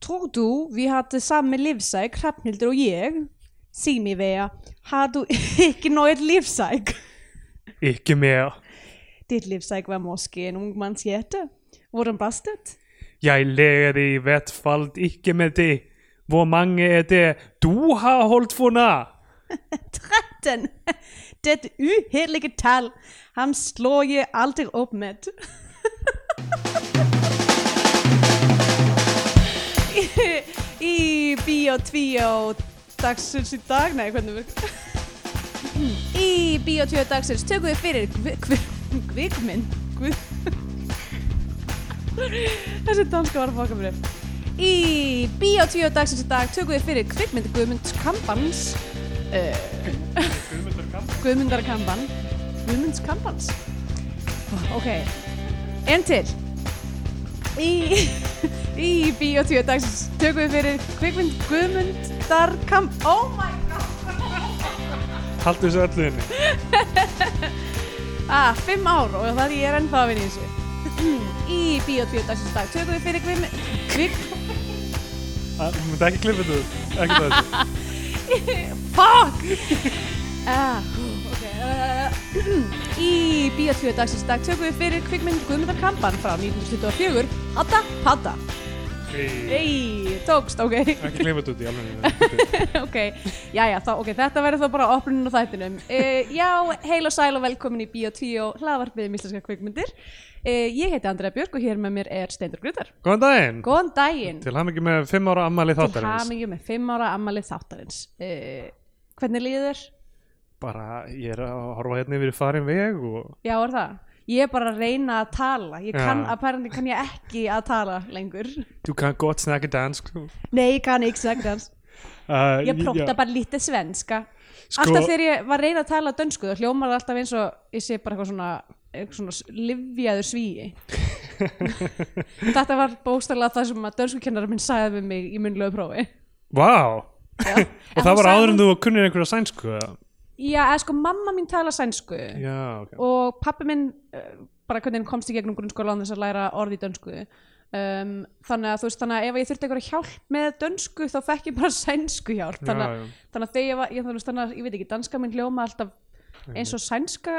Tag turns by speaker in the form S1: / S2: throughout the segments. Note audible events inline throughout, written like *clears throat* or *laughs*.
S1: Tror du vi hadde samme livsegg, Hrafnhildur og ég? Sig mig Vera, har du *laughs* ikke något livsegg?
S2: Ikke mere.
S1: Ditt livsegg var måske en ung manns hjerte. Hvordan brast
S2: Jeg lærer i hvert fall ikke med det. Hvor mange er det du har holdt for nar?
S1: 13! *laughs* Det uhellige tall. Ham slår jeg alltid opp med. *laughs* I Bio 2 dagsins í dag, nei hvernig *laughs* virka Í Bio 2 dagsins tökum við fyrir kvi- kvi- kvikmynd Guð *laughs* Þessi danska var að fokka mér upp. Í Bio 2 dagsins í dag tökum við fyrir kvikmynd Guðmund Kampans Eh, Guðmundarkamban Guðmundskampans Ok, en til Í *laughs* Í Bíotvíu dagsins tökum við fyrir kvikmynd Guðmundarkamp Oh my
S2: Haltu þessu öllu henni.
S1: Ah, fimm ár og það ég er ennþá að vinna í þessu Í Bíotvíu dagsins í dag tökum við fyrir kvikmynd Kvik... *laughs*
S2: Þú myndi ekki klippa þetta. Ekki þessu.
S1: Fuck! Ah, ok uh, *clears throat* Í Bíotvíu dagsins í dag tökum við fyrir kvikmynd Guðmundarkamban frá 1924 Hadda, hadda Ei, tókst, ok *laughs*
S2: Ekki klippa þetta út í alveg.
S1: ok, jæja, þá, ok, þetta verður þá bara opnunin á þættinum. Uh, já, heil og sæl og velkomin í Bíó 10, hlaðvarpið um íslenska kvikmyndir. Uh, ég heiti Andrea Björk og hér með mér er Steindur Grutar.
S2: Góðan daginn.
S1: Góðan daginn
S2: Til hann ekki með fimm ára ammali
S1: til
S2: þáttarins.
S1: hamingju með 5 ára ammalið þáttarins. Uh, hvernig líður þér?
S2: Bara ég er að horfa hérna yfir farin veg og
S1: Já, er það? Ég er bara að reyna að tala. Ég kann,
S2: Já.
S1: apparently kann ég ekki að tala lengur.
S2: du kan godt snakke dansk. Ah, Uh,
S1: Nei, ég kann ekki sagt hans. Ég prófta bara lítið svenska
S2: Sko-
S1: Alltaf þegar ég var að reyna að tala dönsku þá hljómar það alltaf eins og ég sé bara eitthvað svona, eitthvað svona s- livjaður svíi
S2: *laughs*
S1: Þetta var bóstalega það sem að dönskukennar minn sagði við mig í munnlegu prófi
S2: Vá. Og *laughs*
S1: En
S2: það
S1: hún
S2: var
S1: sagði
S2: áður en
S1: hún-
S2: þú kunnir einhverja sænsku. eða?
S1: Já, eða sko mamma mín tala sænsku
S2: Já, ok.
S1: og pappi minn eh, bara hvernig hann komst í gegnum grunnskóla án þess að læra orði í dönsku um, þannig að þú veist þannig að ef ég þurfti eitthvað hjálp með dönsku þá fekk ég bara sænsku hjálp þannig,
S2: Já, já.
S1: að, þannig að þegar ég var, ég, þannig, að- þannig að ég veit ekki, danska minn hljóma alltaf eins og sænska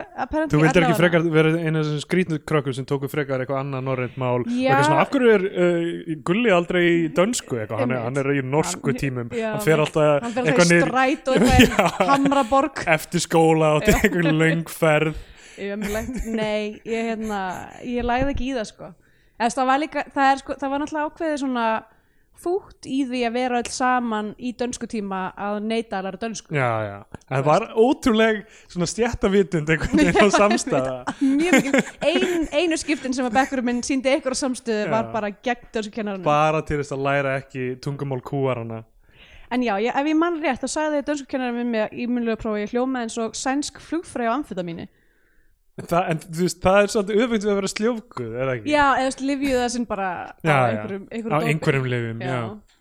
S2: Þú vildir ekki frekar vera einu af þessum skrýtnu krökkum sem tóku frekar eitthvað annað norrent mál og
S1: Já.
S2: eitthvað svona, af hverju er uh, Gulli aldrei í dönsku eitthvað, hann er,
S1: Einmitt.
S2: hann er í norsku
S1: Hann-
S2: tímum
S1: já,
S2: hann fer alltaf
S1: hann fyrir það í
S2: niður
S1: stræt og
S2: *laughs*
S1: eitthvað
S2: Já.
S1: í hamraborg
S2: eftir skóla og til einhver löngferð
S1: Ömurlegt. Nei, ég, hérna, ég lagði ekki í það sko. Eða, það, var líka, það, er, sko það var náttúrulega ákveðið svona fútt í því að vera öll saman í dönskutíma að neyta að læra dönsku.
S2: Já, já, það var ótrúleg svona stjættavitund einhvern veginn á samstæða
S1: Mjög mikil,
S2: *laughs*
S1: ein, einu skiptin sem að bekkurum minn síndi ykkur á samstöðu var
S2: Já.
S1: bara gegn dönskukennarinn.
S2: bara til þess að læra ekki tungumál kúarana
S1: En já, ég, ef ég mann rétt þá sagði dönskukennarinn minn með ímunlega prófi ég hljómaði eins og sænsk flugfræði á amfetamínu.
S2: Þa, en þú veist, það er svolítið öfugt við að vera sljófguð, er það ekki?
S1: Já, eða livjuð það sinn bara á
S2: já,
S1: einhverjum,
S2: á
S1: einhverjum dópi.
S2: einhverjum lifum, já,
S1: já.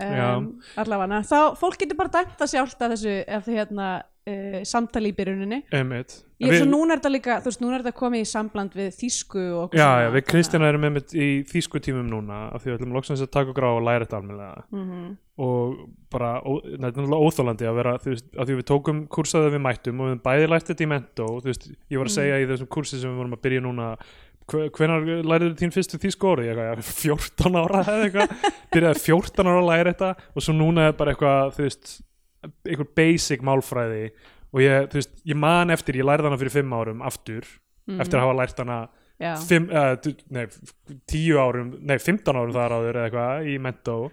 S2: Já.
S1: Um, allavega, þá fólk getur bara dæmt að sjálft að þessu ef þið hérna uh, samtali í byrjuninni
S2: Einmitt.
S1: ég,
S2: Við-
S1: svo núna er þetta líka, þú veist, núna er þetta komið í sambland við þýsku og okkur
S2: Já,
S1: svona,
S2: já, við
S1: þannig að-
S2: Kristjana erum einmitt í þýsku tímum núna af því við ætlum loksins að taka okkur á og læra þetta almennilega
S1: Mhm.
S2: og bara, ó- nei, þetta er náttúrulega óþólandi að vera, þú veist, af því við tókum kursaði við mættum og við höfum bæði lært þetta í mentó þú veist, ég
S1: Mhm.
S2: var að segja í þessum kursi sem við vorum að byrja núna hvenar lærið þín fyrstu þýsku orði, ég eitthvað, já, 14 ára eða
S1: *laughs*
S2: eitthvað, byrjaði 14 ára að læra þetta og svo núna er bara eitthvað þú veist, einhver basic málfræði og ég, þú veist, ég man eftir ég lærði hana fyrir 5 árum aftur
S1: Mhm.
S2: eftir að hafa lært hana
S1: Mm. já.
S2: fimm, uh, nei, f- tíu árum nei, 15 árum þar áður eða eitthvað í mentó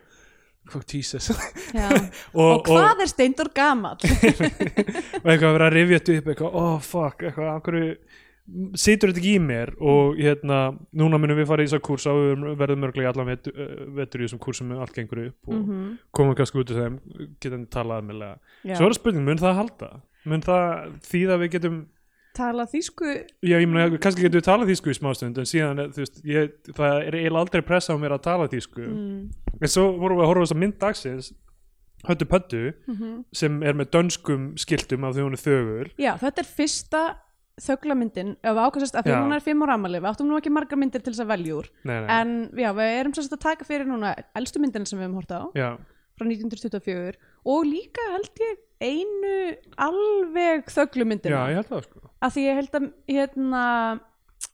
S2: oh, Jesus og,
S1: Já.
S2: *laughs*
S1: og
S2: og,
S1: hvað er steindur
S2: *laughs*
S1: gamall
S2: og eitthvað að vera að rifja þetta upp eitthvað, oh fuck, eitthvað, af hverju situr þetta ekki í mér og hérna, núna munum við fara í þessa kursa og við verðum mörglega allan vetur, vetur í þessum kursum með allt gengur upp og
S1: Mhm.
S2: komum kannski út úr þeim, getum talað meðlega.
S1: Já.
S2: Svo er það spurning, mun það halda? Mun það þýða að við getum
S1: tala þýsku
S2: Já, ég meina, kannski getur við talað þýsku í smástund en síðan, þú veist, ég, það er eiginlega aldrei pressa á mér að tala þýsku
S1: mm.
S2: en svo vorum við að horfa á þess að mynd dagsins Höttu
S1: Mhm.
S2: Pöttu sem er með dönskum skiltum af því hún er þögul
S1: já, þetta er fyrsta þöglamyndin, ef við ákvæmst að því
S2: Já.
S1: hún er fimm ára ammali, við áttum nú ekki marga myndir til þess að velja úr
S2: nei, nei,
S1: en já, við erum sérst að taka fyrir núna elstu myndina sem við höfum hort á
S2: já,
S1: frá 1924 og líka held ég einu alveg
S2: já,
S1: þöglumyndina
S2: ég held það sko
S1: að því ég held að hérna,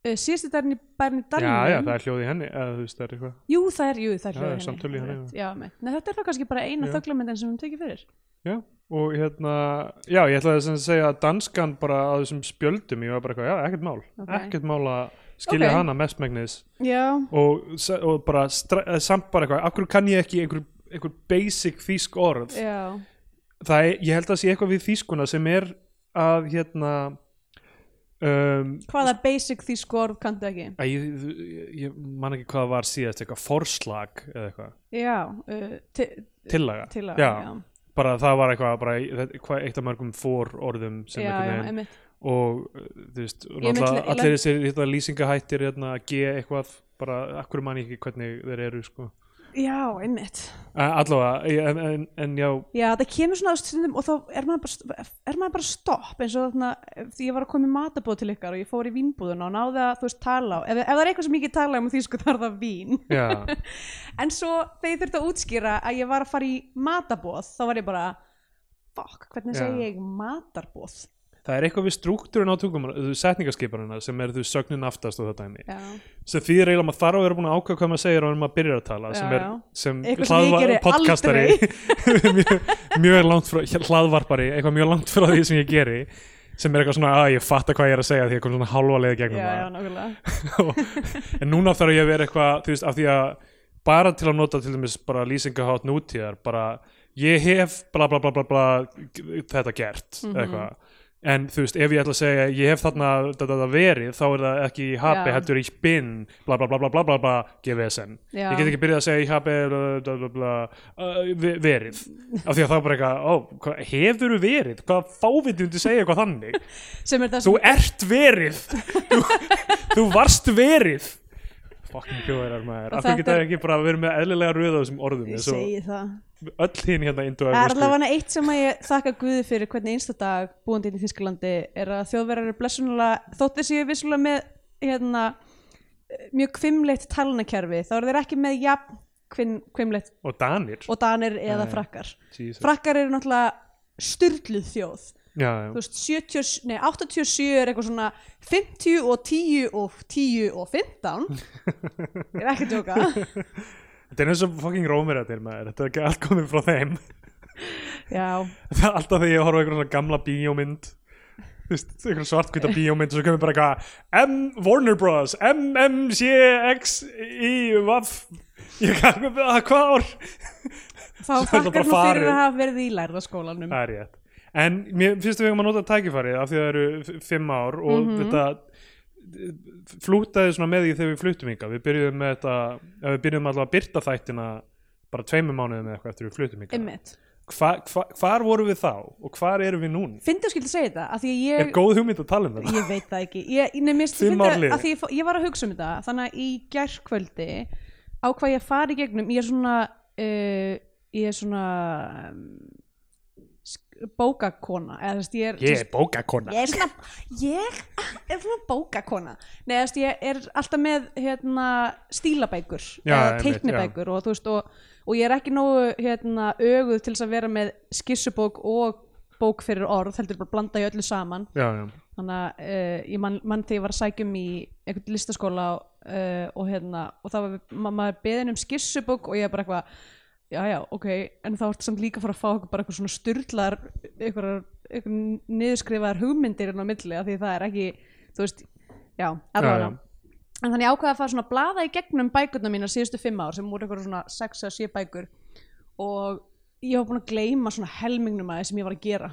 S1: uh, síðustu dærni bærni
S2: já,
S1: dalnum
S2: já, það er hljóð í henni eða þú veist, það er eitthvað
S1: Jú, það er, jú, það er
S2: Já, hérna,
S1: hljóð í
S2: já, samtöl í henni,
S1: rétt. Já, einmitt. Nei, þetta er þá kannski bara eina
S2: Já.
S1: þöglamyndin sem við höfum tekið fyrir
S2: Já, og hérna, já, ég ætlaði sem sagt að segja að danskan bara á þessum spjöldum, ég var bara eitthvað, já, ekkert mál,
S1: Ok.
S2: ekkert mál að skilja
S1: Ok.
S2: hana mestmægnis
S1: Já,
S2: og, s- og bara stra- eh, samt bara eitthvað, af hverju kann ég ekki einhver, einhver basic þýsk orð?
S1: já,
S2: Það er, ég held að sé eitthvað við þýskuna sem er að hérna, um,
S1: hvaða basic því skorð kanntu ekki
S2: að ég, ég, ég man ekki hvað það var síðast, eitthvað forslag eða eitthvað,
S1: Já, uh, ti-
S2: tillaga,
S1: til að
S2: já, bara það var eitthvað, bara, þetta- hvað, eitt af mörgum for orðum sem
S1: já,
S2: einhvern
S1: já,
S2: veginn
S1: einmitt
S2: og uh, þú veist, og
S1: Ég myndi-
S2: náttúrulega
S1: ég
S2: allir
S1: lang-
S2: þessir hérna, lýsingahættir hérna, G eitthvað, bara akkur man ég ekki hvernig þeir eru sko.
S1: Já, einmitt
S2: A- allavega, ég- en, en, en já
S1: Já, það kemur svona á stundum og þá er maður bara, er maður bara stopp eins og þarna, því ég var að koma í matabóð til ykkar og ég fór í vínbúðuna og náði að þú veist tala á, ef, ef það er eitthvað sem ég get tala um því sko *laughs* þá er það vín
S2: já,
S1: *laughs* en svo þegar ég þurfti að útskýra að ég var að fara í matabóð þá var ég bara, fuck, hvernig
S2: Já.
S1: segi ég matarbóð
S2: það er eitthvað við struktúrin á tungum setningaskiparina sem er þú sögnin aftast og þetta dæmi
S1: Já,
S2: sem því er eiginlega maður þarf að vera búin að ákveða hvað maður segir og maður byrjar að tala sem
S1: Já,
S2: er
S1: já.
S2: sem
S1: Eitthvað sem ég
S2: hlaðva-
S1: geri
S2: podcastari *laughs* mjög, mjög langt frá hlaðvarpari, eitthvað mjög langt frá því sem ég geri sem er eitthvað svona að ég fatta hvað ég er að segja því ég kom svona halva leið
S1: já,
S2: gegnum það
S1: já, nákvæmlega
S2: Og- *laughs* en núna þarf ég að vera eitthvað þú veist, af því að bara til að nota til dæmis bara lýsingahátt nútíðar bara ég hef bla bla bla bla bla þetta gert
S1: Mhm.
S2: eitthvað en þú veist, ef ég ætla að segja ég hef þarna da, da, da, verið, þá er það ekki í hapi,
S1: Já.
S2: heldur í spinn bla bla bla bla bla bla bla, GVSN
S1: Já.
S2: ég get ekki byrjað að segja í hapi bla, bla, bla, bla, uh, ve- verið af því að þá er bara eitthvað, ó, hva, hefur verið hvað fáviti myndi segja eitthvað þannig
S1: sem er það
S2: Þú
S1: sem,
S2: ert verið Þú, þú varst verið Fucking kjóðarar maður
S1: Og
S2: Af hverju
S1: þetta
S2: geta
S1: er-
S2: ekki bara verið með eðlilega röð á þessum orðum
S1: ég
S2: eins og
S1: segi það
S2: öll hinn hérna
S1: Það er
S2: indoevrópsku
S1: allavega eitt sem að ég þakka Guði fyrir hvernig einsta dag búandi inn í Þísklandi er að þjóðverðar eru blessunulega þótt þessi ég vissulega með hérna, eh, mjög kvimleitt talnakerfi þá eru þeir ekki með jafn kvim, kvimleitt
S2: og danir
S1: og danir eða
S2: Nei.
S1: frakkar
S2: Jesus.
S1: frakkar eru náttúrulega styrluð þjóð
S2: já,
S1: þú
S2: já.
S1: veist 70, nei, 87 er eitthvað svona 50 og 10 og 10 og
S2: *laughs*
S1: 15 ég er ekki að tjóka
S2: Þetta er eins og fucking rómir þetta er maður Þetta er ekki allt komið frá þeim *laughs*
S1: já,
S2: Það er alltaf þegar ég horfa á einhverjum svona gamla bíómynd Þú veist, einhverjum svartkvita bíómynd og svo kemur bara eitthvað M, Warner Bros, M, M, C, X, I, V Ég kann, að hvað ár
S1: þá
S2: Svo er það bara
S1: frakkar nú fyrir
S2: farið.
S1: að hafa verið í lærða skólanum
S2: það er rétt en mér finnst að við hefum að nota tækifærið af því að það eru f- fimm ár og
S1: Mhm.
S2: þetta flútaði svona með því þegar við fluttum ykkar við byrjuðum með þetta, eða við byrjuðum alltaf að byrta þættina bara tveimur mánuðum eða eitthvað eftir við fluttum ykkar
S1: Einmitt.
S2: hva, hva, hvar vorum við þá og hvar erum við núna
S1: Fyndi að skilja að segja þetta að því að
S2: er
S1: ég,
S2: góð hugmynd að tala um þetta
S1: ég veit það ekki ég, nei, mér
S2: Fimm
S1: finnst
S2: ár
S1: að,
S2: liðin.
S1: að því ég, fó- ég var að hugsa um þetta þannig að í gærkvöldi á hvað ég fari í gegnum ég er svona uh, ég er svona um, sk- bókakona eða þess ég er
S2: ég er bókakona
S1: ég er svona ég er svona bókakona nei þess ég er alltaf með hérna, stílabækur
S2: Já,
S1: eða
S2: einmitt,
S1: teiknibækur og þú veist og, og ég er ekki nógu hérna, öguð til þess að vera með skissubók og bók fyrir orð heldur bara blanda í öllu saman
S2: já, já.
S1: þannig að uh, ég mann man þegar ég var að sækjum í einhvern listaskóla uh, og hérna og þá var ma maður beðin um skissubók og ég bara eitthvað já já ok en þá ertu samt líka að fara að fá eitthvað bara eitthvað svona styrlar eitthvað, eitthvað niðurskrifaðar hugmyndir inn á milli af því það er ekki þú veist já allavega
S2: já.
S1: en þannig ég ákvaði að fara svona að blaða í gegnum bækurna mína síðustu fimm ár sem voru eitthvað svona sex að sé bækur og ég var búin að gleyma svona helmingnum að því sem ég var að gera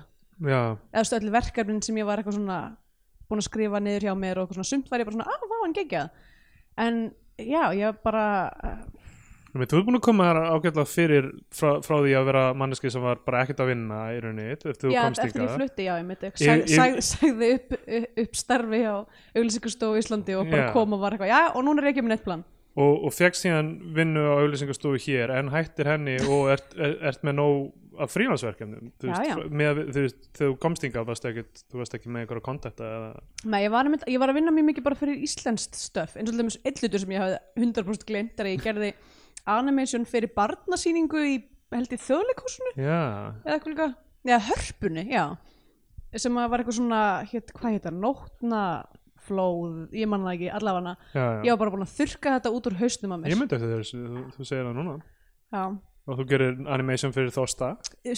S2: já,
S1: eða stu öll verkefnin sem ég var eitthvað svona búin að skrifa niður hjá mér og eitthvað svona sumt var ég bara svona, að vá hann geggjað en já, ég bara eh,
S2: Nei, Þú ert búin að koma þér ágætlega fyrir frá, frá því að vera manneski sem var bara ekkert að vinna í rauninni, eftir þú
S1: já,
S2: komst
S1: eftir ég
S2: ykkar
S1: flutti, já, ég myndi
S2: Ég-
S1: sag,
S2: ég-
S1: sag, sagði upp, upp starfi hjá auglýsingastofu í Íslandi og bara
S2: Já.
S1: kom og var eitthvað, já, og núna er ég ekki með neitt plan
S2: og, og fegst síðan vinnu á auðlýsingastofu hér en hættir henni og ert, er, ert með nóg af frílansverkefnum þú
S1: Já,
S2: veist,
S1: já.
S2: fr- með, þú veist, þegar þú komst hingað varst ekki, þú varst ekki með einhverja kontakta eða,
S1: Nei, ég var, einmitt, ég var að vinna mjög mikið bara fyrir íslenskt stöf eins og alltaf einn hlutur sem ég hafði 100% gleymt þegar ég gerði animation fyrir barnasýningu í held ég þjóðleikúsinu
S2: já,
S1: eða eitthvað líka, eða hörpunni, já sem að var eitthvað svona, hét, hvað heitar nótnaflóð, ég manna ekki allafana,
S2: já,
S1: ég var bara búin að þurka þetta út úr hausnum að mér
S2: ég myndi eftir þessu þú, þú segir það núna
S1: Já,
S2: og þú gerir animation fyrir Þosta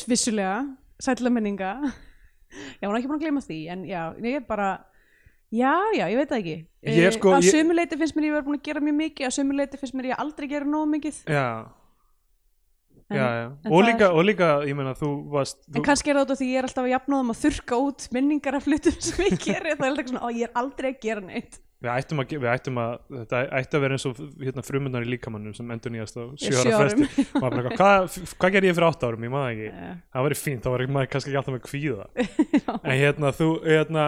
S1: vissulega, sætla minninga Já, hún er ekki búin að gleyma því en já, ég er bara Já, já, ég veit það ekki
S2: Ég
S1: Eh,
S2: er sko-
S1: Að
S2: ég-
S1: sömu leiti finnst mér ég verið búin að gera mjög mikið að sömu leiti finnst mér ég aldrei gera nógu mikið
S2: já,
S1: En-
S2: já, já.
S1: en
S2: Og,
S1: það
S2: líka, og líka, ég meina þú varst
S1: En
S2: þú,
S1: kannski er það út af því ég er alltaf að jafnáðum að þurka út minningar af hlutum sem ég geri það er alltaf svona, ó, ég er aldrei að gera neitt
S2: Við ættum að, ge- við ættum að þetta ætti að vera eins og hérna, frumunar í líkamannum sem endur nýjast á
S1: Ég
S2: sjö ára
S1: árum.
S2: fresti Maður bara eitthvað, hvað, hvað gerði ég fyrir átta árum, ég maður ekki
S1: Já.
S2: það væri fínt, þá var maður kannski ekki alltaf með kvíða
S1: *laughs* Já.
S2: en hérna þú hérna,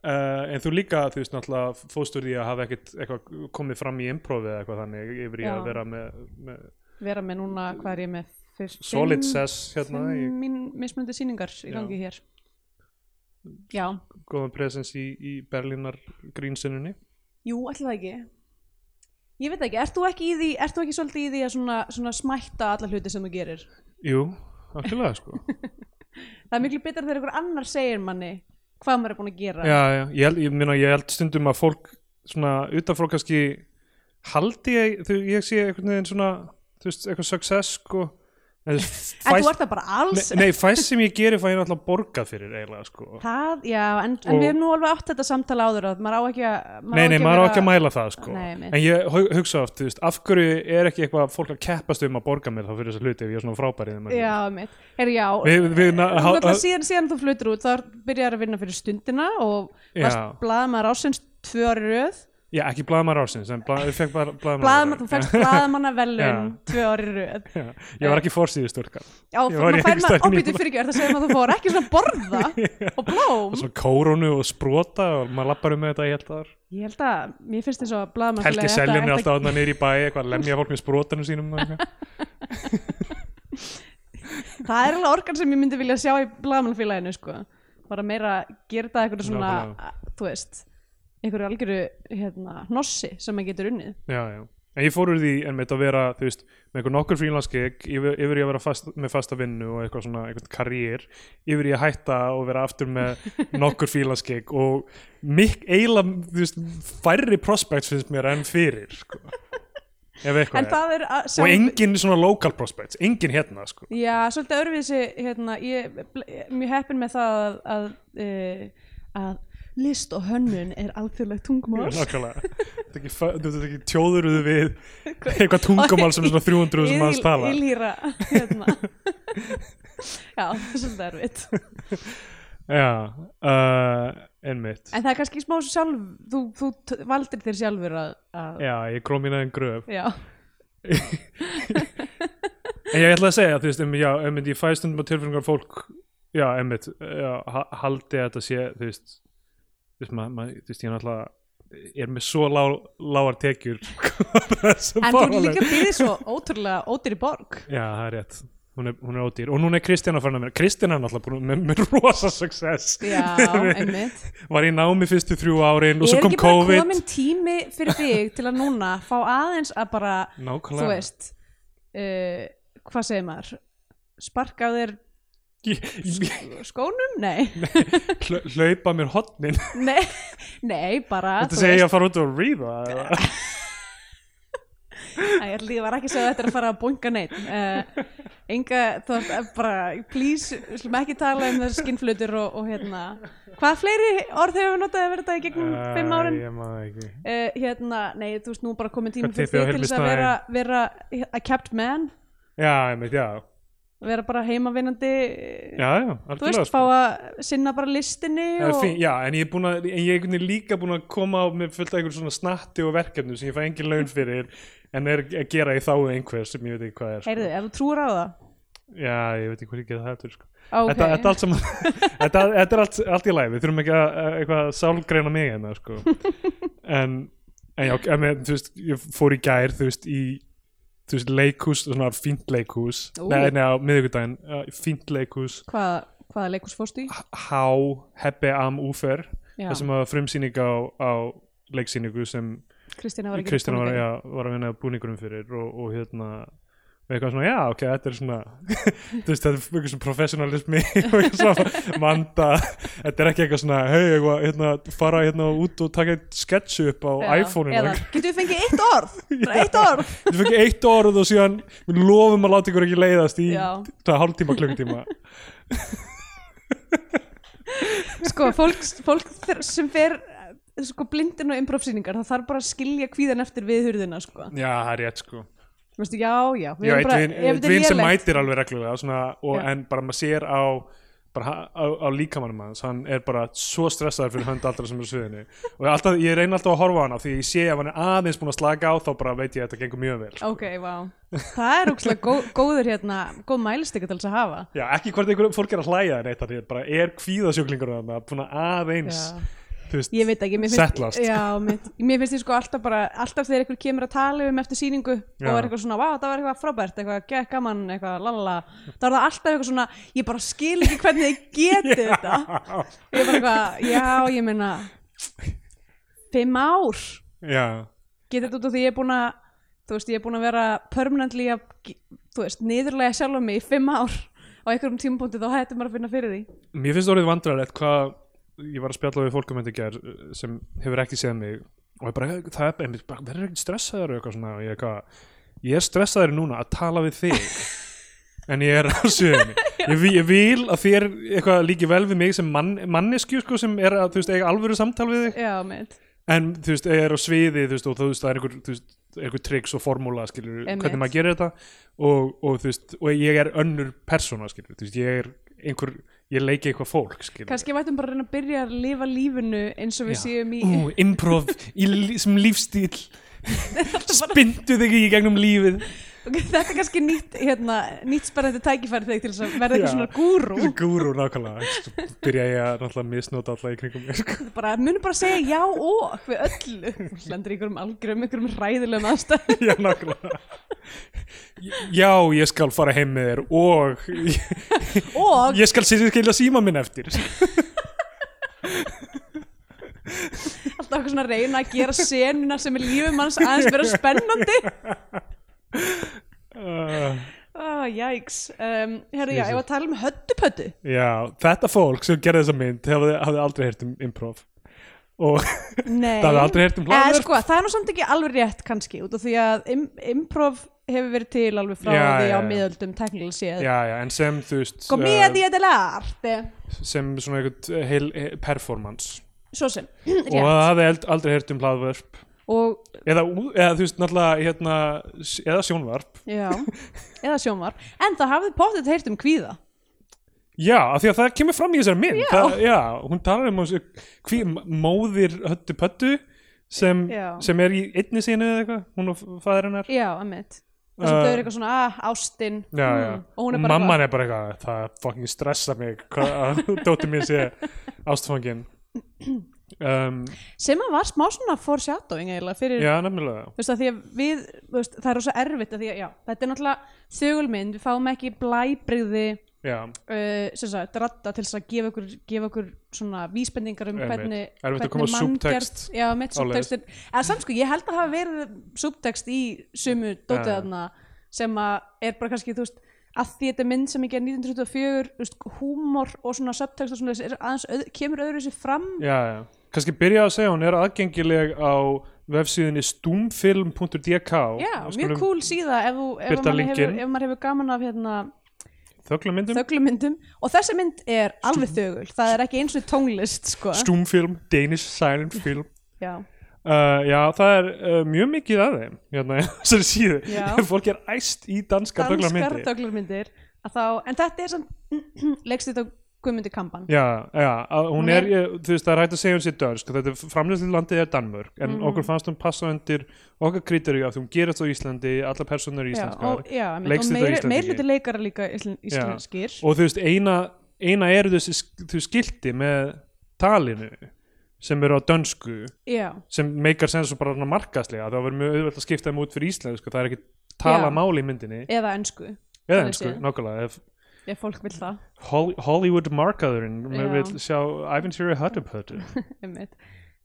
S2: uh, en þú líka þú veist náttúrulega fóstur því að hafa ekkit eitthvað komið fram í improvi eða eitthvað þannig yfir í
S1: Já.
S2: að vera með, með
S1: Vera með núna, hvað er ég með? Fyrst,
S2: solid sess hérna í
S1: Fimm mín mismunandi sýningar í
S2: Já.
S1: gangi hér Já,
S2: góðum presens í, í Berlínar grínsinnunni
S1: jú, ætli það ekki Ég veit það ekki, ert þú ekki í því ert þú ekki svolítið í því að svona, svona smætta alla hluti sem þú gerir?
S2: Jú, algjörlega sko
S1: *laughs* Það er miklu betra þegar einhver annar segir manni hvað maður er búin að gera
S2: Já, já, ég held, ég, meina, ég held stundum að fólk svona utanfrá kannski haldi ég, þú, ég sé einhvern veginn svona, þú veist, eitthvað success sko, en þú veist,
S1: En þú
S2: fæst
S1: ert það bara alls
S2: Nei, nei, fæst sem ég geri fæ ég náttúrulega borgað fyrir eiginlega sko
S1: Það, já, en, en
S2: Og-
S1: við hefum nú alveg átt þetta samtala áður að maður á ekki að
S2: Nei, nei, maður á
S1: vera-
S2: ekki að mæla það sko
S1: Nei, einmitt.
S2: En ég hu- hugsa oft, þú veist, af hverju er ekki eitthvað fólk að keppast um að borga mér þá fyrir þessa hluti ef ég er svona frábærið
S1: Já, mitt, herri, já
S2: Við, við, na,
S1: Þú
S2: há,
S1: ætla síðan, síðan þú flutur út þá byrjar að vinna fyrir stundina og
S2: Já.
S1: varst blaðamaður ásins tvö ári í röð
S2: já, ekki blaðmaður ársins, en blað, ég fekk bara blaðmaður
S1: blaðamaður, þú fækst blaðamanna velun
S2: Já.
S1: tvö ári í röð
S2: *laughs* Já, Ég var ekki forsýðustúrkan
S1: Já,
S2: Ég var í
S1: maður fær
S2: einhverstaðar
S1: maður
S2: í-
S1: óbýtu fyrir ekki, er það segja maður að þú fór ekki svona að
S2: *laughs*
S1: borða og blóm
S2: og svona kórunu og sprota og maður lappar um með þetta í helt ár
S1: Ég held að, mér finnst þess að blaðamaður
S2: Helgi Seljun er alltaf aðna nýri í bæ eitthvað að lemja fólk með sprótanum sínum og eitthvað.
S1: Það er alveg organ sem ég myndi vilja sjá í blagamannfélaginu sko. bara meira gera það eitthvað svona,
S2: Nákvæmlega.
S1: þú veist einhverju algjöru hérna, hnossi sem maður getur unnið
S2: já, já. En ég fór úr því en mitt að vera þú veist, með einhver nokkur frílansgig yfir, yfir í að vera fast, með fasta vinnu og eitthvað svona eitthvað karriér, yfir í að hætta og vera aftur
S1: *laughs*
S2: með nokkur frílansgig og mik eila veist, færri prospects finnst mér enn fyrir sko.
S1: en
S2: ef eitthvað er
S1: það er að sjá-
S2: og engin svona local prospects, engin hérna sko.
S1: Já, svolítið öðruvísi hérna, ég bl- ég er mjög heppin með það að, að, eh, að list og hönnun er alþjóðlegt tungumál
S2: Nákvæmlega, Þetta er ekki fa- þú ert ekki tjóðuruð við
S1: *laughs*
S2: eitthvað tungumál sem svona 300 sem manns tala
S1: Ílýra hérna. *laughs* Já, það er svolítið erfitt
S2: Já, uh, einmitt
S1: En það er kannski smá sjálf þú, þú t- valdir þér sjálfur að, að
S2: Já, ég gró mín aðeins gröf *laughs*
S1: Já.
S2: En ég ætla að segja, þú veist, em, já, einmitt, ég fæ stundum á tilfengar fólk Já, einmitt, já, ha- haldi að þetta sé, þú veist Þú veist, maður, mað, þú veist, ég er náttúrulega er með svo lá, lágar tekjur *laughs* En
S1: En þú ert líka býðið svo ótrúlega ódýri borg.
S2: Já, það er rétt Hún er, hún er ódýr og núna er Kristjana farin að mér Kristjana er náttúrulega búin með, með rosa success *laughs*
S1: Já, einmitt.
S2: var í námi fyrstu þrjú árin og svo
S1: er
S2: kom
S1: ekki bara
S2: COVID
S1: komin tími fyrir þig til að núna fá aðeins að bara,
S2: Nákvæmlega
S1: þú veist, uh, hvað segir maður, sparka á þér
S2: Ég- ég-
S1: skónum?
S2: *laughs*
S1: Nei,
S2: hla- Hlaupa mér hotnin
S1: nei, nei, bara,
S2: Þetta segja ég að fara út og ríða eða?
S1: Æ, ég ætla- ég var ekki að segja þetta er að fara að bunga neitt. Uh, enga, þú ert eh, bara, please, slum ekki tala um þessu skinnflutur og, og hérna, hvað fleiri orð hefur við notaði að vera þetta í gegnum fimm árin?
S2: Æ, Ég maður ekki
S1: uh, hérna, nei, þú veist, nú er bara komið tíma
S2: Hvað
S1: fyrir
S2: tippið á
S1: þig til þess að
S2: Hilmi
S1: vera, vera a kept man,
S2: Já, einmitt, já
S1: vera bara heimavinnandi
S2: Já, já,
S1: þú veist,
S2: algjörlega
S1: fá
S2: sko.
S1: að sinna bara listinni
S2: Það er
S1: og
S2: fín- Já, en ég er, búin að, en ég er einhvern veginn líka búin að koma á með fullt af einhverjum svona snatti og verkefnum sem ég fæ engin laun fyrir en er að gera í þáu einhver sem ég veit ekki hvað er sko.
S1: heyrðu, ef þú trúir á það
S2: Já, ég veit ekki hvað ég gera það eftir sko.
S1: okay.
S2: þetta, þetta, er allt saman, þetta, þetta er allt, allt í læfi við þurfum ekki að að- eitthvað að sálgreina mig hérna sko. en, en já, en, en, þú veist, ég fór í gær þú veist, í þú veist, leikhús, svona fínt leikhús
S1: Ú.
S2: nei, nei, á miðvikudaginn, uh, fínt leikhús
S1: Hvað, hvaða leikus fórstu í?
S2: Há, Hebbe Am Úfer
S1: Já,
S2: það sem var frumsýning uh, á, á leiksýningu sem
S1: Kristina var ekki
S2: Kristján var, já, var að vinna búningurum fyrir og, og hérna og eitthvað svona, já, ok, þetta er svona *laughs* þú veist, þetta er eitthvað svona professionalismi *laughs* og eitthvað svona manda þetta er ekki eitthvað svona, hei, eitthvað hérna, fara hérna út og taka eitt sketch upp á iPhone-inu
S1: Eða, getum við fengið eitt
S2: *laughs*
S1: orð? Bara eitt orð?
S2: Þið fengi eitt orð og síðan við lofum að láta ykkur ekki leiðast í
S1: Já.
S2: það, hálftíma, klukkutíma
S1: Sko, fólk, fólk þr- sem fer eh, sko, blindin og improvsýningar það þarf bara að skilja kvíðan eftir viðhurðina sko.
S2: Já, það er rétt sko
S1: Vistu, já, já, við
S2: Já,
S1: erum
S2: eitt
S1: bara,
S2: vin,
S1: ef
S2: eitt
S1: þetta er
S2: vin sem
S1: lélegt-
S2: mætir alveg reglulega svona, og,
S1: Já.
S2: en bara maður sér á bara ha- á, á líkamannum hans hann er bara svo stressaður fyrir hönd allra sem er á sviðinni og ég alltaf, ég reyni alltaf að horfa á hann af því ég sé ef hann er aðeins búin að slaka á þá bara veit ég að þetta gengur mjög vel
S1: Ok, vá. Það er ógslag gó, góður hérna, góð mælistika til þess að hafa.
S2: Já, ekki hvort einhver fólk er að hlæja neitt að því bara er kvíðasjúklingur hann búin að aðeins
S1: Já.
S2: þú veist,
S1: Ég veit ekki, mér
S2: Settlast.
S1: finnst, já, mér, mér finnst ég sko alltaf bara, alltaf þegar einhver kemur að tala um eftir sýningu og
S2: Já.
S1: er eitthvað svona, vá, það var eitthvað frábært, eitthvað gekk gaman, eitthvað lalala, þá er það alltaf eitthvað svona, ég bara skil ekki hvernig þið
S2: *laughs*
S1: getið þetta. Ég er bara eitthvað, já, ég meina, fimm ár
S2: *laughs* já,
S1: getið þetta út af því ég er búin að, þú veist, ég er búin að vera permanently að, ge- þú veist, niðurlega sjálf mig í fimm ár á einhverjum tímapunkti þá hættum maður að finna fyrir því.
S2: mér finnst orðið vandrarlegt hvað ég var að spjalla við fólkum þetta ger sem hefur ekki séð mig og ég bara, það er einmitt, bara, verður ekki stressaður og eitthvað svona, og ég eitthvað ég er stressaður núna að tala við þig en ég er á sjöðinni ég, vi- ég vil að þér eitthvað líki vel við mig sem mann, manneskju sko, sem er að, þú veist, eiga alvöru samtal við þig
S1: Já, mitt.
S2: en þú veist, ég er á sviði þú veist, og þú veist, það er einhver, þú veist, einhver triks og formúla, skilur,
S1: Einmitt.
S2: hvernig maður gerir þetta og, og þú veist, og ég er önnur persóna, skilur, þú veist, ég er einhver, ég leiki eitthvað fólk, skilur
S1: Kanski vætum bara að reyna að byrja að lifa lífinu eins og við
S2: Já.
S1: séum í
S2: Ú, improv í, lí- sem lífstíl
S1: *laughs*
S2: spyndu þig í gegnum lífið
S1: Þetta er kannski nýtt, hérna, nýtt spennandi tækifæri þegar til þess að verða
S2: Já.
S1: eitthvað svona gúrú
S2: gúru nákvæmlega Svo byrja ég að náttúrulega misnóta alltaf í kringum mér sko. *laughs*
S1: bara, Munum bara að segja já og við öllu Þú Lendir í einhverjum algjörum, einhverjum ræðilegum aðstæð
S2: já, nákvæmlega já, ég skal fara heim með þér og ég,
S1: Og
S2: ég skal skilja síma minn eftir
S1: alltaf eitthvað svona að reyna að gera senuna sem er lífum hans aðeins vera spennandi
S2: uh,
S1: oh, Jæks um, Herra, já,
S2: Jesus.
S1: ég var að tala um höttupöttu
S2: já, þetta fólk sem gerði þessa mynd hafði, hafði aldrei heyrt um improv og *laughs*
S1: Nei
S2: það hafði aldrei heyrt um
S1: Eh,
S2: hlaðverk
S1: sko, það er nú samt ekki alveg rétt kannski út af því að im improv hefur verið til alveg frá
S2: Já,
S1: því á
S2: já, já.
S1: miðöldum teknilega séð Sko,
S2: já, já, en sem þú veist eh,
S1: Comedia dell'arte
S2: sem svona eitthvað heil, heil performance
S1: Svo sem *clears throat*
S2: og
S1: Rétt.
S2: það hafði eld- aldrei heyrt um hlaðvörp
S1: Og,
S2: eða, ú- eða þú veist náttúrulega hérna, s- eða sjónvarp
S1: já *laughs* Eða sjómar En það hafði pottið heyrt um kvíða
S2: já, af því að það kemur fram í þessari mynd
S1: Já.
S2: Það, já, hún talar um þessu- hví móðir höttu pöttu sem,
S1: Já.
S2: sem er í einni sínu eða eitthvað, hún og fæðir hennar
S1: Já, emitt Það sem
S2: Uh,
S1: þau eru eitthvað svona, ah, ástin
S2: já, já.
S1: mm, Og hún er bara
S2: mamman er bara eitthvað það fucking stressa mig hvað að *laughs* dóttir mín sé ástfangin um,
S1: eitthvað Sem að var smá svona foreshadowing eiginlega fyrir
S2: já, nefnilega
S1: Þú veist að því að við, þú veist, það er rosa erfitt að því að, já, þetta er náttúrulega þögulmynd, við fáum ekki blæbrigði
S2: já,
S1: uh, sem sagt, ratta til þess að gefa okkur, gefa okkur svona vísbendingar um
S2: Einmitt.
S1: hvernig,
S2: Erfitt að
S1: hvernig
S2: koma á
S1: manngjarn-
S2: subtext
S1: já, mitt
S2: áleiðis.
S1: subtext er, eða samt sko, ég held að hafa verið subtext í sumu
S2: Já, já.
S1: dótiðarna sem að er bara kannski, þú veist að því þetta er mynd sem ég gerði 1924 þú veist, húmor og svona subtext og svona þessi er aðeins, öð, kemur öðru sér fram
S2: já, já. kannski byrja að segja hún er aðgengileg á vefsíðinni stumfilm.dk
S1: já, mjög kúl síða ef, þú- ef,
S2: birta
S1: maður hefur,
S2: linkinn.
S1: ef maður hefur gaman af hérna
S2: þöglumyndum,
S1: þöglumyndum og þessi mynd er alveg þögul það er ekki eins og tónlist sko.
S2: stumfilm Danish silent film
S1: já,
S2: Uh, já, það er uh, mjög mikið að þeim hérna, þessari síðu,
S1: Já.
S2: *laughs* fólk er æst í danskar
S1: danskar
S2: döglarmyndi
S1: þöglumyndir að þá, en þetta er samt *clears throat* leikst þetta Guðmundi Kampan
S2: Já, já, að hún
S1: Hún
S2: er,
S1: er-
S2: ég, þú veist, það er hægt að segja um sér dönsk þetta framlýslandið er Danmörk
S1: Mhm.
S2: en okkur fannst hún passa undir okkar kriteríu af því hún gerist á Íslandi, alla personur
S1: já,
S2: í íslenskar
S1: og, já, einmitt, og
S2: Leikstýrt á
S1: meiri,
S2: Íslandi.
S1: meiri hluti leikara líka íslen- íslenskir
S2: og þú veist, eina, eina eru þessi sk- þú veist, skilti með talinu sem eru á dönsku
S1: já,
S2: sem meikar sens og bara svona markaslega það verður mjög auðvelt að skipta þeim út fyrir íslensku það er ekki tala
S1: Já.
S2: máli í myndinni
S1: eða ennsku
S2: eða
S1: Þannig
S2: ensku,
S1: séð.
S2: nákvæmlega ef
S1: ef fólk vil það *laughs*
S2: Hol- Hollywood markaðurinn
S1: Já.
S2: vil sjá æfintýri höttupöttu
S1: einmitt.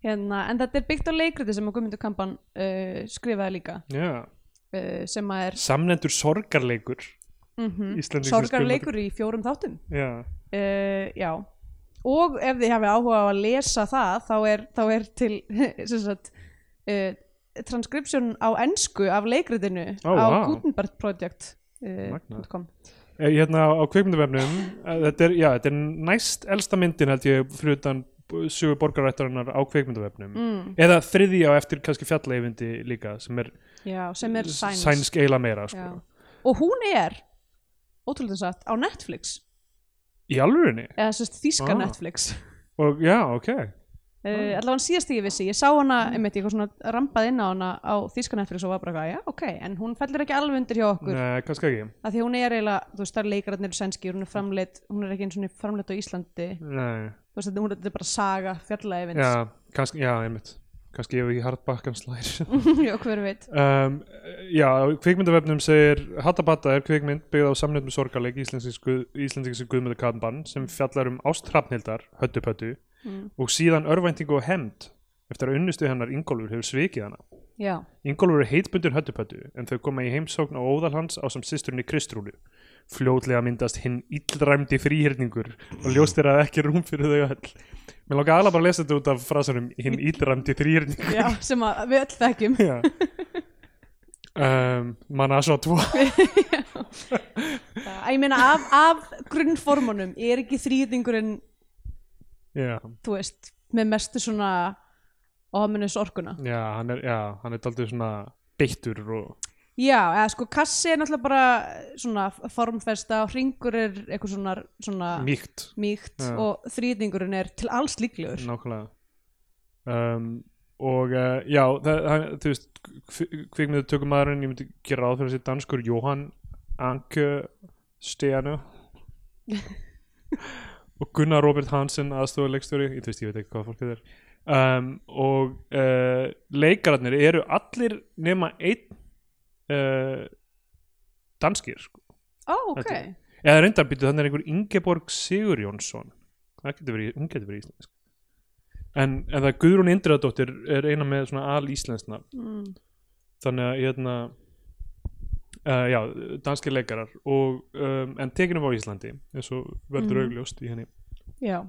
S1: hérna, en þetta er byggt á leikriti sem að Guðmundur Kampan uh, skrifaði líka
S2: yeah.
S1: uh, sem að er
S2: samnendur sorgarleikur
S1: mm
S2: Íslendingur sem
S1: sorgarleikur í fjórum þáttum
S2: já,
S1: uh, já og ef þið hafið áhuga á að lesa það þá er, þá er til *laughs* sem sagt uh, transkripsjón á ensku af leikritinu
S2: Ó,
S1: á
S2: vá.
S1: Gutenberg Project uh,
S2: Magnað.
S1: .com.
S2: Eh, hérna á kveikmyndavefnum eh, þetta er, já, þetta er næst elsta myndin held ég fyrir utan b- sögu borgarættarinnar á kveikmyndavefnum
S1: mm,
S2: eða þriðja á eftir kannski fjalleifindi líka sem er,
S1: já, sem er
S2: s-
S1: sænsk
S2: sænsk eila meira
S1: Já.
S2: sko.
S1: og hún er ótrúlega satt á Netflix
S2: í alvörinni
S1: eða sérst þýska
S2: Ah.
S1: Netflix
S2: og já, ok
S1: Uh, allavega síðast þegar ég vissi, ég sá hana einmitt eitthvað svona rampað inn á hana á þýskan eftir og var bara eitthvað, já, ok, en hún fellur ekki alveg undir hjá okkur,
S2: Nei, kannski ekki
S1: af því hún er eiginlega, þú veist, það er leikararnir eru sænskir, hún er framleitt, hún er ekki eins og hún er framleitt á Íslandi,
S2: Nei.
S1: þú veist, þetta hún- þetta er bara saga, fjallaefins,
S2: Já, kannski, já, einmitt kannski ég hef ekki hardbakkan slær *laughs*
S1: já, hver veit,
S2: um, Já, á kvikmyndavefnum segir Hattabatta er kvikmynd byggð á samnefnum sorgarleik íslendingsi Guðmundur Kamban sem fjallar um ástrafnildar höttupöttu
S1: Mm.
S2: og síðan örvæntingu og hemd eftir að unnustu hennar Ingólfur hefur svikið hana
S1: já,
S2: Ingólfur er heitbundin höttupöttu en þau koma í heimsókn á óðalhans á sem sýsturni Kristrúlu fljótlega myndast hinn illræmdi fríhyrningur og ljóst er að ekki er rúm fyrir þau öll Mér langar aðla bara að lesa þetta út af frasarum hinn illræmdi þrýhyrningur
S1: já, sem að við öll þekkjum,
S2: Já um, Manna svo tvo
S1: að ég meina af, af grunnformunum er ekki þrýðingurinn,
S2: Já,
S1: þú veist, með mestu svona ominus orkuna.
S2: já, hann er, já, hann er daldið svona beittur og
S1: Já, eða sko kassi er náttúrulega bara svona formfesta og hringur er eitthvað svona, svona
S2: mýkt
S1: mýkt
S2: Já.
S1: og þrýðingurinn er til alls líklegur.
S2: Nákvæmlega um, Og uh, já, það, hann, þú veist kvikmyndu tökumæðurinn, ég myndi gera ráð fyrir þessi danskur Jóhann Anke Stenu og Gunnar Robert Hansen aðstofa leikstjóri, ég, þú veist, ég veit ekki hvað fólkið er um, og uh, leikararnir eru allir nema einn uh, danskir sko.
S1: Ó, ok.
S2: Þetta eða reyndarbyrtu, þannig er einhver Ingeborg Sigurjónsson það getur verið, hún getur verið íslensk en, en það Guðrún Indriðadóttir er eina með svona al íslensna
S1: Mm.
S2: þannig að hérna uh, já, danskir leikarar og, um, en tekinum á Íslandi eins og verður
S1: Mhm.
S2: augljóst í henni
S1: Já.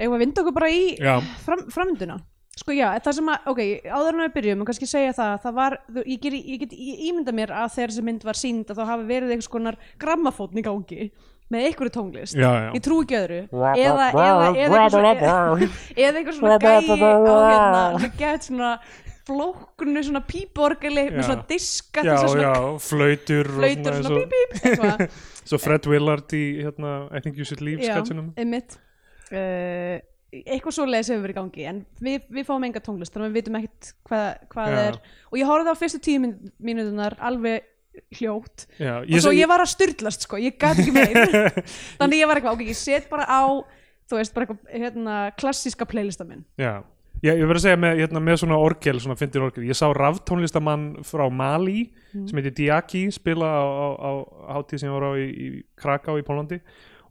S1: Eigum við að vinda okkur bara í
S2: já,
S1: fram, framvinduna? Sko já, það sem að, ok, áður en við byrjum, og kannski segja það, það var, þú, ég, ger, ég get ég ímynda mér að þegar þessi mynd var sínd að þá hafi verið einhvers konar grammafótn í gangi með einhverju tónglist.
S2: já, já
S1: Ég trú ekki öðru. Eða, eða, eða, eða, *laughs* eða einhver svona gæi á hérna sem gett svona flóknu svona píborgeli með
S2: Já.
S1: svona diska til
S2: já,
S1: þess að
S2: já,
S1: svona
S2: flautur og
S1: flautur
S2: eins
S1: svona
S2: og-
S1: bíp bíp eitthvað,
S2: svo Fred Willard í hérna, I think you should leave
S1: Já.
S2: skatsunum
S1: einmitt uh, eitthvað svo leiðis hefur verið í gangi en við, við fáum enga tónlist þannig að við vitum ekkert hvað, hvað
S2: Já.
S1: er og ég horfði á fyrstu tíu mín- mínúturnar alveg hljótt
S2: já,
S1: og svo ég var að styrlast sko, ég gæti ekki
S2: *laughs*
S1: meir þannig ég var eitthvað, ok, ég set bara á þú veist, bara eitthvað hérna, klassíska playlista minn
S2: Já, ég, ég verið að segja með, hérna, með svona orgel, svona fyndir orgel ég sá raftónlistamann frá Mali
S1: Mm.
S2: sem heitir Diaki, spila á, á, á hátíð sem ég var á í, í Kraká í Pólandi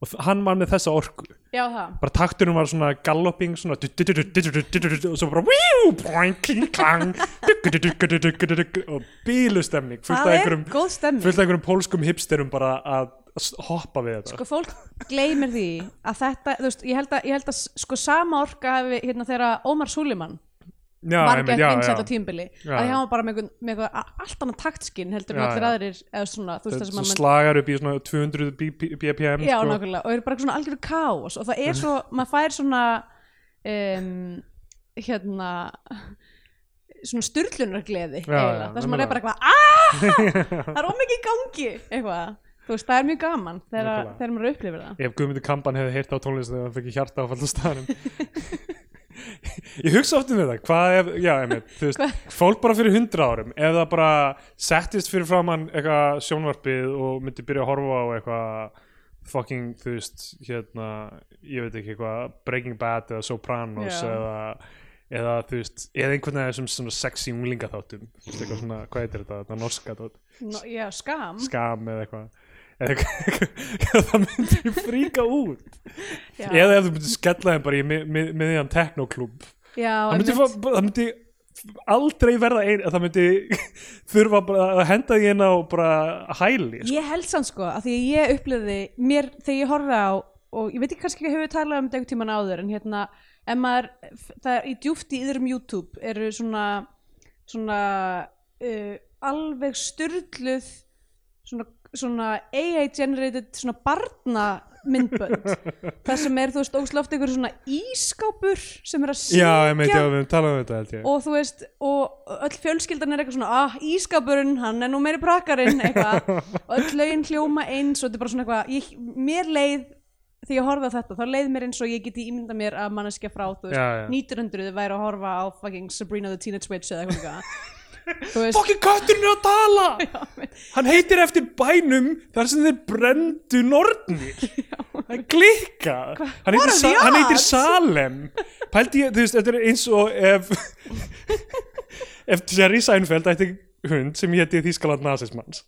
S2: og þ- hann var með þessa orku
S1: já það
S2: bara takturinn var svona galloping svona du- du- du- du- du- du- du- du- du- du- og svo bara víu, boing, kling, klang duggu- duggu- duggu- duggu- duggu- og bílustemning fullt
S1: það
S2: af
S1: er
S2: einhverjum
S1: góð stemming
S2: fullt af einhverjum pólskum hipsterum bara að s- hoppa við þetta
S1: sko fólk gleymir því að þetta, þú veist, ég held að, ég held að sko sama orka hafi hérna þegar Ómar Súlimann
S2: já,
S1: var
S2: einmitt,
S1: gett
S2: já,
S1: vinsætt
S2: já.
S1: á tímbili
S2: Já,
S1: að því
S2: já.
S1: hann var bara með, einhvern- með eitthvað a- allt annað taktskinn heldur en
S2: Já,
S1: allir
S2: já.
S1: aðrir eða svona, þú veist
S2: Þetta
S1: það sem að
S2: slagar upp í svona 200 B- bpm
S1: já,
S2: sko.
S1: nákvæmlega, og eru bara svona algjörðu káos og það er
S2: *laughs*
S1: svo, maður fær svona um, hérna svona styrlunargleði
S2: Já, já,
S1: það sem maður er
S2: nákvæmlega.
S1: bara eitthvað "Ah,
S2: *laughs*
S1: það er ómikið í gangi eitthvað, þú veist, það er mjög gaman þegar,
S2: Nákvæmlega.
S1: þegar maður upplifir það
S2: ef Guðmundur Kamban hefði heyrt á tónlist þegar hann fekk hjarta áfall á staðanum ég hugsa oft um þetta hvað ef, já, einmitt, þú veist fólk bara fyrir hundra árum ef það bara settist fyrir framann eitthvað sjónvarpið og myndi byrja að horfa á eitthvað fucking, þú veist, hérna ég veit ekki hvað, Breaking Bad eða Sopranos
S1: Já.
S2: eða eða þú veist, eða einhvern veginn þessum svona sexy unglinga þáttum, þú veist, eitthvað svona hvað heitir þetta, þetta norska þátt,
S1: no, já, skam
S2: skam eða eitthvað eða eitthvað, það myndi ég fríka út
S1: já.
S2: eða ef þú myndir skella þeim bara í mið- mið- miðjan teknoklub
S1: já,
S2: það myndi, fá, það myndi aldrei verða ein það myndi *laughs* þurfa bara að henda því inn á bara hæli sko.
S1: Ég held samt sko, að því að ég upplifði mér þegar ég horfði á og ég veit ekki kannski hefur við talað um þetta einhvern tíman áður en hérna, ef maður það er í djúpt í yðrum YouTube eru svona svona uh, alveg styrluð svona, svona AI generated svona barna
S2: *laughs*
S1: myndbönd það sem er þú veist óslega oft einhver svona ískápur sem er að
S2: já,
S1: syngja
S2: ég meinti að við talaðum um þetta held ég
S1: og þú veist, og öll fjölskyldan er eitthvað svona, ah, ískapurinn, hann er nú meiri brakarinn, eitthvað og öll lögin hljóma eins og þetta er bara svona eitthvað ég, mér leið, þegar ég horfði á þetta þá leið mér eins og ég geti ímynda mér að manneskja frá, þú veist,
S2: Já, já.
S1: 1900 væri að horfa á fucking Sabrina the Teenage Witch eða
S2: *laughs*
S1: eitthvað líka. þú veist,
S2: fokkin kötturinn er að
S1: *laughs*
S2: tala
S1: men-
S2: hann heitir eftir bænum þar sem þeir brendu
S1: *laughs*
S2: nornir hann klikka hann heitir,
S1: are
S2: Sa-
S1: the
S2: hann heitir
S1: odds?
S2: Salem pælti ég, þú veist, þetta er eins og ef *laughs* ef Jerry Seinfeld ætti hund sem héti Þískaland nazismans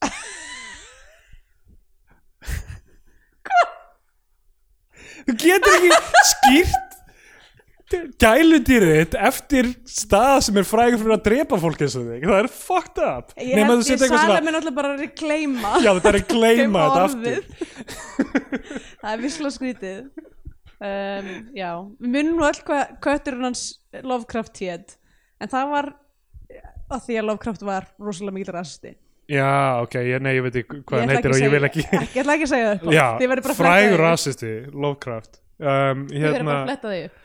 S2: þú getur ekki skýrt gæludýrið þitt eftir stað sem er frægur fyrir að drepa fólk eins og þig það er fucked up
S1: ég
S2: Nema
S1: held
S2: þú setur
S1: ég
S2: eitthvað
S1: sæla
S2: svona-
S1: mér náttúrulega bara að reklama
S2: Já, þetta er að
S1: *laughs*
S2: gleyma þetta aftur
S1: aftur það er vissla skrítið um, já, við munum nú öll hvað kötturinn hans Lovecraft hét en það var að því að Lovecraft var rosalega mikil rasti
S2: Já, ok, ég, nei, ég veit ekki hvað hann
S1: ætla
S2: heitir og ég
S1: að
S2: vil
S1: segja-
S2: ekki
S1: *laughs* ég ætla ekki að segja það
S2: Já,
S1: upp
S2: frægur rasisti, Lovecraft um,
S1: Ég verður bara að
S2: hérna,
S1: fletta því upp.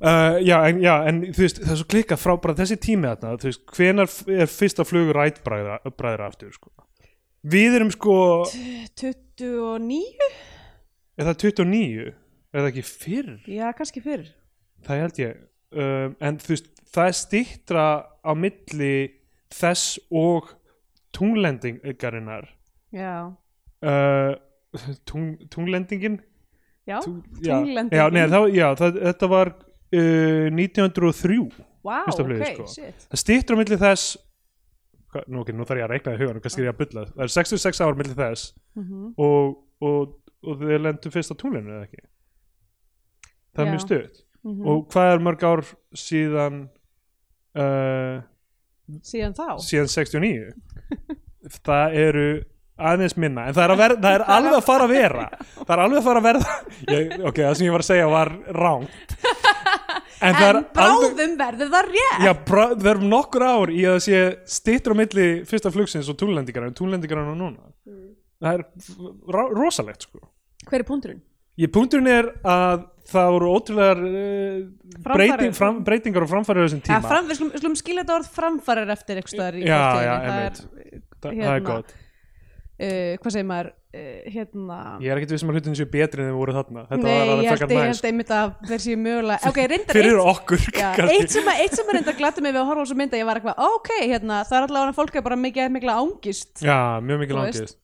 S2: uh, já, en, já, en þú veist, það er svo klika frá bara þessi tími þarna, þú veist, hvenar f- er fyrsta flugur rætbræðra bræðra aftur, sko Við erum sko,
S1: 29?
S2: er það 29? Er það ekki fyrr?
S1: Já, kannski fyrr
S2: Það held ég um, En þú veist, það er stýttra á milli þess og tunglendingarinnar
S1: Já,
S2: uh, tung, tunglendingin
S1: já
S2: Tung- já.
S1: tunglendingin
S2: já, nei, það, já það, þetta var uh, 1903
S1: Vá,
S2: fyrsta
S1: ok,
S2: flugið, sko.
S1: shit
S2: það stýttur á milli þess hva, nú, ok, nú þarf ég að reikna í hugan og kannski er ég að bulla það er 66 ár milli þess
S1: mm
S2: og, og, og þau lendu fyrst á tunglinu eða ekki það er
S1: Já. Mm.
S2: mjög stutt
S1: Mhm,
S2: og hvað er mörg ár síðan uh,
S1: Síðan þá
S2: síðan 69 það eru aðeins minna en það er, að ver, það er alveg að fara að vera það er alveg að fara að verða ég, ok, það sem ég var að segja var rangt en, það er
S1: En bráðum verður það rétt
S2: já, brá, það eru nokkur ár í að það sé stýttur á milli fyrsta flugsins og túnlendingar en túnlendingar og núna
S1: Mm.
S2: það er f- ra- rosalegt sko
S1: Hver er punkturinn?
S2: ég punkturinn er að það voru ótrúlegar uh, breyting, fram, breytingar og framfæri á þessum
S1: Ja,
S2: tíma
S1: fram, við slum, slum skilja þetta orð framfarir eftir eitthvað staðar í
S2: Já,
S1: fortíðinni.
S2: já,
S1: það er,
S2: Þa, það er
S1: hérna.
S2: gott
S1: uh, hvað segir maður, uh, hérna
S2: Ég er ekkert viss um að hlutin séu betri en þeim voru þarna Þetta
S1: Nei,
S2: var
S1: ég
S2: alveg
S1: held,
S2: frekar
S1: ég
S2: næs
S1: held einmitt að þeir séu
S2: *laughs*
S1: mögulega Ok, reyndar
S2: Fyrir
S1: eitt,
S2: okkur
S1: já,
S2: kannski.
S1: eitt sem að, eitt sem að reyndar glata mig við að horfa á þessu mynd að ég var eitthvað, ok, hérna, það er allavega fólk er bara mikið mikla ángist
S2: já, mjög mikið
S1: Þú
S2: langist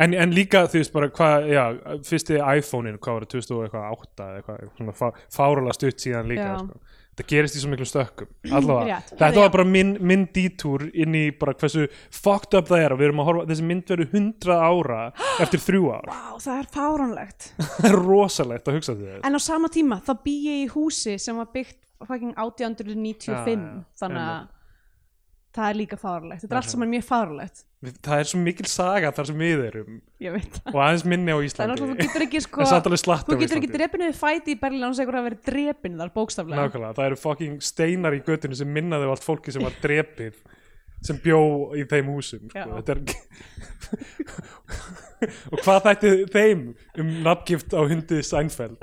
S2: en, en líka þú veist bara hvað já, Fyrsti iPhone-in, hvað var það, 2008 eða eitthvað, svona fá, fárulega stutt síðan líka
S1: Já.
S2: sko. Það gerist í svo miklum stökkum Allavega,
S1: Rétt.
S2: þetta
S1: Herðu, já.
S2: var bara minn, minn dítúr inn í bara hversu fucked up það er og við erum að horfa, þessi mynd verður 100
S1: *gasps*
S2: ára eftir þrjú ár,
S1: Vá, það er fáránlegt
S2: það er rosalegt að hugsa til þetta
S1: En á sama tíma, þá bý ég í húsi sem var byggt fucking 1895
S2: Já, já,
S1: Þannig að það er líka fáránlegt Þetta er allt saman mjög fáránlegt
S2: Við- Það er svo mikil saga þar sem við erum
S1: Ég veit það
S2: og aðeins minni á
S1: Það er
S2: Íslandi
S1: náttúrulega, þú getur ekki sko
S2: *laughs* En samt alveg slatta
S1: Þú
S2: á
S1: getur ekki
S2: Íslandi.
S1: drepinu við fæti í Berlín án þess að ykkur hafa verið drepin þar bókstaflega
S2: Nákvæmlega, það eru fucking steinar í göttinu sem minnaðu allt fólki sem var drepið sem bjó í þeim húsum
S1: Já.
S2: sko. Þetta er... og hvað þætti þeim um nafngift á hundi Seinfeld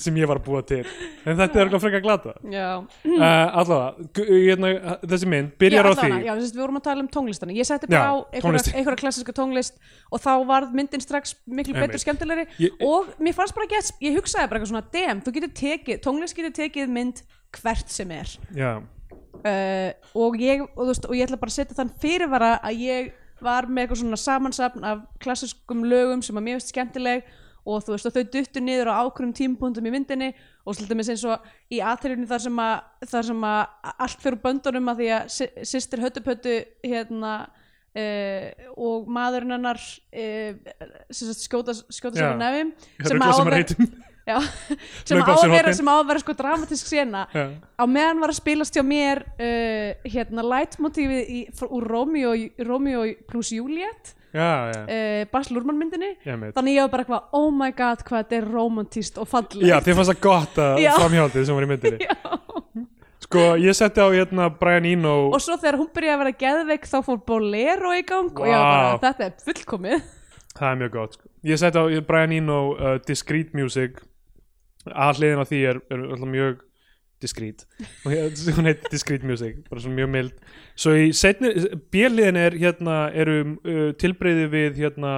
S2: sem ég var að búa til en þetta er eitthvað frekar glata uh,
S1: Já,
S2: allavega, gu- hérna, þessi mynd byrjar á því
S1: allavega, Mm. já, þú veist, við vorum að tala um tónlistana Ég setti bara
S2: Já,
S1: á einhverja,
S2: tónlistin.
S1: einhverja klassiska tónlist og þá varð myndin strax miklu
S2: Einmitt.
S1: betur skemmtilegri
S2: Ég-
S1: og mér fannst bara gett, ég hugsaði bara eitthvað svona dem, þú getur tekið, tónlist getur tekið mynd hvert sem er
S2: já,
S1: Eh, uh, og, ég, og, þú veist, og ég ætla bara að setja þann fyrirvara að ég var með eitthvað svona samansapn af klassiskum lögum sem að mér finnst skemmtileg og þú veist að þau duttu niður á ákveðum tímpúndum í myndinni og svolítið með eins og í aðtæljunni þar sem að, þar sem að allt fyrir böndunum að því að sy- systir höttupöttu hérna Uh, og maðurinn hennar uh, skjóta, skjóta sér
S2: Já.
S1: á nefim
S2: sem að
S1: að
S2: um
S1: vera-
S2: áver *laughs*
S1: Já, sem á
S2: Hlaupa af sér
S1: að vera
S2: hornin.
S1: sem á að vera sko dramatísk sena á meðan var að spilast hjá mér uh, hérna lightmotivið í, fr- úr Romeo, Romeo plus Juliet
S2: Já, já,
S1: uh, Bas Lurman myndinni
S2: ég meit
S1: þannig ég var bara eitthvað, oh my god hvað þetta er romantíst og
S2: Já,
S1: fallegt
S2: þið fannst það gott að
S1: Já.
S2: framhjaldið sem var í
S1: *laughs*
S2: myndinni
S1: Já.
S2: Sko, ég setti á hérna Brian Eno
S1: og svo þegar hún byrjaði að vera geðveik þá fór Bolero í gang og ég var bara,
S2: Vá.
S1: þetta er fullkomið
S2: Það er mjög gott sko. Ég setti á Brian Eno uh, Discreet Music Aðliðin á því er, er alltaf mjög discreet Og hér- *laughs* Hún heitir Discreet Music Bara svona mjög mild Svo í setni, bjöliðin er hérna Eru uh, tilbreyði við hérna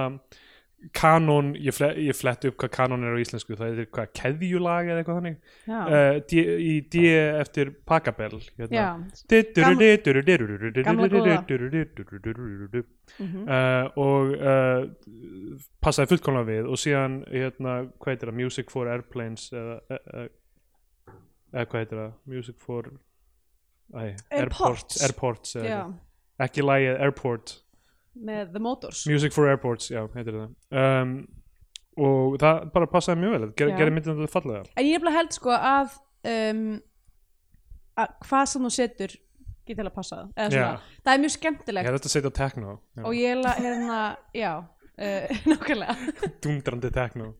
S2: Kanon, ég, fle, ég fletti upp hvað kanon er á íslensku, það er hvað keðjulag eða eitthvað þannig
S1: já,
S2: uh, D, í D E eftir Pacabell hérna.
S1: já.
S2: Uh, og uh, passaði fullkomlega við og síðan hérna, hvað heitir það, Music for Airplanes eða eh, eh, eða hvað heitir það, Music for æ,
S1: Airports.
S2: Airports, airports eða
S1: já.
S2: eitthvað. ekki lægið Airport
S1: með The Motors
S2: Music for Airports, já, heitir það um, og það bara passaði mjög vel
S1: Já.
S2: gerði ger myndin þetta fallega
S1: En ég nefnilega held sko að, um, að hvað sem þú setur getur til að passa það eða svona,
S2: Já.
S1: það er mjög
S2: ég
S1: skemmtilegt
S2: hefði þetta að setja á techno já.
S1: og ég la, hérna, já uh, *laughs* nákvæmlega,
S2: dundrandi techno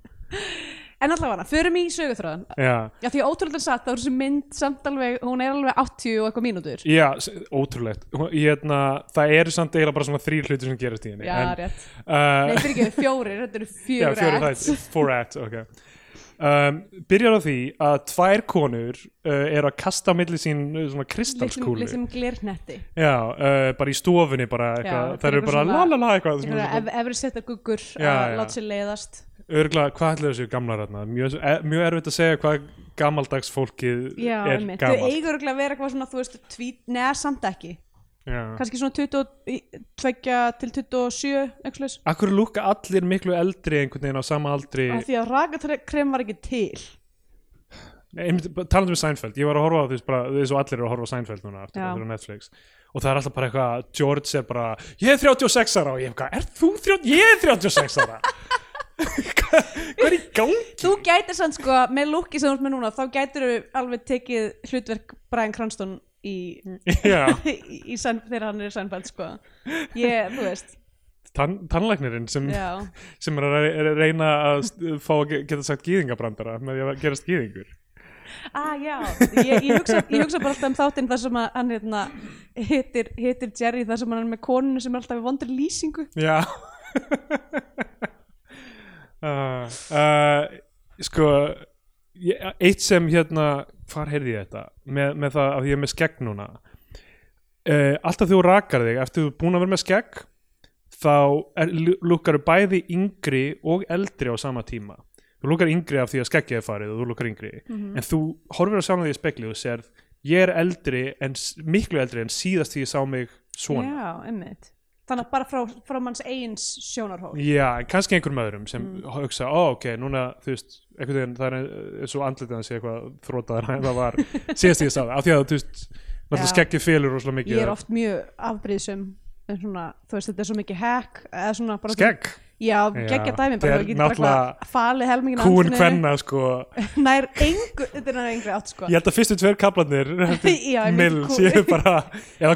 S1: en allavega förum í söguþröðan,
S2: já,
S1: já því ótrúlega satt það er þessi mynd samt alveg, hún er alveg 80 og eitthvað mínútur,
S2: já, s- ótrúlegt Hún- hérna, það eru samt eiginlega bara svona þrýr hlutir sem gerast í henni
S1: já
S2: en,
S1: rétt
S2: uh,
S1: nei fyrir ekki fjórir, þetta eru
S2: *laughs* Já,
S1: fjögur
S2: fjóri þætt, four act, ok um, Byrjar á því að tvær konur uh, eru að kasta á milli sín uh, svona
S1: litlum,
S2: kristalskúlu
S1: litlum glirnetti
S2: Já, uh, bara í stofunni bara eitthvað,
S1: þetta er
S2: það eru
S1: eitthvað
S2: bara
S1: svona-
S2: la la la eitthvað sem er
S1: ef, efri setja guggur
S2: Já,
S1: að
S2: já.
S1: láta sér leiðast
S2: Örgulega, hvað ætlaðu þessu gamlar hérna? Mjög, e, mjög erfitt að segja hvað gamaldags fólkið
S1: já,
S2: er
S1: einmitt, þau
S2: gamalt
S1: eigur örugglega að vera eitthvað svona, þú veist, tvít, neða samt ekki
S2: Já.
S1: kannski svona 22 til 27 eitthvað slags.
S2: Akkur lúka allir miklu eldri einhvern veginn á sama aldri
S1: af því að rakakrem var ekki til
S2: Nei, einmitt, bara talandi um Seinfeld, ég var að horfa á því bara, þess og allir eru að horfa á Seinfeld núna aftur,
S1: Já.
S2: þetta er á Netflix og það er alltaf bara eitthvað, George er bara ég er 36 ára og ég er eitthvað, er þú 30, ég er 36 ára *laughs* hvað, hvað er í
S1: *laughs*
S2: gangi?
S1: þú gætir sann sko með lukki sem þú ert með núna þá gætir þau alveg tekið hlutverk Brian Cranston í,
S2: Já,
S1: *laughs* í, í sann, þegar hann er sannfæld sko ég, þú veist
S2: tann, tannlæknirinn sem,
S1: já,
S2: sem er að re- er að reyna að st- fá að ge- geta sagt gýðingabrandara með því að gerast gýðingur
S1: ah, já. Ég, ég, hugsa, ég hugsa bara alltaf um þáttinn þar sem að hann hérna, hittir, hittir Jerry þar sem hann er með konunu sem er alltaf í vondur lýsingu
S2: Já *laughs* uh, uh, Sko ég, Eitt sem hérna Hvar heyrði ég þetta? Með, með það að ég er með skegg núna uh, Alltaf þú rakar þig Eftir þú er búin að vera með skegg Þá lúkar bæði yngri Og eldri á sama tíma Þú lúkar yngri af því að skeggið er farið Og þú lúkar yngri En þú horfir að sjá því í spekli og sér Ég er eldri en s- miklu eldri en síðast því ég sá mig svona
S1: já, einmitt þannig að bara frá, frá manns eigins sjónarhól
S2: Já, en kannski einhverjum öðrum sem
S1: Mm.
S2: hugsa, ó ok, núna þú veist, einhvern veginn það er eh, eins og andlitið hans sé eitthvað þrótaðar
S1: *laughs*
S2: en það var síðast ég sá það, af því að þú veist náttúrulega
S1: Já.
S2: skeggið félur rosalega mikið
S1: ég er oft mjög afbrýðsum en svona, þú veist, þetta er svo mikið hack eða svona bara
S2: skegg,
S1: já, geggja dæmi,
S2: þetta
S1: bara þú getur
S2: er
S1: bara
S2: náttúrulega
S1: eitthvað falið helmingin
S2: kún hvenna sko,
S1: *laughs* nær engu, þetta er nær engu átt sko
S2: ég
S1: *laughs*
S2: held að fyrstu tveir kaplarnir
S1: Já, einmitt,
S2: mill,
S1: kú-
S2: séu bara eða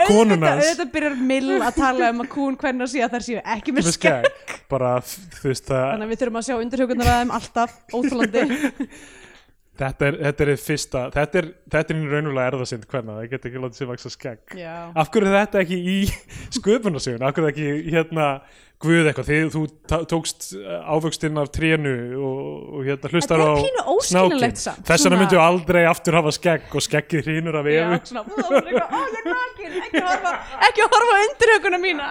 S1: *laughs*
S2: konunans
S1: auðvitað byrjar mill að tala um að kún hvenna sé að þær séu ekki með
S2: með
S1: skegg
S2: skegg, bara þú veist það,
S1: þannig að við þurfum að sjá undirhjókunar að þeim alltaf óþólandi
S2: *laughs* þetta er, þetta er hið fyrsta, þetta er, þetta er raunulega erðasind hvenna, það getur ekki látið sér vaksa skegg
S1: já,
S2: af hverju er þetta ekki í *laughs* sköpunarsögun af hverju er þetta ekki hérna guð eitthvað, þið, þú ta- tókst eh, ávöxtinn af trénu og, og hérna hlustar
S1: Þetta er
S2: á
S1: pínu óskiljanlegt samt,
S2: þess
S1: svona-
S2: vegna myndu aldrei aftur hafa skegg og skeggið hrýnur af
S1: já,
S2: efu
S1: svona "Ú, það var eitthvað, ó, ég er nakin, ekki horfa ekki horfa undirhjókunar mína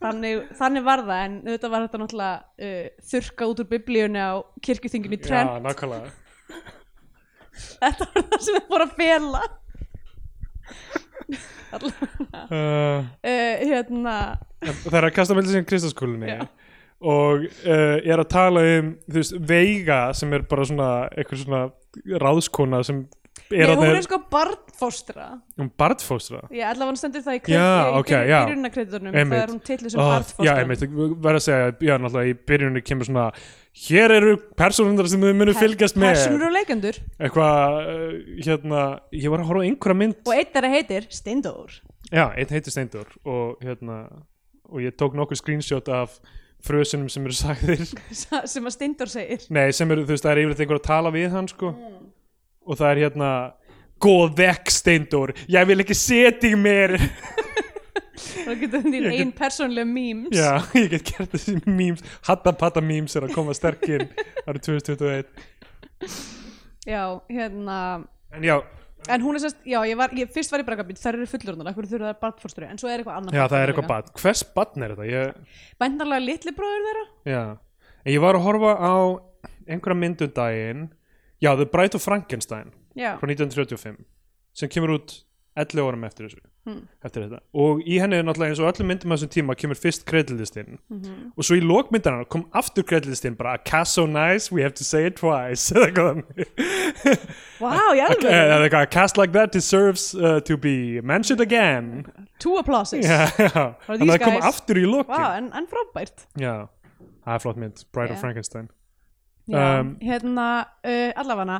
S1: þannig, þannig var það en auðvitað var þetta náttúrulega uh, þurka út úr biblíunni á kirkjuþinginu í trend *laughs*
S2: já, nákvæmlega
S1: Þetta var það sem þið voru að fela Allavega.
S2: uh,
S1: Eh, hérna
S2: En það er að kasta meldið síðan Kristaskólinni og uh, ég er að tala um þú veist, Veiga sem er bara svona eitthvað svona ráðskona sem
S1: Nei,
S2: er að
S1: hún
S2: það
S1: er sko barnfóstra
S2: um barnfóstra
S1: Já, allavega hún stendur það í,
S2: Já, ok, já.
S1: í byrjunarkreditunum
S2: Einmitt.
S1: Það er hún titlu sem
S2: Ah,
S1: barnfóstra
S2: Já, ég meit, verð að segja já, náttúrulega í byrjunni kemur svona hér eru persónundar sem þau munu fylgjast með
S1: Personur og leikendur
S2: eitthvað, uh, hérna ég var að horfa á einhverja mynd
S1: Og einn þeirra heitir Steindór
S2: já, einn heitir Steindur og hérna, og ég tók nokkur screenshot af frösunum sem eru sagðir *laughs*
S1: sa- Sem að Steindór segir
S2: Nei, sem eru, þú veist, það er yfirleitt einhver að tala við hann, sko
S1: Mm.
S2: Og það er hérna Góð vekk, Steindór Ég vil ekki setja í mér *laughs*
S1: Það getur þín
S2: Ég get-
S1: ein persónlega memes
S2: Já, ég get gert þessi memes Hattapatta memes er að koma sterkir
S1: *laughs*
S2: árið 2021
S1: Já, hérna
S2: En já,
S1: En hún er sérst, já, ég var, ég, fyrst var ég bara að býta, þær eru fullurnar, hverju þurfa þær barnfórsturu, en svo er eitthvað annað.
S2: já, það er eitthvað badn Hvers badn er þetta? Ég,
S1: Bændarlega litli bróður þeirra?
S2: já En ég var að horfa á einhverja myndundaginn Já, The Bride of Frankenstein
S1: Já.
S2: frá 1935 sem kemur út 11 árum eftir þessu
S1: Hmm.
S2: eftir þetta og í henni er náttúrulega eins og öllum myndum af þessum tíma kemur fyrst kredilistinn
S1: Mhm.
S2: og svo í lokmyndarnar kom aftur kredilistinn bara cast so nice we have to say it twice *laughs* eða eitthvað þannig.
S1: Vá, wow, ég alveg.
S2: eða eitthvað cast like that deserves uh, to be mentioned again
S1: Two applauses.
S2: Já, já.
S1: Oh Are
S2: þannig að
S1: these
S2: það kom
S1: guys?
S2: aftur í lokin
S1: Vá, en, en frábært.
S2: já, það er flott mynd Bride
S1: Já.
S2: of Frankenstein
S1: Já,
S2: Um,
S1: hérna, uh, allafana,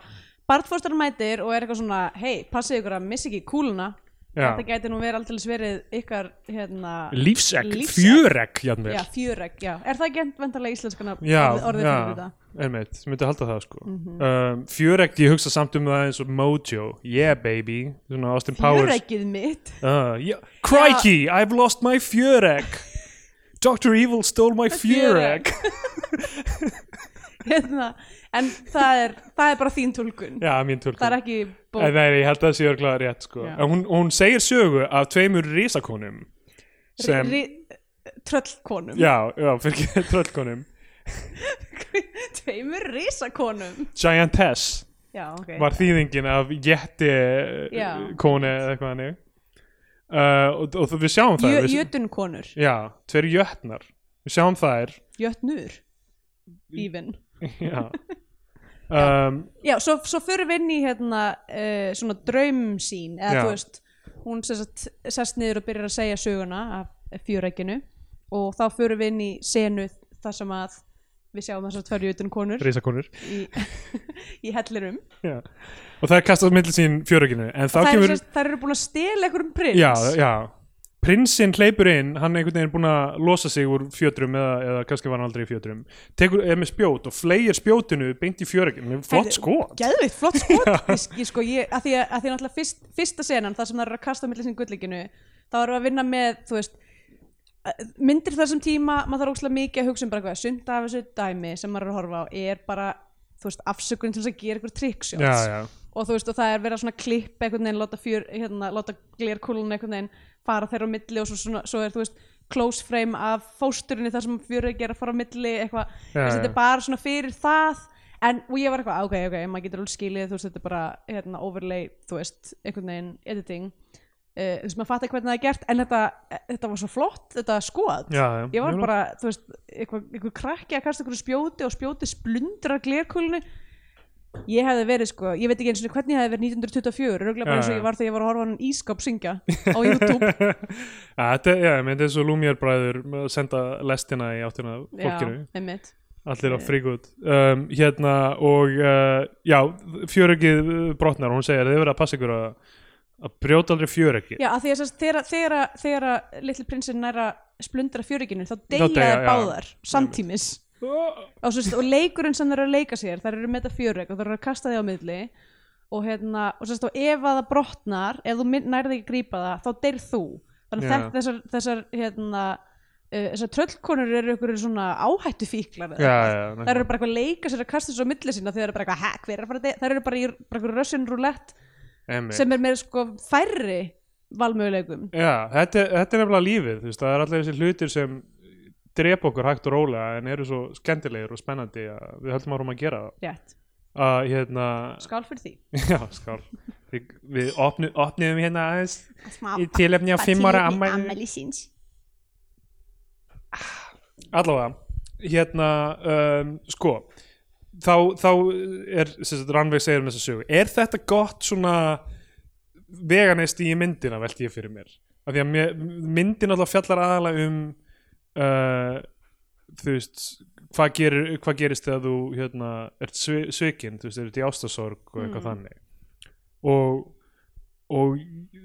S1: barnfórsturu mætir og er eitthvað svona, hei, passið ykkur að missa ekki kúluna.
S2: Já.
S1: Þetta gæti nú verið alltaf verið ykkar, hérna,
S2: lífsegg,
S1: Lífsegg.
S2: fjöregg jafnvel.
S1: já, fjöreg, já. Er það ekki vendarlega íslenskana
S2: já,
S1: orðið, orðið
S2: já,
S1: fyrir þetta? Mhm.
S2: einmitt, ég myndi halda það sko mm um, Fjöregt, ég hugsa samt um það eins og Mojo, yeah baby svona Austin Powers
S1: Fjöreggið mitt. *laughs*
S2: uh, yeah. Crikey, I've lost my fjöregg Dr. Evil stole my fjöregg
S1: hérna, en það er, það er bara þín tulkun
S2: Já, mín tölkun
S1: það er ekki
S2: En
S1: bók
S2: Nei, ég held að það sé örglega rétt sko
S1: Já.
S2: En hún, hún segir sögu af tveimur risakonum sem,
S1: ri, tröllkonum
S2: já, já, fyrir *laughs* ekki tröllkonum
S1: *laughs* tveimur risakonum
S2: Giantess
S1: já, ok
S2: var þýðingin af
S1: Já.
S2: jetti koni eða eitthvað hannig uh, og, og við sjáum það
S1: Jö,
S2: við,
S1: jötunkonur,
S2: Já, tveir jötnar Við sjáum þær
S1: jötnur even *laughs*
S2: Já um,
S1: já, svo, svo förum við inn í hérna uh, svona draumsýn eða
S2: Já.
S1: þú veist, hún sest, sest niður og byrjar að segja söguna af fjöregginu og þá förum við inn í senu þar sem að við sjáum þessar tvær jötunkonur
S2: Rísakonur
S1: í, *laughs* í hellirum
S2: Já Og það er kastað millir sín fjöruginu En þá
S1: það,
S2: kemur
S1: er, það eru búin að stela einhverjum prins
S2: Já, já Prinsinn hleypur inn, hann er einhvern veginn búin að losa sig úr fjötrum eða, eða kannski var hann aldrei í fjötrum Tekur, er með spjót og fleigir spjótinu beint í fjöruginu Flott
S1: Heyrðu,
S2: skot
S1: geðveikt, flott
S2: *laughs*
S1: skot ég, ég, sko, ég, að því að, að því að náttúrulega fyrst, fyrsta senan þar sem það eru að kasta á milli sinni gullíkinu þá erum við að vinna með þú veist að- myndir þessum tíma, maður þarf ókslega mikið að hugsa um bara hvað, sumt af þessu dæmi sem maður er að horfa á er bara, þú veist, afsökun til þess að gera ykkur
S2: Já,
S1: trickshots
S2: já,
S1: og þú veist, og það er verið að svona klippa einhvern veginn, láta, fjör, hérna, láta glerkúlun einhvern veginn fara þeirra á milli og svo, svona, svo er, þú veist, close frame af fósturinni þar sem fjörið er að fara á milli eitthvað,
S2: Já,
S1: þess að þetta
S2: já.
S1: er bara svona fyrir það en, og ég var eitthvað, "Ah, ok, ok, maður getur alveg skilið þú veist, þetta er bara, hérna, overlay þú veist, einhvern veginn editing uh, þú veist, maður fattar hvernig það er gert en þetta, eh, þetta var svo flott, þetta skoð
S2: já, já
S1: ég var
S2: Jú,
S1: bara, þú veist, eitthvað, eitthvað krakki að kasta einhverju spjóti og spjóti splundrar glerkúlinu ég hefði verið sko, ég veit ekki eins og hvernig ég hefði verið 1924, rauglega bara eins og
S2: Já, já.
S1: ég var þegar ég var að horfa á hann ískap syngja
S2: *laughs*
S1: á YouTube
S2: Já, þetta, já, ég myndi eins og Lumière bræður með að senda lestina í áttina af fólkinu
S1: já, einmitt
S2: Allir á fríkut um, Hérna og uh, Já, fjöreggið uh, brotnar og Hún segir þið verið að passa ykkur að, að brjóta aldrei fjöreggið
S1: já, að því að þess- þegar, þegar, þegar að litli prinsinn næra splundra fjöruginu þá
S2: deyja,
S1: deyja þær
S2: já.
S1: báðar samtímis og, svo, og leikurinn sem þær eru að leika sér þær eru með þetta fjörug og þær eru að kasta því á miðli og, hérna, og, sérst, og ef að það brotnar ef þú mynd- nærði ekki að grípa það þá deyr þú þannig
S2: Já.
S1: að þetta- þessar, þessar, hérna, uh, þessar tröllkonur eru ykkur svona áhættu fíklar
S2: Já, já,
S1: það eru bara eitthvað að leika sér að kasta þessu á milli sína þegar það eru bara eitthvað hack, hver er að fara að deyja það eru bara í bara eitthvað Russian roulette
S2: bara
S1: sem er með sko færri valmöguleikum
S2: Já, þetta, er- þetta er nefnilega lífið þú veist, það er allir þessi hlutir sem drepa okkur hægt og rólega en eru svo skemmtilegir og spennandi að við höldum árum að gera það
S1: rétt
S2: að hérna *laughs*
S1: skál fyrir því
S2: já, skál við, við opnu, opnum hérna aðeins
S3: Smá
S2: í tilefni á fimm ára
S3: tilefni
S2: ammæli
S3: síns.
S2: allavega, hérna um, sko þá, þá er, sem sagt, Rannveig segir um þessa sögu, er þetta gott svona veganisti í myndina velti ég fyrir mér, af því að mér- myndin alltaf fjallar aðalega um uh, þú veist hvað, gerir, hvað gerist þegar þú hérna, ert svi- svikinn, þú veist, ert í ástasorg og eitthvað þannig og og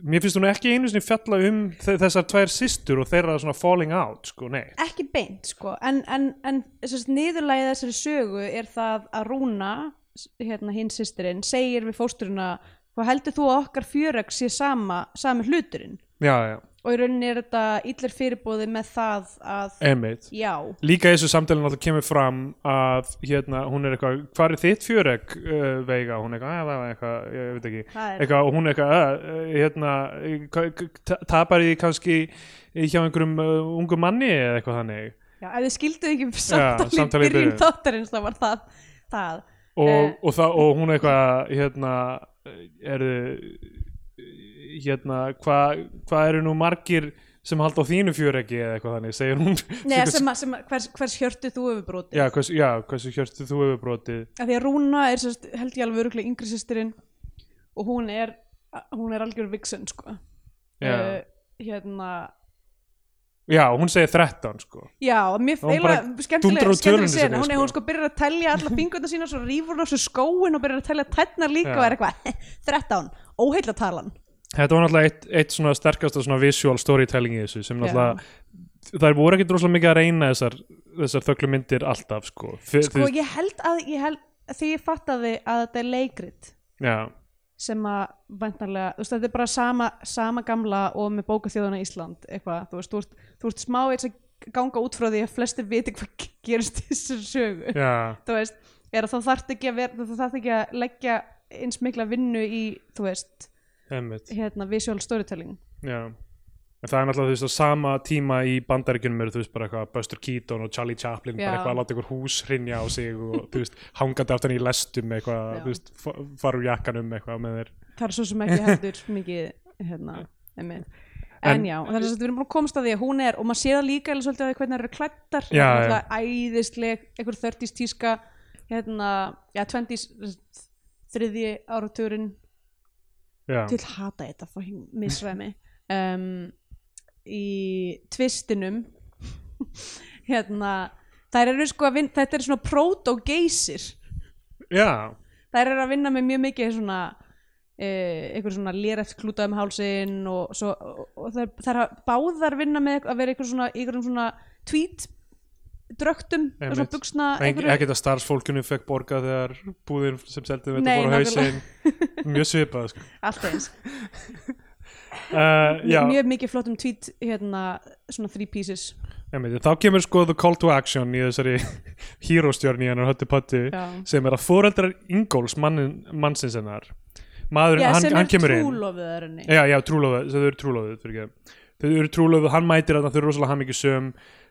S2: mér finnst hún ekki einu sinni fjalla um þe- þessar tvær systur og þeirra svona falling out sko, nei
S1: ekki beint sko en, en, en nýðurlægið þessari sögu er það að Rúna s- hérna hinn sýstirinn segir við fósturina hvað heldur þú að okkar fjörögg sé sama, sami hluturinn
S2: já, já,
S1: og í rauninni er þetta illir fyrirbóði með það að
S2: einmitt
S1: já,
S2: líka í þessu samtælinn alltaf kemur fram að hérna, hún er eitthvað, hvað er þitt fjöregg uh, veiga, hún er eitthvað, "Ah, það var eitthvað ég, ég veit ekki,
S1: það er
S2: eitthvað, og hún er eitthvað uh, uh, hérna, eh, hva- k- ta- tapar því kannski hjá einhverjum uh, ungum manni eða eitthvað þannig
S1: já, ef þið skilduð ekki um samtalið ja,
S2: samtalið í
S1: byrjun
S2: byrjun.
S1: þáttarins þá var það, það.
S2: og,
S1: Eh.
S2: og, það, og hún er eitthvað hérna eru hérna, hvað hva eru nú margir sem halda á þínu fjöreggi eða eitthvað þannig, segir hún *laughs*
S1: Nei, sem, að- sem, að- hvers, hvers hjörtu þú hefur brotið
S2: já, hversu, já, hversu hjörstu þú hefur brotið
S1: af því að Rúna er sérst, held ég alveg öruglega yngri sýstirinn og hún er hún er algjör vixen sko
S2: Já.
S1: Eh, hérna
S2: já, hún segir 13 sko
S1: Já, mér
S2: Hún bara
S1: eiginlega skemmtileg,
S2: dundrar á
S1: skemmtileg
S2: tölunni
S1: sena,
S2: sinni,
S1: hún,
S2: sko.
S1: hún sko byrjar að telja alla fingurna sína og svo rífur hún á svo skóin og byrjar að telja tætnar líka
S2: Já.
S1: og er eitthvað, *laughs* 13, óheilla talan
S2: þetta var náttúrulega eitt, eitt svona sterkasta svona visual storytelling í þessu sem
S1: Já.
S2: náttúrulega þær voru ekkit rosalega mikið að reyna þessar, þessar þögglu myndir alltaf sko, Fyr,
S1: Sko ég held að, ég held, því ég fattaði að þetta er leikrit
S2: já,
S1: sem að væntanlega, þú veist þetta er bara sama, sama gamla og með bókaþjóðuna Ísland eitthvað, þú veist, þú ert, þú ert smá eins að ganga út frá því að flestir viti hvað *laughs* gerist í þessari sögu
S2: já,
S1: þú veist, er að þá þarft ekki að vera þú þarft ekki að leggja eins mikla vinnu í, þú veist,
S2: emmitt
S1: hérna visual storytelling
S2: já En það er náttúrulega þú veist á sama tíma í bandaríkjunum eru þú veist bara eitthvað Buster Keaton og Charlie Chaplin
S1: Já.
S2: bara eitthvað að láta ykkur hús hrinja á sig og þú veist hangandi aftan í lestum eitthvað
S1: Já.
S2: þú veist fa- fara úr jakkanum eitthvað með þeir
S1: það er svo sem ekki
S2: *laughs*
S1: heldur mikið hérna, emi. En,
S2: En-
S1: já, og það er svo að við erum búin að komast að því að hún er og maður sé það líka eða svolítið að hvernig það eru klættar
S2: Já,
S1: æðisleg, einhver 30s tíska hérna, já 20s sem sagt, þriðji áratugurinn
S2: já,
S1: til hata þetta fucking misræmi um, í tvistinum *laughs* hérna þær eru sko að vinna, þetta er svona proto-geysir
S2: já,
S1: þær eru að vinna með mjög mikið svona uh, einhver svona léreft klútað um hálsin og, svo, og, og þær, þær hafa- báðar vinna með að vera einhver svona, einhver svona tweet drögtum og svona
S2: Einmitt.
S1: buksna
S2: Einhver... ekkert að starfsfólkinu fekk borga þegar búðin sem seldi þetta
S1: Nei,
S2: voru
S1: nákvæmlega.
S2: hausinn mjög
S1: *laughs*
S2: svipað sko.
S1: allt
S2: *laughs*
S1: eins
S2: uh, já,
S1: mjög mikið flottum tweet hérna svona three pieces
S2: einmitt, þá kemur sko the call to action í þessari *laughs* hýróstjörni hennar höttu pöttu
S1: Já.
S2: sem er að foreldrar Ingóls mannin, mannsins hennar maðurinn,
S1: Já,
S2: hann,
S1: sem
S2: hann
S1: er
S2: kemur inn
S1: trúlofið er henni
S2: já, já, trúlóðu, þau eru trúlóðu þau eru trúlóðu, hann mætir þarna, þau eru rosalega hamingi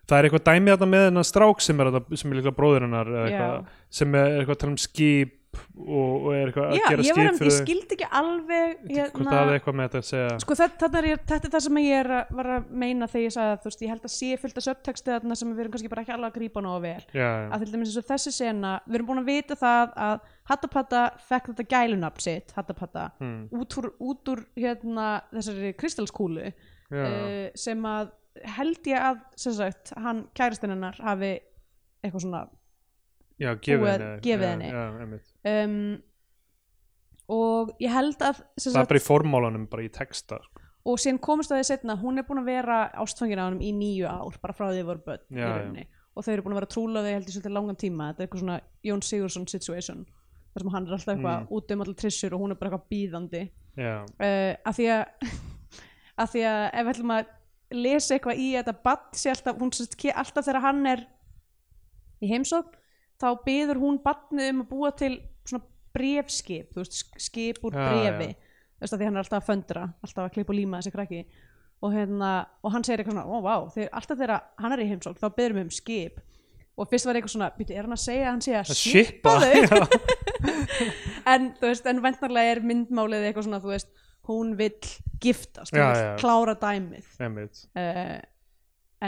S2: það er eitthvað dæmið þarna með hennar strák sem er, þarna- sem er líklega bróðir hennar eða
S1: Já.
S2: eitthvað, sem er eitthvað að tala um skip og, og er eitthvað
S1: Já,
S2: að gera
S1: ég, var,
S2: skip
S1: um-
S2: fyrir
S1: ég
S2: þau.
S1: skildi ekki alveg
S2: hvort það er
S1: hérna,
S2: eitthvað með þetta að segja
S1: sko, þetta, þetta, er, þetta er það sem ég er að, var að meina þegar ég sagði að þú veist, ég held að sé fullt af subtexti þarna sem við erum kannski bara ekki alveg að grípa nógu vel
S2: já, já,
S1: að til dæmis eins og þessi sena við erum búin að vita það að Hattapata fekk þetta gælunafn sitt Hattapata
S2: Hmm.
S1: út úr, út úr hérna, þessari kristalskúlu
S2: já,
S1: uh, sem að held ég að sem sagt, hann kæristinn hennar hafi eitthvað svona
S2: já, gefið
S1: búið-
S2: henni
S1: gefið
S2: já,
S1: henni.
S2: já, einmitt.
S1: um, og ég held að sem
S2: það
S1: sagt,
S2: er bara í formálanum, bara í texta sko.
S1: og síðan komist að því setna hún er búin að vera ástfangin á honum í nýju ár bara frá því þau voru börn í
S2: Já, já.
S1: rauninni og þau eru búin að vera trúlaði held ég svolítið langan tíma þetta er eitthvað svona Jón Sigurðsson situation þar sem hann er alltaf eitthvað
S2: Mm.
S1: út um allir trissur og hún er bara eitthvað býðandi
S2: já,
S1: uh, af því að *laughs* af því að ef við ætlum að lesa eitthvað í þetta badd sé alltaf, hún sérst alltaf þegar hann er í heimsókn þá byður hún badnið um að búa til svona brefskip, þú veist sk- skip úr
S2: Já,
S1: brefi
S2: já.
S1: þú veist að því hann er alltaf að föndra, alltaf að klippa og líma þessi krakki og hérna, og hann segir eitthvað svona, ó vá, þegar, alltaf þegar hann er í heimsókn þá byður við um skip og fyrst var eitthvað svona, býttu, er hann að segja að hann sé að
S2: Að
S1: shippa
S2: shippa, *laughs*
S1: þau en þú veist, en ventnarlega er myndmálið eitthvað svona, þú veist hún vill giftast, hún
S2: Já,
S1: vill
S2: já.
S1: klára dæmið
S2: Einmitt.
S1: uh,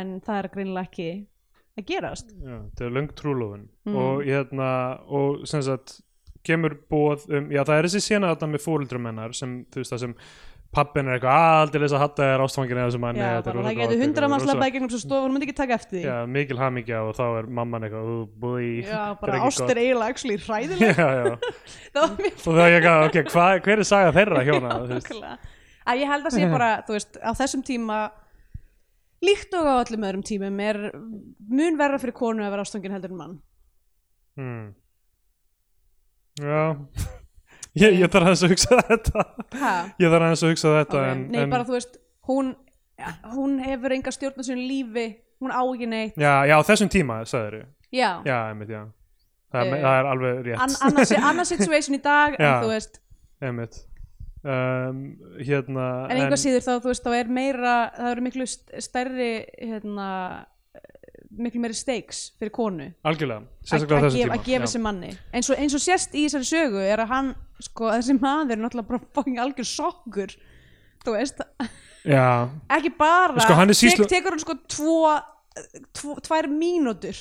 S1: en það er greinilega ekki að gerast
S2: Já, þetta er löng trúlóðun
S1: Mm.
S2: og hérna og sem sagt kemur bóð um, já það er þessi sena þarna með fóreldrum hennar sem þú veist það sem pappin er eitthvað aldeilis að hatta þér ástfangin eða sem hann
S1: já, bara það getur hundra manns labbaði gegnum svo stofa, hún myndi ekki taka eftir því
S2: já, mikil hamingja og þá er mamman eitthvað "Ú, búi
S1: já bara ást er eiginlega actually hræðileg
S2: *laughs* já, já.
S1: það var mér
S2: og það er eitthvað, ok, hva, hver er saga þeirra hjóna
S1: Já,
S2: þú veist?
S1: nákvæmlega. að ég held að sé bara þú veist, á þessum tíma líkt og á öllum öðrum tímum er mun verra fyrir konu að vera ástöngin heldur en mann
S2: hmm.
S1: *laughs*
S2: já ég, ég þarf aðeins að hugsa um þetta
S1: ha,
S2: ég þarf aðeins að hugsa um þetta
S1: okay.
S2: en,
S1: nei
S2: en,
S1: bara þú veist hún, ja, hún hefur enga stjórn á sínu lífi hún á ekki neitt
S2: já, já, á þessum tíma sagður ég
S1: já,
S2: Já, einmitt, já Það,
S1: Eh,
S2: er, það er alveg rétt
S1: An, annars, annars situation í dag
S2: Já.
S1: en þú veist,
S2: *laughs* Einmitt um, Hérna
S1: en einhvað síður þá þú veist, þá er meira, það eru miklu st- stærri hérna miklu meiri stakes fyrir konu
S2: Algjörlega,
S1: að
S2: sérstaklega á
S1: að
S2: þessum
S1: gefa,
S2: tíma
S1: að gefa
S2: já.
S1: sér manni eins og, eins og sérst í þessari sögu er að hann, sko, þessi maður er náttúrulega bara fucking algjör sokkur þú veist,
S2: já,
S1: ekki bara
S2: Sko, hann er sýslu-
S1: tek, tekur hann sko tvo, tvo tvær mínútur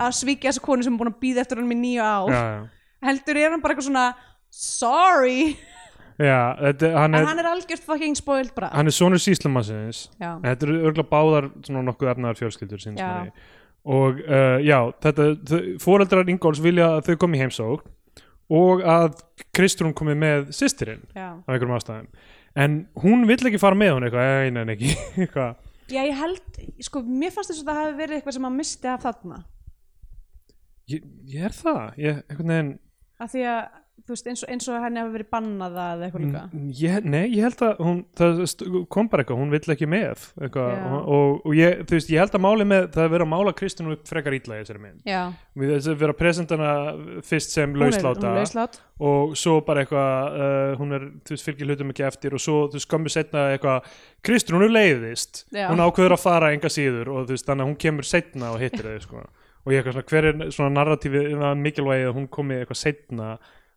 S1: að svíkja þessa konu sem er búin að býða eftir hann með nýju ár
S2: já, já
S1: heldur er hann bara eitthvað svona sorry,
S2: Já, þetta, hann,
S1: en
S2: er,
S1: hann er algjört fucking spoiled bara
S2: hann er sonur síslumassins
S1: Já.
S2: Þetta eru örgulega báðar svona nokkuð efnaðar fjölskyldur síns
S1: Já.
S2: manni. og uh, já, þetta þau- foreldrar Ingóls vilja að þau komi heimsók og að Kristrún komi með systirinn
S1: Já.
S2: af einhverjum ástæðum en hún vill ekki fara með hún eitthvað, ei, nein, ekki *laughs* eitthvað.
S1: Já, ég held, sko, mér fannst þess að það hafi verið eitthvað sem hann misti af þarna
S2: Ég, ég er það, ég, einhvern veginn
S1: af því að, þú veist, eins og, eins og henni hafi verið bannað það eða eitthvað líka
S2: Mm, Ég, nei, ég held að hún, það st- kom bara eitthvað, hún vill ekki með eitthvað,
S1: Já.
S2: og, og, og ég, þú veist, ég held að máli með það er verið að mála Kristjánu upp frekar ítla í þessari mynd
S1: Já,
S2: við þess að vera að presenta hana fyrst sem
S1: hún er, hún
S2: lausláta
S1: er lauslát
S2: og svo bara eitthvað uh, hún er, þú veist, fylgir hlutum ekki eftir og svo, þú veist, skömmu setna eitthvað Kristjánu leiðist,
S1: Já.
S2: hún ákveður að fara enga síður og þú veist, þannig að hún kemur setna og hittir þau, sko og ég eitthvað svona, hver er svona narratífi mikilvægi að hún komi eitthvað setna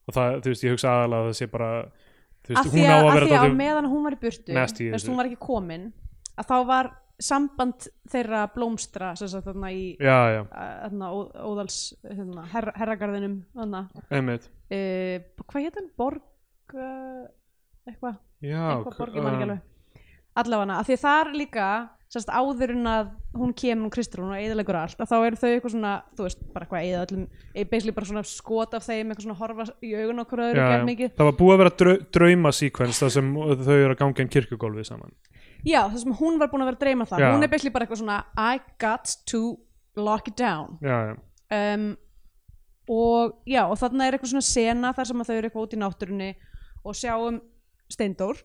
S2: og það, þú veist, ég hugsa aðalega að það sé bara þú
S1: af því
S2: veist, hún á
S1: að,
S2: að
S1: að,
S2: vera
S1: því að á
S2: dálítið-
S1: meðan hún var í burtu
S2: nasty í
S1: þess að
S2: þessu.
S1: hún var ekki komin að þá var samband þeirra blómstra sem sagt þarna í
S2: já, já,
S1: þarna, ó, óðals hérna, her, herragarðinum þarna,
S2: einmitt
S1: uh, hvað hétt hann? Borg uh, eitthvað,
S2: já,
S1: eitthvað borg, ég man
S2: um,
S1: ekki alveg allavega, af því að þar líka sem sagt, áður en að hún kemur hún Kristrún og eðalegur allt, að þá eru þau eitthvað svona þú veist, bara eitthvað eða öllum eh, basically bara svona skot af þeim, eitthvað svona horfa í augun okkur öðru,
S2: já,
S1: gerð
S2: já.
S1: mikið
S2: það var búið að vera drau, draumasíkvens þar sem þau eru að ganga en kirkugólfi saman
S1: Já, það sem hún var búin að vera að dreyma það
S2: Já.
S1: Hún er basically bara eitthvað svona I got to lock it down
S2: já, já,
S1: um, Og já, og þarna er eitthvað svona sena þar sem að þau eru eitthvað út í náttúrunni og sjáum Steindór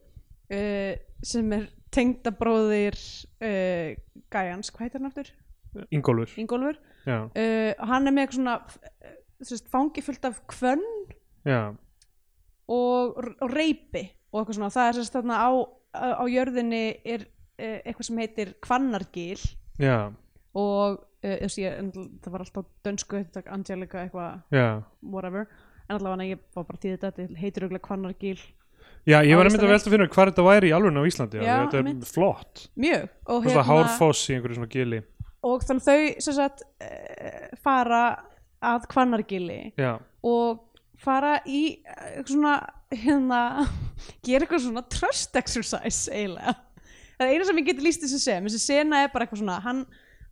S1: uh, sem er tengdabróðir uh, Gæjans, hvað heitir hann aftur?
S2: ingólfur
S1: Ingólfur
S2: já,
S1: uh, Hann er með eitthvað svona uh, þú veist, fangi fullt af kvönn
S2: já,
S1: og, og reypi og eitthvað svona, það er sérst þarna á, á, á jörðinni er uh, eitthvað sem heitir Hvannargil
S2: já,
S1: og uh, þessi, ég, en það var alltaf dönsku þetta Angelica eitthvað
S2: já
S1: whatever en allavega ég var bara að tíða þetta þetta heitir auðvitað Hvannargil
S2: Já, ég
S1: Á
S2: var einmitt að
S1: Íslandi.
S2: velta fyrir mér hvað þetta væri í alveg á Íslandi,
S1: Já,
S2: já, þetta er
S1: einmitt.
S2: flott
S1: mjög og, hérna-
S2: Þetta hárfoss í einhverju svona gili
S1: og þannig þau sem sagt uh, fara að Hvannargili
S2: Já,
S1: og fara í eh, eitthvað svona hérna, gera eitthvað svona trust exercise eiginlega það er eina sem ég geti líst þessu sem þessi sena er bara eitthvað svona hann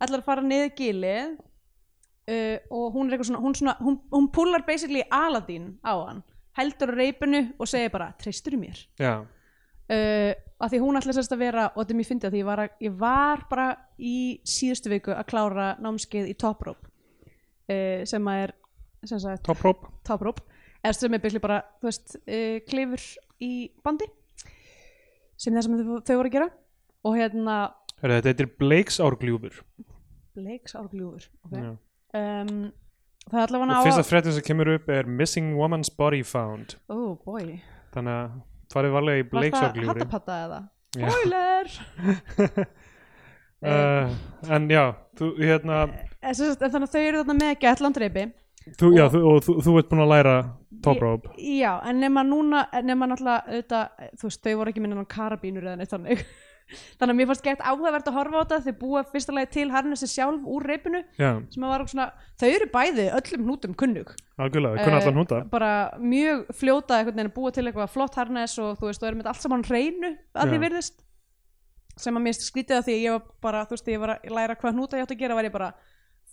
S1: ætlar að fara niður gilið uh, og hún er eitthvað svona hún, svona, hún, hún pullar basically Aladdin á hann heldur á reipinu og segir bara treystur mér
S2: já,
S1: uh, að því hún ætla sérst að vera og þetta er mjög fyndið að því ég var, að, ég var bara í síðustu viku að klára námskeið í toprop uh, sem að er sem sagt,
S2: toppróp
S1: tápróp eða sem er byrli bara, þú veist, uh, klifur í bandi sem það sem þau, þau voru að gera og hérna
S2: Hörðu, Þetta heitir Blakes árgljúfur
S1: leiksárgljúfur okay.
S2: Já.
S1: um, það er allavega
S2: Og fyrsta fréttin sem kemur upp er Missing Woman's Body Found
S1: oh boy,
S2: Þannig að farið varlega í
S1: var
S2: Blakes
S1: það
S2: *laughs* árgljúfri
S1: hattapatta eða
S2: Já.
S1: spoiler
S2: uh, en já, þú, hérna
S1: En sem sagt, en þannig að þau eru þarna með getlandreipi
S2: þú, já, þú, og þú, þú ert búin að læra top rope
S1: já, en nema núna nema náttúrulega, auðvitað, þú veist, þau voru ekki minna karabínur eða neitt þannig *laughs* þannig að mér fannst gett áhugavert að horfa á þetta þau búa fyrsta lagi til harnessi sjálf úr reipinu
S2: já,
S1: sem að var okkur svona, þau eru bæði öllum hnútum kunnug
S2: algjörlega,
S1: Eh.
S2: kunna allan húnda
S1: bara mjög fljóta einhvern veginn að búa til eitthvað flott harness og þú veist, þú erum þetta allt saman á hreinu að því
S2: Já.
S1: virðist sem að mér skrítið að því að ég var bara þú veist, þegar ég var að læra hvað hnúta ég átt að gera var ég bara,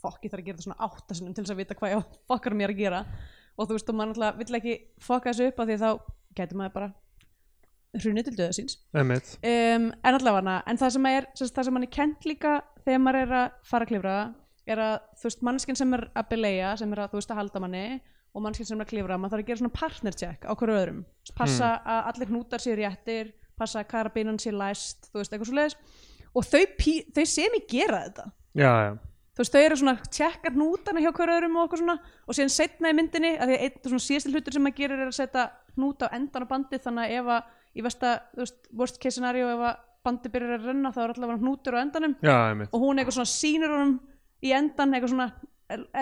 S1: fokk, ég þarf að gera þetta svona átta sinnum til þess að vita hvað ég fokkar mér að gera og þú veist, og maður náttúrulega vill ekki fokka þessu upp að því að þá getur maður bara hrunið til döða síns
S2: emitt,
S1: um, en allavega en það sem er, sem, sagt, það sem mann er kent líka þegar maður er að fara að klifra er að þú veist mannskinn sem er að beleia sem er að þú veist að halda manni og mannskinn sem er að klifra, maður þarf að gera svona partner check á hverju öðrum, passa að allir hnútar séu réttir, passa að karabinan sé læst, þú veist eitthvað svo og þau, pí, þau sem ég gera þetta
S2: já, já
S1: þú veist, þau eru svona að tjekka hnútana hjá hverju öðrum og okkur svona og síðan setna í myndinni af því að einn svona síðasti hlutur sem maður gerir er að setja hnúta á endan á bandið þannig að ef að í versta, þú veist, worst case scenario ef að bandið byrjar að renna þá er allavega hnútur á endanum
S2: já, emitt,
S1: og hún eitthvað svona sýnir honum í endan eitthvað svona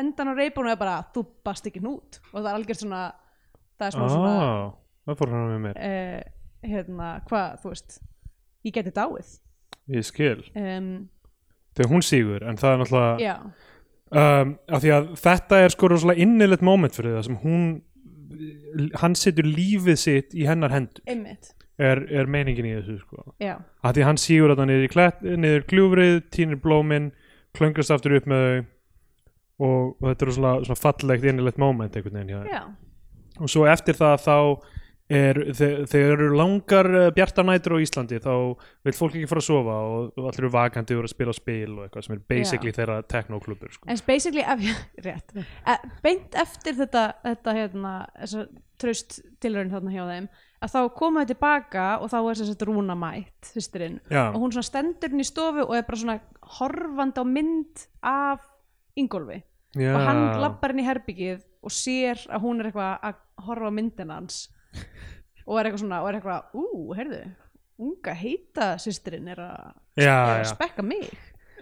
S1: endan á reipun og er bara þú bast ekki hnút og það er algjörð svona það er smá svona
S2: ah, það fór hann með mér
S1: eh, hérna, hvað, þú veist ég geti dáið
S2: ég skil,
S1: um,
S2: þegar hún sígur en það er náttúrulega
S1: já,
S2: um, af því að þetta er sko rosalega innilegt moment fyrir það sem hún hann setur lífið sitt í hennar hendur
S1: einmitt
S2: er, er meiningin í þessu sko
S1: já,
S2: af því að hann sígur þetta niður, í klett, niður gljúfrið tínir blómin, klöngast aftur upp með þau og, og þetta er rosalega svona fallegt innilegt moment einhvern veginn hjá þeim
S1: já,
S2: og svo eftir það þá er, þe- þegar eru langar eh, bjartar nætur á Íslandi þá vil fólk ekki fara að sofa og, og allir eru vakandi og eru að spila spil og eitthvað sem er basically þeirra teknoklubur sko.
S1: En basically, ef ég, *laughs* rétt, Eh, beint eftir þetta, þetta hérna, þessa tröst tilraun þarna hjá þeim, að þá koma þau tilbaka og þá er þess að rúna mætt, sýstirinn,
S2: Já.
S1: og hún svona stendur inn í stofu og er bara svona horfandi á mynd af Ingólfi
S2: Já.
S1: og hann lappar inn í herbyggið og sér að hún er eitthvað að horfa á myndin
S2: *laughs*
S1: hans og er eitthvað svona, og er eitthvað, ú, heyrðu, unga heita sýstirinn er að, er
S2: já,
S1: að
S2: já.
S1: spekka mig.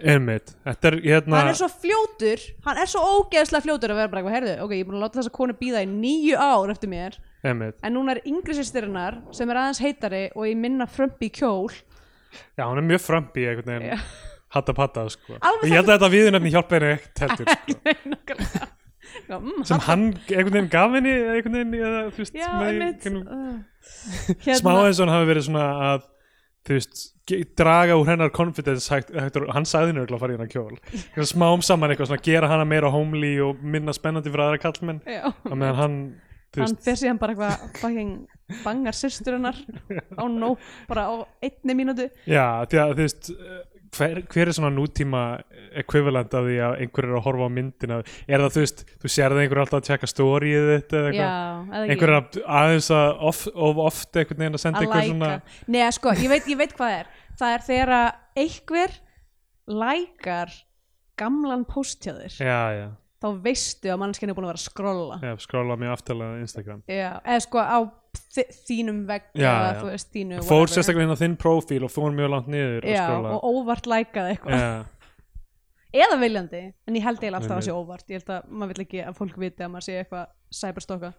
S2: Einmitt, þetta er hérna
S1: hann er svo fljótur hann er svo ógeðslega fljótur að vera bara eitthvað herðu, ok, ég er búin að láta þessa konu býða í níu ár eftir mér,
S2: einmitt.
S1: en núna er yngri sýstirinnar sem er aðeins heitari og ég minna frömpi í kjól *laughs*
S2: Já, hann er mjög frambi einhvern
S1: Já.
S2: veginn Hatta patta, sko
S1: Alveg
S2: Og Ég held að þetta viðunefni hjálpa henni ekkert heldur
S1: *laughs*
S2: sko.
S1: Já, mm,
S2: Sem hann einhvern veginn gaf henni einhvern veginn eða, þú veist,
S1: já,
S2: með
S1: einmitt
S2: einhvern- *laughs*
S1: uh,
S2: Smá
S1: hérna,
S2: eins og hann hafi verið svona að þú veist, ge- draga úr hennar confidence hægt, hægt, hann sagði henni örugglega að fara í hennar kjól Þannig að smám saman eitthvað svona gera hana meira homely og minna spennandi fyrir aðra kallmenn
S1: já,
S2: að meðan hann, þú
S1: hann
S2: veist,
S1: fer síðan bara eitthvað fucking bangar sýstirinnar
S2: *laughs*
S1: á nó, bara á einni mínútu
S2: já, því að þú veist eh, hver, hver er svona nútíma equivalent af því að einhver er að horfa á myndina er það, þú veist, þú sérði einhver alltaf að tjekka storyið þitt eða
S1: já,
S2: eitthvað
S1: eða ekki.
S2: einhver er að- aðeins að of, of oft einhvern veginn að senda
S1: að
S2: einhver
S1: læka
S2: svona
S1: Nei, sko, ég veit, ég veit hvað er Það er þegar að einhver lækar gamlan post hjá þér
S2: já, já,
S1: þá veistu að mannskinn er búin að vera að skrolla
S2: já, skrála mjög aftalega Instagram
S1: Já, eða sko á þi- þínum vegg
S2: Já,
S1: eða
S2: já.
S1: þú veist þínu
S2: fór
S1: whatever.
S2: sérstaklega inn á þinn prófíl og fór mjög langt niður
S1: Já,
S2: skrolla.
S1: og óvart lækaði eitthvað
S2: Já,
S1: eða viljandi, en ég held eiginlega alltaf að
S2: Einmitt.
S1: sé óvart ég held að maður vil ekki að fólk viti að maður sé eitthvað cyberstokka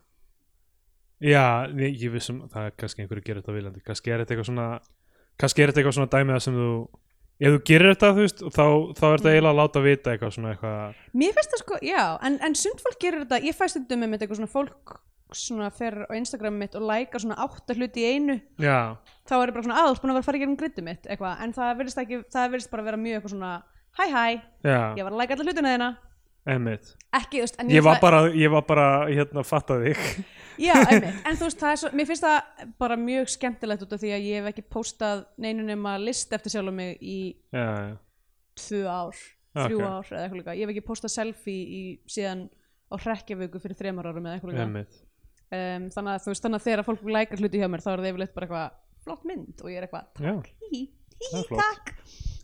S2: já ég, ég vissum það er kannski einhverju gerir þetta viljandi kannski er þetta eitthvað svona kannski er þetta eitthvað svona dæmið sem þú ef þú gerir þetta þú veist þá, þá er
S1: Mm.
S2: þetta eiginlega að láta vita eitthvað svona eitthvað
S1: Mér finnst það sko, já, en, en sund fólk gerir þetta ég fæst þetta með mitt eitthvað svona fólk svona fer á Instagram mitt og lækar svona átta hluti í einu
S2: já,
S1: þá er ég bara svona aðeins búin að vera að fara í gegnum grittið mitt eitthvað, en það verðist ekki, það verðist bara vera mjög eitthvað svona, hæ hæ, ég
S2: já,
S1: var að læka alla hlutina þeina
S2: einmitt
S1: ekki, þú veist, en
S2: ég var bara, ég var bara hérna fatta þig *laughs*
S1: já, einmitt, en þú veist, það er svo, mér finnst það bara mjög skemmtilegt út af því að ég hef ekki póstað neinu nema list eftir sjálf mig í
S2: já, já,
S1: tvö ár, þrjú
S2: Ah, Ok.
S1: ár eða eitthvað líka, ég hef ekki póstað selfie í síðan á hrekkjavöku fyrir þremar árum eða eitthvað líka,
S2: einmitt
S1: um, þannig að þú veist, þannig að þegar fólk lækar hluti hjá mér, þá er það yfirleitt bara eitthvað flott mynd og ég er eitthvað,
S2: já,
S1: hí,
S2: það
S1: hí,
S2: er flott
S1: takk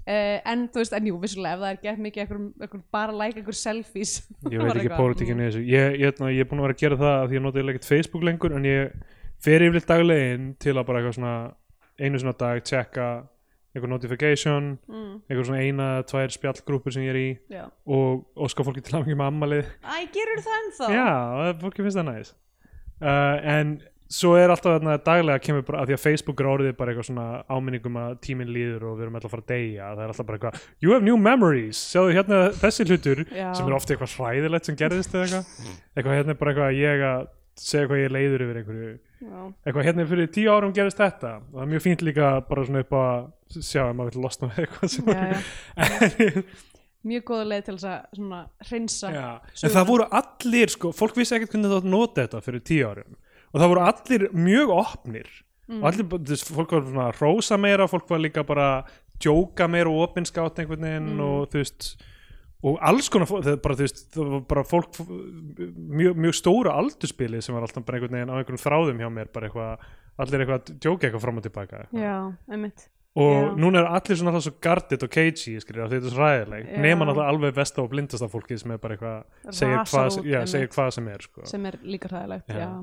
S1: uh, en þú veist, en jú, vissulega ef það er gett mikið ekkur, ekkur bara að like ekkur selfies *laughs*
S2: ég
S1: Bara
S2: veit ekki
S1: eitthvað,
S2: pólitíkinni í þessu ég, ég, ég, ég er búin að vera að gera það af því ég nota eiginlega ekkert Facebook lengur en ég fer yfirleitt daglegin til að bara eitthvað svona einu svona dag tjekka einhver notification,
S1: mm,
S2: einhver svona eina, tvær spjallgrúpur sem ég er í
S1: já.
S2: og óska fólki til hafingi með ammalið
S1: Æ, gerur það ennþá?
S2: Já, það- fólki finnst það næs uh, En svo er alltaf þarna daglega kemur bara, að því að Facebook er orðið bara eitthvað svona áminningum að tíminn líður og við erum alltaf að fara að deyja það er alltaf bara eitthvað, you have new memories sjáðu hérna þessi hlutur
S1: Já.
S2: sem er ofta eitthvað hræðilegt sem gerðist eða eitthvað eitthvað hérna er bara eitthvað að ég að segja hvað ég er leiður yfir einhverju
S1: Já.
S2: eitthvað hérna fyrir tíu árum gerist þetta og það er mjög fínt líka bara svona upp að sjá að maður vil losna við eitthvað sem
S1: Já, já.
S2: *laughs* En-
S1: Mjög góða leið til þess að svona hreinsa.
S2: Já, en það voru allir sko, fólk vissi ekkert hvernig það átti að nota þetta fyrir tíu árum og það voru allir mjög opnir
S1: Mm.
S2: og allir, bara- þú veist, fólk var svona að rósa meira, fólk var líka bara að djóka meira og opinskátt einhvern veginn og þú veist og alls konar, fólk, það er bara þú veist það var bara fólk, mjög, mjög stóra aldurspili sem var alltaf bara einhvern veginn á einhverjum þráðum hjá mér, bara eitthvað allir eitthvað að djóka eitthvað fram og tilbaka eitthvað
S1: Já, einmitt.
S2: og
S1: Já.
S2: núna er allir svona alltaf svo gardit og cagey skilur, af því þetta er svo ræðileg
S1: Já.
S2: nema náttúrulega alveg besta og blindasta fólki sem er bara eitthvað segir,
S1: Rasar
S2: hvað,
S1: út,
S2: já,
S1: einmitt.
S2: segir hvað sem er sko.
S1: Sem er líka hræðilegt,
S2: Já.
S1: já.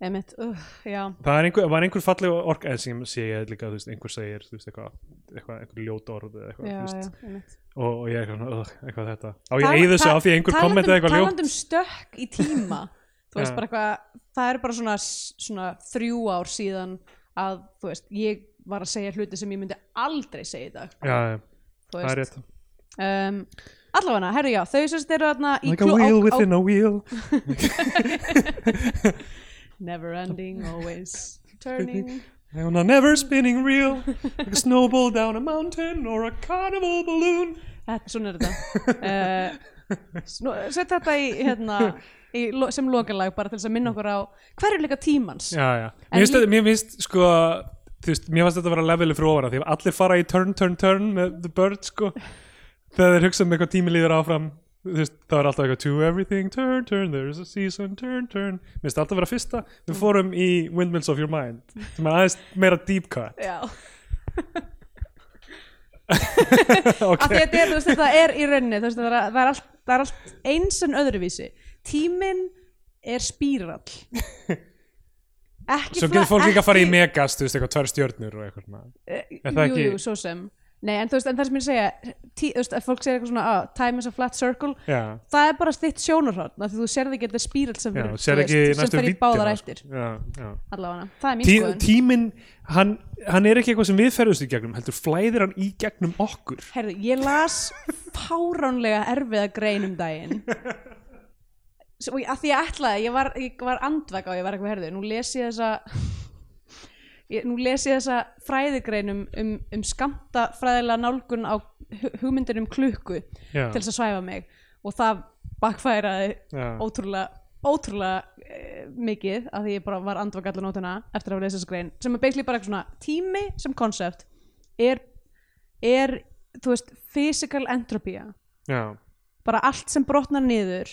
S1: Einmitt, uh, já.
S2: það er einhver, var einhver falleg ork eða sem sé ég líka, þú veist, einhver segir þú veist, eitthvað, eitthvað, einhver ljót orð eða eitthvað,
S1: Já,
S2: þú
S1: já,
S2: veist,
S1: einmitt.
S2: og, og ég er eitthvað, svona, "Ugh, eitthvað þetta á ég eigið þessu af því að einhver
S1: Talandi-
S2: kommentaði eitthvað ljótt
S1: Talandi um stökk í tíma Þú veist
S2: Já.
S1: bara eitthvað Það er bara svona, svona þrjú ár síðan að þú veist ég var að segja hluti sem ég myndi aldrei segja í dag
S2: já, já,
S1: um- Þú
S2: það er
S1: veist
S2: rétt
S1: um, Allafana, herru já, þau sérst eru þarna í
S2: like a
S1: kló- á-
S2: wheel
S1: á-
S2: within a
S1: *laughs*
S2: wheel
S1: Never ending,
S2: *laughs*
S1: always turning
S2: on a never spinning reel like a snowball down a mountain or a carnival balloon
S1: Þetta, svona er þetta
S2: *laughs*
S1: uh, Sett þetta í, hérna, í lo- sem lokalag bara til þess að minna okkur á hverju leika tímans
S2: já, já.
S1: En
S2: Mér finnst,
S1: lí-
S2: þetta- mér finnst sko þú veist, mér finnst þetta að vera levelið fyrir ofan af því að allir fara í turn, turn, turn með the bird sko þegar þeir hugsa um eitthvað tími líður áfram þú veist, það er alltaf eitthvað to everything, turn, turn there's a season, turn, turn mér finnst þetta alltaf að vera fyrsta, við fórum í Windmills of Your Mind, sem er aðeins meira deep
S1: *laughs*
S2: cut
S1: Já. af
S2: ok,
S1: því að þetta er, þú veist, þetta er í rauninni þú veist, það, er, það, er allt, það er allt eins en öðruvísi tíminn er spírall ekki
S2: svo getur fólk líka að fara í megas, þú veist, eitthvað tvær stjörnur og eitthvað svona. er það
S1: jú,
S2: ekki-
S1: jú, svo sem Nei, en, þú veist, en það sem ég segja tí, þú veist, að fólk segir eitthvað svona ah, time is a flat circle
S2: já,
S1: það er bara þitt sjónarhótt af því þú serði ekki að þetta er spírall sem,
S2: já,
S1: fer-
S2: sér
S1: þú
S2: ekki
S1: veist,
S2: næstu
S1: sem fer í báðar ættir
S2: já, já
S1: allavega, það er mín
S2: Tí,
S1: skoðun
S2: tíminn, hann, hann er ekki eitthvað sem við ferðumst í gegnum, heldur flæðir hann í gegnum okkur
S1: Herðu, ég las fáránlega erfiða grein um daginn Svo, og ég- að því ég ætlaði ég var, ég var andveg á, ég var eitthvað herðu nú les ég þessa ég, nú les ég þessa fræðigrein um, um, um skamta fræðilega nálgun á hu- hugmyndinni um klukku
S2: Já.
S1: til þess að svæfa mig og það bakfæraði
S2: Já.
S1: ótrúlega ótrúlega e, mikið að því ég bara var andvaka allar nótuna eftir að hafa lesa þessa grein sem er basically bara eitthvað svona tími sem konsept er, er þú veist, physical entropía
S2: Já,
S1: bara allt sem brotnar niður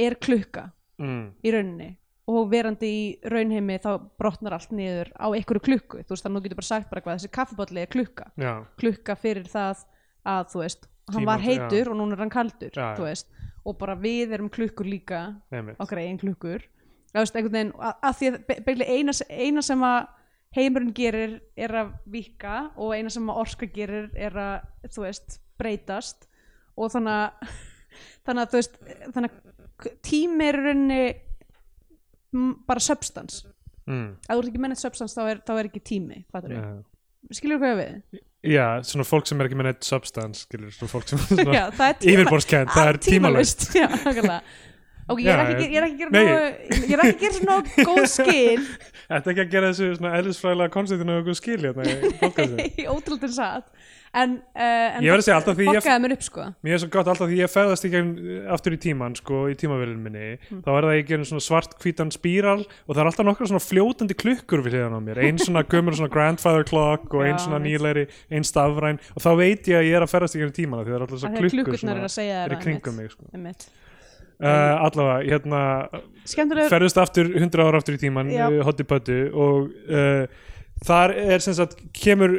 S1: er klukka
S2: mm.
S1: í rauninni og verandi í raunheimi þá brotnar allt niður á einhverju klukku þú veist, þannig að þú getur bara sagt bara hvað þessi kaffibolli er klukka
S2: já,
S1: klukka fyrir það að þú veist, hann
S2: Tímans-
S1: var heitur og núna er hann kaldur
S2: Já, já.
S1: þú veist, og bara við erum klukkur líka
S2: einmitt
S1: okkar eigin klukkur þú veist, einhvern veginn, að, að því að be- basically eina, s- eina sem að heimurinn gerir er að vika og eina sem að orska gerir er að þú veist, breytast og þannig að *laughs* þannig að þú veist, þannig að tími er í rauninni m, bara substance,
S2: mm.
S1: ef þú ert ekki mennið substance þá er, þá er ekki tími, fattur við
S2: já.
S1: skilur hvað ég á við?
S2: já, svona fólk sem er ekki með neitt substance skilur, svona fólk sem er svona
S1: Já, það er tíma-
S2: yfirborðskend,
S1: *laughs*
S2: það er tímalaust
S1: Já, nákvæmlega Ok, ég er
S2: Já,
S1: ekki, að gera- ég er ekki, að
S2: nei.
S1: gera nógu- ég er ekki að gera svona góð skil
S2: Þetta er ekki að gera þessu svona eðlisfræðilega konceptinu og skilja þetta hérna
S1: *laughs*
S2: í podcastinu
S1: í ótrúldin satt en, uh, en
S2: Ég verð að segja, alltaf því ég-
S1: bokkaði mér upp sko
S2: Mér er svo gott alltaf því ég ferðast í gegn aftur í tíman, sko, í tímavélun minni
S1: Mm.
S2: þá er það ég gerum svona svart hvítan spíral og það er alltaf nokkra svona fljótandi klukkur við hliðan á mér, ein svona gömur svona grandfather clock og ein
S1: Já,
S2: svona
S1: einmitt.
S2: nýleiri ein stafræn og þá veit ég að ég er að ferðast í gegn tíman því það er alltaf
S1: Af
S2: svona
S1: því að
S2: klukkur
S1: klukkurnar eru að segja þér
S2: er í
S1: það, einmitt.
S2: kringum mig, sko.
S1: Einmitt.
S2: Uh, allavega, hérna
S1: Skemmtilegur
S2: ferðust aftur 100 ára aftur eh, í tíman
S1: Já.
S2: hotti pöttu og uh, þar er sem sagt kemur,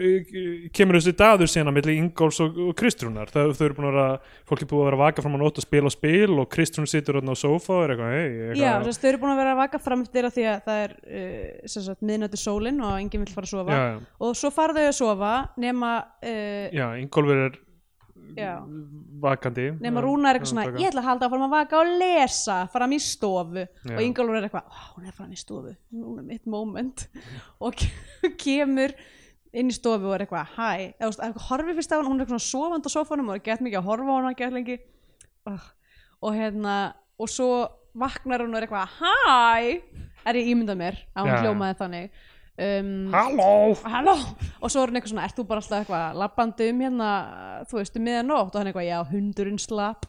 S2: kemur þessi dagur síðan milli Ingolfs og, og Kristrúnar þau, þau eru búin að vera, fólk er búin að vera að vaka fram á nótt og spila og spil og Kristrún situr þarna á sófa og er eitthvað, hei,
S1: Já, þess að þau eru búin að vera að vaka fram eftir að því að það er uh, sem sagt, miðnættu sólin og enginn vill fara að sofa
S2: já, já,
S1: og svo fara þau að sofa nema, uh,
S2: já, Ingolfur er
S1: já,
S2: vakandi
S1: nema
S2: Já,
S1: Rúna er eitthvað
S2: já,
S1: svona
S2: taka.
S1: ég ætla að halda áfram að vaka og lesa fram í stofu
S2: Já.
S1: og Ingólfur er eitthvað, "Ó, hún er fram í stofu hún er mitt moment og ke- *laughs* kemur inn í stofu og er eitthvað, hæ, eða þú veist, eitthvað horfi fyrst á hún, hún er eitthvað svona sofandi á sófanum og er gett mikið að horfa á hana, gett lengi Ugh. og hérna, og svo vaknar hún og er eitthvað, hæ er ég ímyndað mér, að hún
S2: Já.
S1: hljómaði þannig um,
S2: Halló
S1: halló og svo er hann eitthvað svona, ert þú bara alltaf eitthvað labbandi um hérna, þú veist, um miðanótt og hann eitthvað, já, hundurinn slapp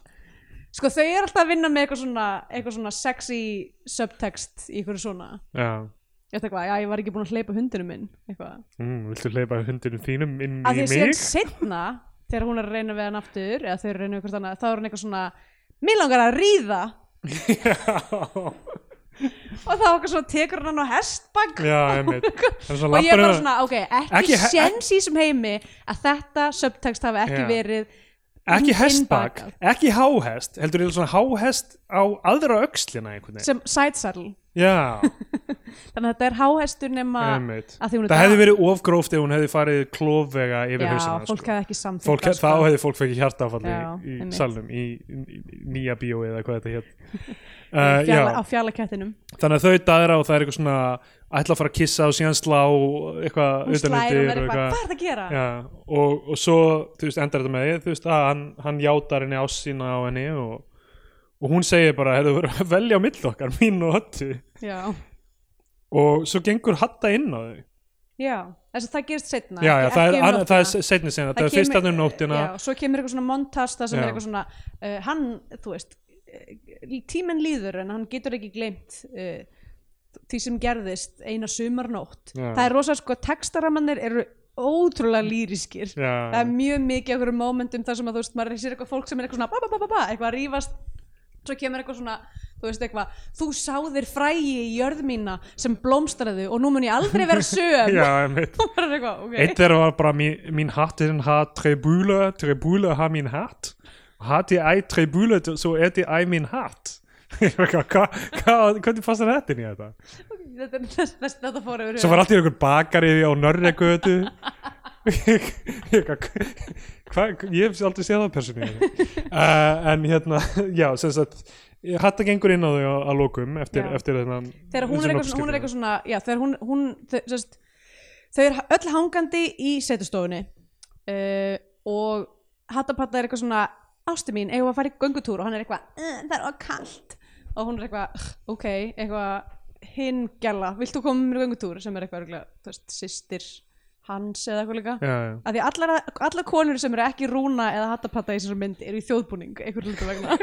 S1: sko þau eru alltaf að vinna með eitthvað svona eitthvað svona sexy subtext í eitthvað svona,
S2: Já,
S1: ég ætla eitthvað, já, ég var ekki búin að hleypa hundurinn minn, eitthvað
S2: mm, viltu leipa hundinum þínum inn
S1: að
S2: í
S1: því síðan
S2: mig?
S1: setna, þegar hún er að reyna við hann aftur, eða þau eru að reyna við hvort annað þá er hann eitthvað svona, mér langar að ríða og þá eitthvað svona tekur hann á hestbak
S2: *laughs* Já,
S1: *laughs*
S2: einmitt Hann
S1: og ég er bara
S2: labbar
S1: svona, ok,
S2: Ekki
S1: ekki,
S2: he-
S1: ekki sens í sem heimi að þetta subtext hafi ekki
S2: Já.
S1: verið
S2: ekki
S1: inn-
S2: hestbak,
S1: innbakað.
S2: ekki háhest heldur ég svona háhest á aðra öxlina einhvern veginn
S1: sem sætsadl *laughs*
S2: já,
S1: þannig að þetta er háhestur nema
S2: einmitt
S1: að Ah, því hún er
S2: það hefði verið ofgróft ef hún hefði farið klófvega yfir
S1: já,
S2: hausina
S1: fólk hefði ekki sko. samþýtt
S2: fólk, þá hefði fólk fengið hjartafalli
S1: Já,
S2: í, í
S1: einmitt.
S2: salnum í, í, í nýja bíói eða hvað þetta hétt
S1: *laughs* uh,
S2: uh,
S1: fjala, á
S2: já,
S1: fjalakettinum
S2: þannig að þau daðra og það er eitthvað svona ætla að fara að kissa og síðan slá og eitthvað
S1: hún
S2: utan
S1: slæðir og
S2: undir
S1: verður
S2: og
S1: eitthvað, hvað er það að gera?
S2: Já, og, og svo þú veist, endar þetta með því þú veist, að hann, hann játar henni ásýna á henni og, og hún segir bara hefur verið að velja á milli okkar, mín og höttu
S1: já,
S2: og svo gengur Hatta inn á þau
S1: já. þess að það gerist setna
S2: já, já, það er, um það er seinni sinna það, er fyrst að um nóttina
S1: já, svo kemur eitthvað svona montast það sem
S2: Já.
S1: er eitthvað svona uh, hann, þú veist uh, tíminn líður en hann getur ekki gleymt uh, því sem gerðist eina sumarnótt
S2: Já.
S1: það er rosa sko textaramannir eru ótrúlega lýriskir það er
S2: já,
S1: mjög mikið okkur momentum þar sem að þú veist, maður sér eitthvað fólk sem er eitthvað svona ba, ba, ba, ba, ba, eitthvað að rífast svo kemur eitthvað svona, þú veist eitthvað þú sáðir frægi í jörð mína sem blómstraðu og nú mun ég aldrei vera söm *laughs*
S2: já, einmitt
S1: og bara eitthvað,
S2: Eitt
S1: ok
S2: þeirra var bara mín, mín hatt er hatt trebúle, trebúle ha mín hatt hatti æ trebúle svo eti æ mín *laughs* hatt hvernig fannst þér þetta inn í þetta?
S1: þetta, er- *laughs* þess- þess- þetta fór yfir
S2: Svo
S1: höfuð.
S2: var alltaf einhver bakari á Nörregötu Hvað, ég hef aldrei séð það persónu uh, En hérna, já, sem sagt Hatta gengur inn á þau að að lokum eftir,
S1: Já.
S2: eftir þennan
S1: þegar hún er eitthvað svona, hún er eitthvað svona já, þegar hún, hún þau, sest, þau er öll hangandi í setustofunni uh, og Hattapatta er eitthvað svona ástu mín, eigum við að fara í göngutúr og hann er eitthvað, "Eh, það er of kalt og hún er eitthvað, "Ugh, ok, eitthvað hinn gæla, vilt þú koma með mér í göngutúr sem er eitthvað, örugglega, þú veist, systir hans eða eitthvað líka
S2: Já, já,
S1: af því allar, allar konur sem eru ekki rúna eða hattapatta í þessari mynd eru í þjóðbúning einhver hlutu vegna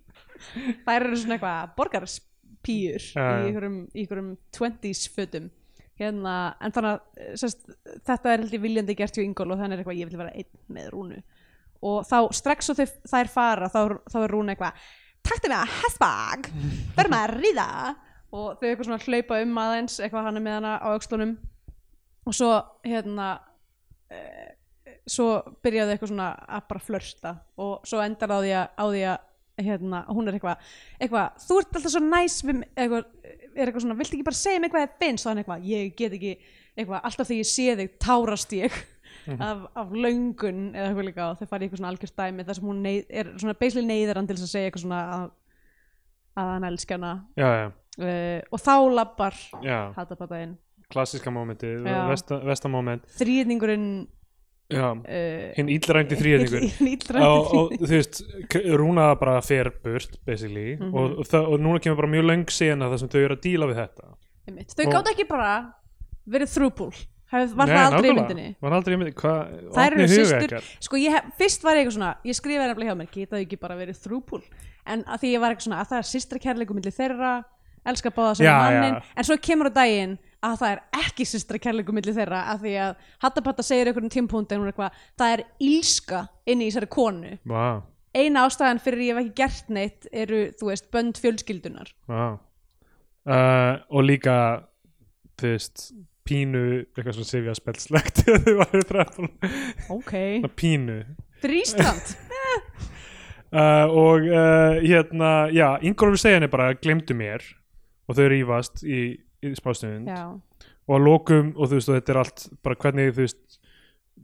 S2: *laughs*
S1: þær eru svona eitthvað borgarspýr
S2: Já, já.
S1: í einhverjum, í einhverjum 20s fötum hérna, en þannig að sest, þetta er heldur viljandi gert hjá Ingól og þannig er eitthvað ég vil vera einn með rúnu og þá strax og þau, þær fara þá, er- þá er rúna eitthvað taktum við að hestbag, verðum að ríða og þau eitthvað svona hlaupa um aðeins eitthvað hann er með hana á aukslunum og svo hérna eh, svo byrjaði eitthvað svona að bara flörta og svo endar á því að, á því að hérna, hún er eitthvað, eitthvað þú ert alltaf svo næs við, mig," eitthvað, er eitthvað svona, viltu ekki bara segja mig hvað þið finnst og hann eitthvað, ég get ekki eitthvað, alltaf þegar ég sé þig tárast ég af, af löngun eða eitthvað líka og þau farið eitthvað svona algjörst dæmi þar sem hún neyð, er svona beisli neyðar hann til þess að segja eitthvað svona að, að hann elski hana
S2: já, já,
S1: uh, og þá labbar
S2: já.
S1: hattapattaðinn,
S2: klassíska momenti,
S1: Já.
S2: vesta, vesta moment
S1: þrýðningurinn
S2: Já,
S1: uh,
S2: hinn illrændi
S1: *laughs*
S2: þrýðingur og, og þú veist, k- Rúna bara fer burt, basically
S1: Mhm.
S2: og, og, það- og núna kemur bara mjög löng síðan þar sem þau eru að díla við þetta
S1: Einmitt. Þau
S2: Og-
S1: gátt ekki bara verið þrúbúl Hef, var
S2: Nei,
S1: það aldrei í
S2: nákvæmlega.
S1: myndinni
S2: Var aldrei í myndinni, hvað,
S1: þær
S2: opnið
S1: eru
S2: huga
S1: systur
S2: ykkar.
S1: sko ég hef, fyrst var ég eitthvað svona ég skrifaði nefnilega hjá mér, getaðu ekki bara verið þrúbúl en að því ég var eitthvað svona að það er systra kærleikum milli þeirra, elska báða sem
S2: Já,
S1: mannin,
S2: já.
S1: en svo kemur á daginn að það er ekki systra kærleikum milli þeirra að því að Hattapatta segir einhverjum tímpúndi en hún er eitthvað, það er ílska inni í þessari konu,
S2: Vá,
S1: eina ástæðan fyrir ég hef ekki gert neitt eru, þú veist, bönd fjölskyldunar
S2: vá uh, Og líka, þú veist pínu eitthvað svona sifja *laughs* spelslegt þau væri þræfum
S1: ok
S2: pínu
S1: fyrir Ísland
S2: uh, og uh, hérna já, Ingólfur segja henni bara glemdu mér og þau rýfast í, í smástund
S1: *laughs* já,
S2: og að lokum og þú veist og þetta er allt bara hvernig þú veist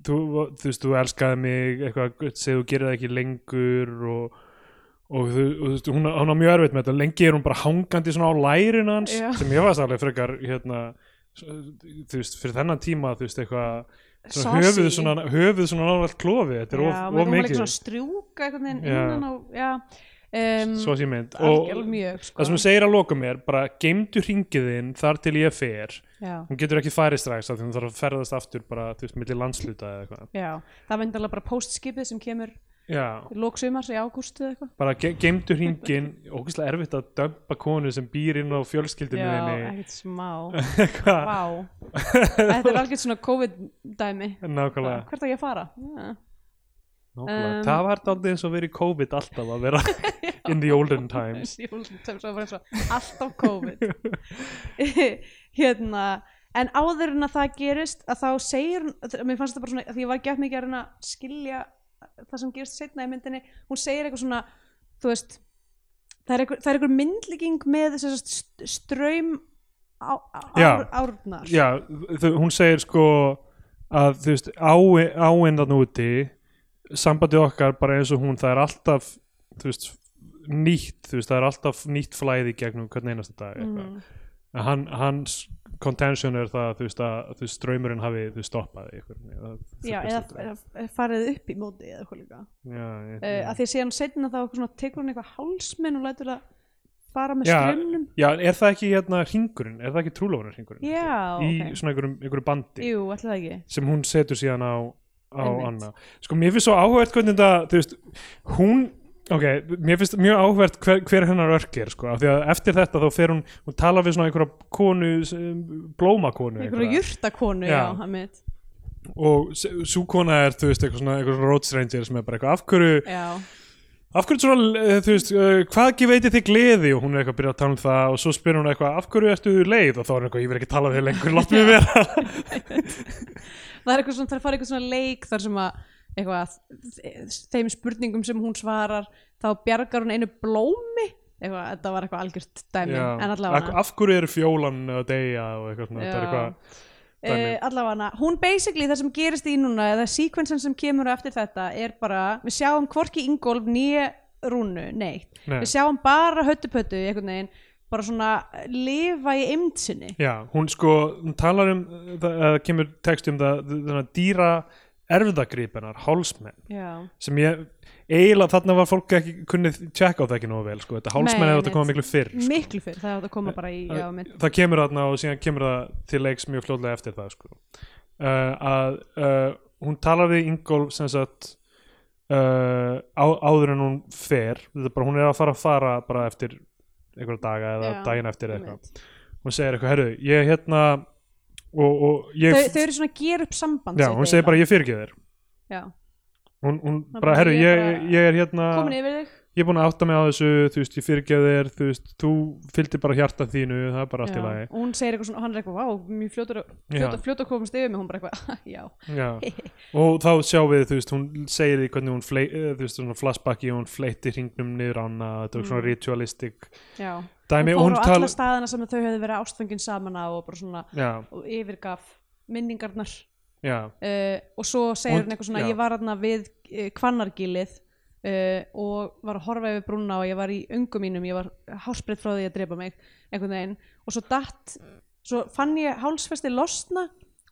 S2: þú, þú veist þú elskaði mig eitthvað segðu þú gerir það ekki lengur og og þú, og þú veist, hún, hún á mjög erfitt með þetta lengi er hún bara hangandi svona á lærin hans
S1: Já.
S2: sem ég varst alveg frekar hérna, s- þú veist, fyrir þennan tíma þú veist, eitthvað, svona
S1: Saucy.
S2: höfuð svona, höfuð svona návægt klofi þetta er
S1: já,
S2: of,
S1: maður
S2: of
S1: var líka
S2: mikið
S1: svona að strjúka einhvern veginn
S2: Já.
S1: innan á já, um,
S2: svo sé mynd og
S1: algjörlega mjög sko.
S2: það sem hún segir að lokum er bara geimdu ringiðinn þar til ég fer
S1: já,
S2: hún getur ekki farið strax af því hún þarf að ferðast aftur bara þú veist, milli landsluta eða eitthvað
S1: já, það var endalega bara postskipið sem kemur
S2: já,
S1: lóksumars í ágústu eða eitthvað
S2: bara ge geimdu ringin ógeðslega erfitt að dömpa konu sem býr inn á fjölskyldinu
S1: já,
S2: þinni
S1: ekkert smá
S2: *laughs* eitthvað,
S1: Vá, þetta er algjört svona COVID-dæmi
S2: nákvæmlega,
S1: Hvert á ég að fara? Já.
S2: nákvæmlega.
S1: Um,
S2: það var aldrei eins og verið COVID alltaf að
S1: *laughs*
S2: vera in the olden times
S1: Ég fór til svo bara eins og Alltaf COVID *laughs* Hérna En áður en að það gerist að þá segir hún, að- mér fannst þetta bara svona að því ég var ekki að mikið að reyna að skilja það sem gerist setna í myndinni, hún segir eitthvað svona þú veist það er einhver, það er einhver myndlíking með þess að ströym á, á,
S2: Já.
S1: ár, árnar
S2: já, þau- hún segir sko að þú veist áin, áin þarna úti sambandi okkar bara eins og hún það er alltaf þú veist nýtt, þú veist það er alltaf nýtt flæði í gegnum hvern einasta dag mm. hann, hans contention er það þú veist að þú veist ströymurinn hafi þú veist stoppað ykkur
S1: Já, eða eða farið upp í móti eða eitthvað líka
S2: já, ég,
S1: uh, að því að síðan setna þá eitthvað svona, tekur hún eitthvað hálsmenn og lætur það fara með
S2: Já.
S1: strömmnum
S2: já, en er það ekki hérna hringurinn, er það ekki trúlófunar hringurinn
S1: Já,
S2: í
S1: ok.
S2: svona einhverjum, einhverjum bandi
S1: Jú, ætli það ekki
S2: sem hún setur síðan á, á
S1: Einmitt.
S2: Anna sko mér finnst svo áhvert hvernig þetta þú veist, hún ok, mér finnst mjög áhvert hver, hver hennar örk er sko, af því að eftir þetta þá fer hún hún talar við svona einhverja konu sem- blómakonu
S1: Einhverju jurtakonu, já,
S2: Já.
S1: já mitt
S2: og svo kona er þú veist eitthvað svona einhverjum road stranger sem er bara eitthvað af hverju
S1: Já,
S2: af hverju svona, eh, þú veist, uh, hvað ekki veitir þig gleði og hún er eitthvað að byrja að tala um það og svo spyr hún eitthvað, af hverju ertu leið og þá er eitthvað, ég verð ekki að tala við þig lengur, látt mig vera
S1: það er eitthvað svona, það er að fara eitthvað svona leik þar sem að eitthvað, þeim spurningum sem hún svarar þá bjargar hún einu blómi eitthvað, þetta var eitthvað algjört dæmi
S2: Já.
S1: en
S2: Af-
S1: allavega
S2: af hverju eru fjólan að deyja og eitthvað svona, þetta er
S1: Já.
S2: eitthvað
S1: Uh,
S2: dæmi.
S1: allavega, hún basically það sem gerist í núna eða sequensen sem kemur á eftir þetta er bara, við sjáum hvorki Ingolf nýja rúnu, neitt
S2: Nei.
S1: við sjáum bara höttupöttu í einhvern veginn bara svona lifa í eimtsinni
S2: Já, hún sko, hún talar um uh, það uh, kemur text um það þannig, dýra erfðagripenar hálsmenn,
S1: já,
S2: sem ég eiginlega þarna var fólk ekki kunnið tjekka á það ekki nógu vel, sko, þetta hálsmenn
S1: Nei,
S2: hefur þetta koma
S1: einmitt.
S2: miklu fyrr sko.
S1: miklu fyrr það átt að koma bara í já, mitt,
S2: það kemur þarna og síðan kemur það til leiks mjög fljótlega eftir það sko. uh, að uh, hún talar við Ingolf sem sagt uh, á, áður en hún fer þetta er bara, hún er að fara að fara bara eftir einhverja daga eða
S1: Já,
S2: daginn eftir eða eitthvað
S1: mitt.
S2: hún segir eitthvað, herru, ég hérna og, og ég
S1: Þau, þau eru svona að gera upp samband
S2: já,
S1: sitt
S2: hún segir
S1: eiginlega.
S2: bara, ég fyrirgef þér
S1: já,
S2: hún, hún
S1: Það
S2: bara,
S1: bara,
S2: herru,
S1: ég
S2: ég,
S1: bara-
S2: ég er hérna
S1: komin yfir þig
S2: ég er búin að átta mig á þessu, þú veist, ég fyrirgef þér þú veist, þú fylgdi bara hjarta þínu það er bara allt
S1: Já.
S2: í lagi
S1: og hún segir eitthvað svona, hann er eitthvað, vá, mjög fljótur að- fljótur
S2: Já.
S1: fljótur að komast yfir mig, hún bara eitthvað, *laughs* já
S2: Já. og þá sjáum við þú veist, hún segir því hvernig hún flei, eh, þú veist, svona flashbacki og hún fleiti hringnum niður ána, þetta var svona ritualistik
S1: já,
S2: dæmi,
S1: Mm. hún
S2: hún,
S1: fór á alla
S2: tala
S1: staðina sem þau hefðu verið ástfangin saman á og bara svona
S2: já,
S1: og yfirgaf minningarnar
S2: já,
S1: uh, og svo segir
S2: Hún-
S1: hún eitthvað svona
S2: já.
S1: ég var aðna við uh, kvannargilið uh, og var að horfa yfir brúna og ég var í ungum mínum, ég var hásbreytt frá því að drepa mig einhvern veginn og svo datt, svo fann ég hálsfesti losna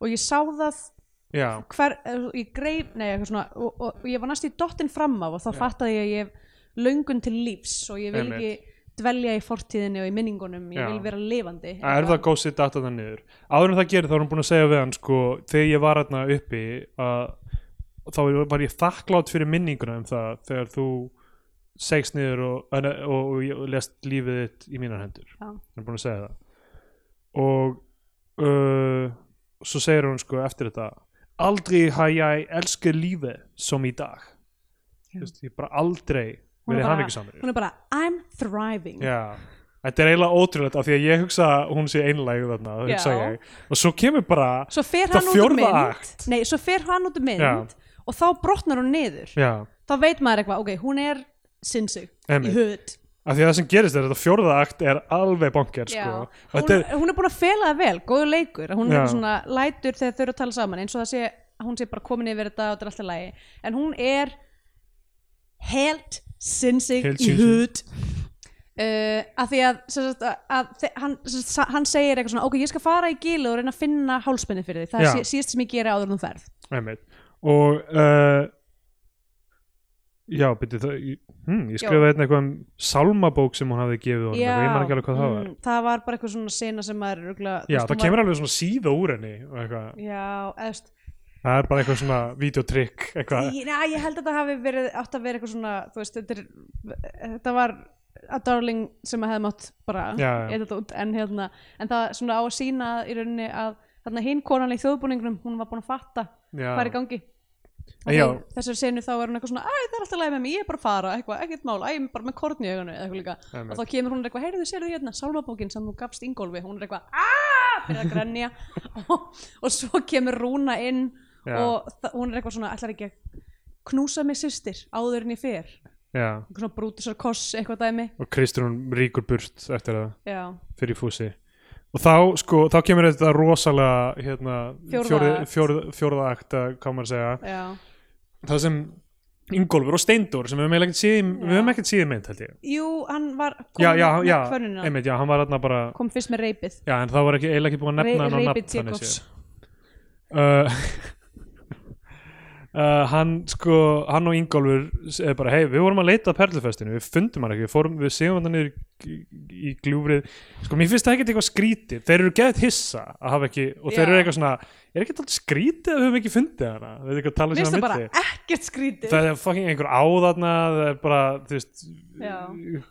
S1: og ég sá það
S2: já
S1: hver, eh, ég greif, nei eitthvað svona og, og, og ég var næst í dottinn fram á og þá fattaði ég að ég hef löngun til lífs og ég vil
S2: Einmitt.
S1: ekki dvelja í fortíðinni og í minningunum, ég
S2: Já.
S1: vil vera lifandi
S2: að er það gósið data það niður áður en það gerir þá er hún búin að segja við hann sko, þegar ég var hérna uppi að, þá var ég þakklátt fyrir minninguna um það þegar þú segst niður og, og, og, og lest lífið þitt í mínar hendur
S1: Já.
S2: hún er búin að segja það og uh, svo segir hún sko eftir þetta aldrei haf ég elskað lífið sem í dag Þú veist, ég bara aldrei
S1: Hún er
S2: verið
S1: bara-
S2: hafingisamur
S1: hún er bara, I'm thriving
S2: Já, Þetta er eiginlega ótrúlegt af því að ég hugsa að hún sé einlæg þarna, það hugsa
S1: Já.
S2: ég. Og svo kemur bara,
S1: svo fer
S2: Þetta
S1: hann út úr
S2: fjórða
S1: mynd
S2: akt.
S1: nei, svo fer hann út úr mynd
S2: Já.
S1: og þá brotnar hún niður
S2: já,
S1: þá veit maður eitthvað, ok, hún er sinnsug í
S2: Einmitt.
S1: höfð
S2: af því að það sem gerist er að þetta fjórða akt er alveg bonkert, sko. Og
S1: hún,
S2: þetta er,
S1: hún er búin að fela það vel, góðu leikur hún er
S2: Já.
S1: eitthvað svona lætur þegar þau eru að tala saman eins og það sé, að hún sé bara komin yfir þetta og þetta er alltaf lægi, en hún er helt sinnsig
S2: Helt
S1: í
S2: sinnsig.
S1: hud Uh, að því að, sem sagt, að, að þe- hann, sem sagt, sa- hann segir eitthvað svona ok, ég skal fara í gílu og reyna að finna hálspenni fyrir því það
S2: Já.
S1: er sí- síðast sem ég gera áður en þú ferð
S2: einmitt. Og, uh, já, byrju það, ég- hm, ég skrifaði hérna eitthvað um sálmabók sem hún hafði gefið honum, eitthvað, ég man ekki alveg hvað það var.
S1: mm, það var bara eitthvað svona sena sem maður rugla,
S2: Já, það kemur alveg svona síða úr henni og eitthvað.
S1: já, eðst,
S2: Það er bara eitthvað svona videotrykk, eitthvað.
S1: Ég, na, ég held að þetta hafi verið átt að vera eitthvað svona, þú veist, þetta, er, þetta var að darling sem að hefði mátt bara
S2: Já, já.
S1: etja þetta út en, hérna, en það svona á að sína í rauninni að þarna hinn konan í þjóðbúningnum hún var búin að fatta
S2: Já.
S1: hvað er í gangi
S2: En já.
S1: Og þessar senu þá er hún eitthvað svona æ það er alltaf læg með mig, ég er bara að fara, eitthvað, ekkert mál æ, ég er bara með korn í auganu, eða eitthvað líka
S2: Einmitt.
S1: og þá kemur hún eitthvað, heyrðu, sérðu hérna sálmabókin sem þú gafst Ingólfi, hún er eitthvað aaaah, byrjar að grenja *laughs* og, og svo kemur Rúna inn
S2: Já.
S1: og þa- hún er eitthvað svona, ætlar ekki að knúsa mig systir áður en ég fer eitthvað
S2: Já,
S1: svona brútusar koss, eitthvað dæmi
S2: og Kristrún rýkur burt eftir það.
S1: já,
S2: fyrir fúsi og þá sko, þá kemur þetta rosalega hérna,
S1: Fjórða
S2: fjórða-
S1: akt.
S2: fjórða fjórða akt að hvað maður að segja
S1: já,
S2: það sem Ingólfur og Steindór sem við höfum eiginlega ekkert séð í- við höfum ekkert síði mynd held ég
S1: jú, hann var kom
S2: já, já,
S1: með
S2: já,
S1: kvörnina,
S2: einmitt, já, hann var þarna bara
S1: kom fyrst með reypið
S2: já, en það var ekki, eiginlega ekki búin að
S1: Re-
S2: nefna hann á
S1: reypið
S2: nafn þannig
S1: Jacobs
S2: séð. uh, *laughs* uh, hann sko hann og Ingólfur er bara hei, við vorum að leita að perlufestinu, við fundum hann ekki við, fórum, við séum hann niður í, í gljúfrið sko, mér finnst það ekkert eitthvað skrítið þeir eru geðið hissa að hafa ekki og þeir
S1: Já.
S2: eru eitthvað svona, er ekkert alltaf skrítið að við höfum ekki fundið hana, við veitum ekki að tala
S1: Mér finnst
S2: sína
S1: það bara
S2: milli
S1: ekkert skrítið
S2: það er fucking einhver áðarna það er bara, þú veist
S1: Já.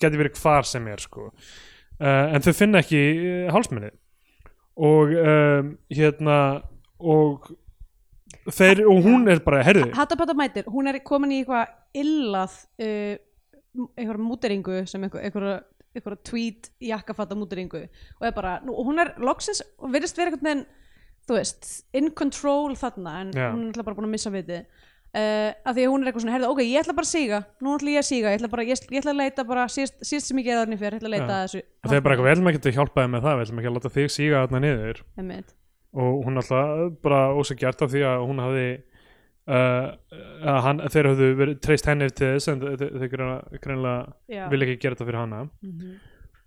S2: geti verið hvar sem er sko. uh, en þau finna ekki uh, hálsmenni og um, hérna og þeir, og hún er bara, herðu
S1: Hattapata mætir, hún er komin í eitthvað illað uh, einhverja múteringu sem einhver- einhverja einhverja tweet jakkafatta múteringu og er bara, nú, og hún er loksins og virðist verið einhvern veginn, þú veist in control þarna, en
S2: Já.
S1: hún er alltaf bara búin að missa við þið Uh, af því að hún er eitthvað svona, herðu, ok, ég ætla bara að síga nú ætla ég að síga, ég ætla bara, ég, ég ætla að leita bara síðst, síðst sem ég geða þarna fyrir, ég ætla að leita
S2: Já.
S1: að þessu
S2: og þeir bara eitthvað, við ætlum ekki að hjálpa þeim með það við ætlum ekki að láta þig síga þarna niður
S1: Einmitt.
S2: og hún alltaf bara ósegjart af því að hún hafði uh, að hann, þeir höfðu verið treyst henni til þess en þe- þe- þeir greina-
S1: Já. Mhm.
S2: greinilega vilja ekki gera þetta fyrir hana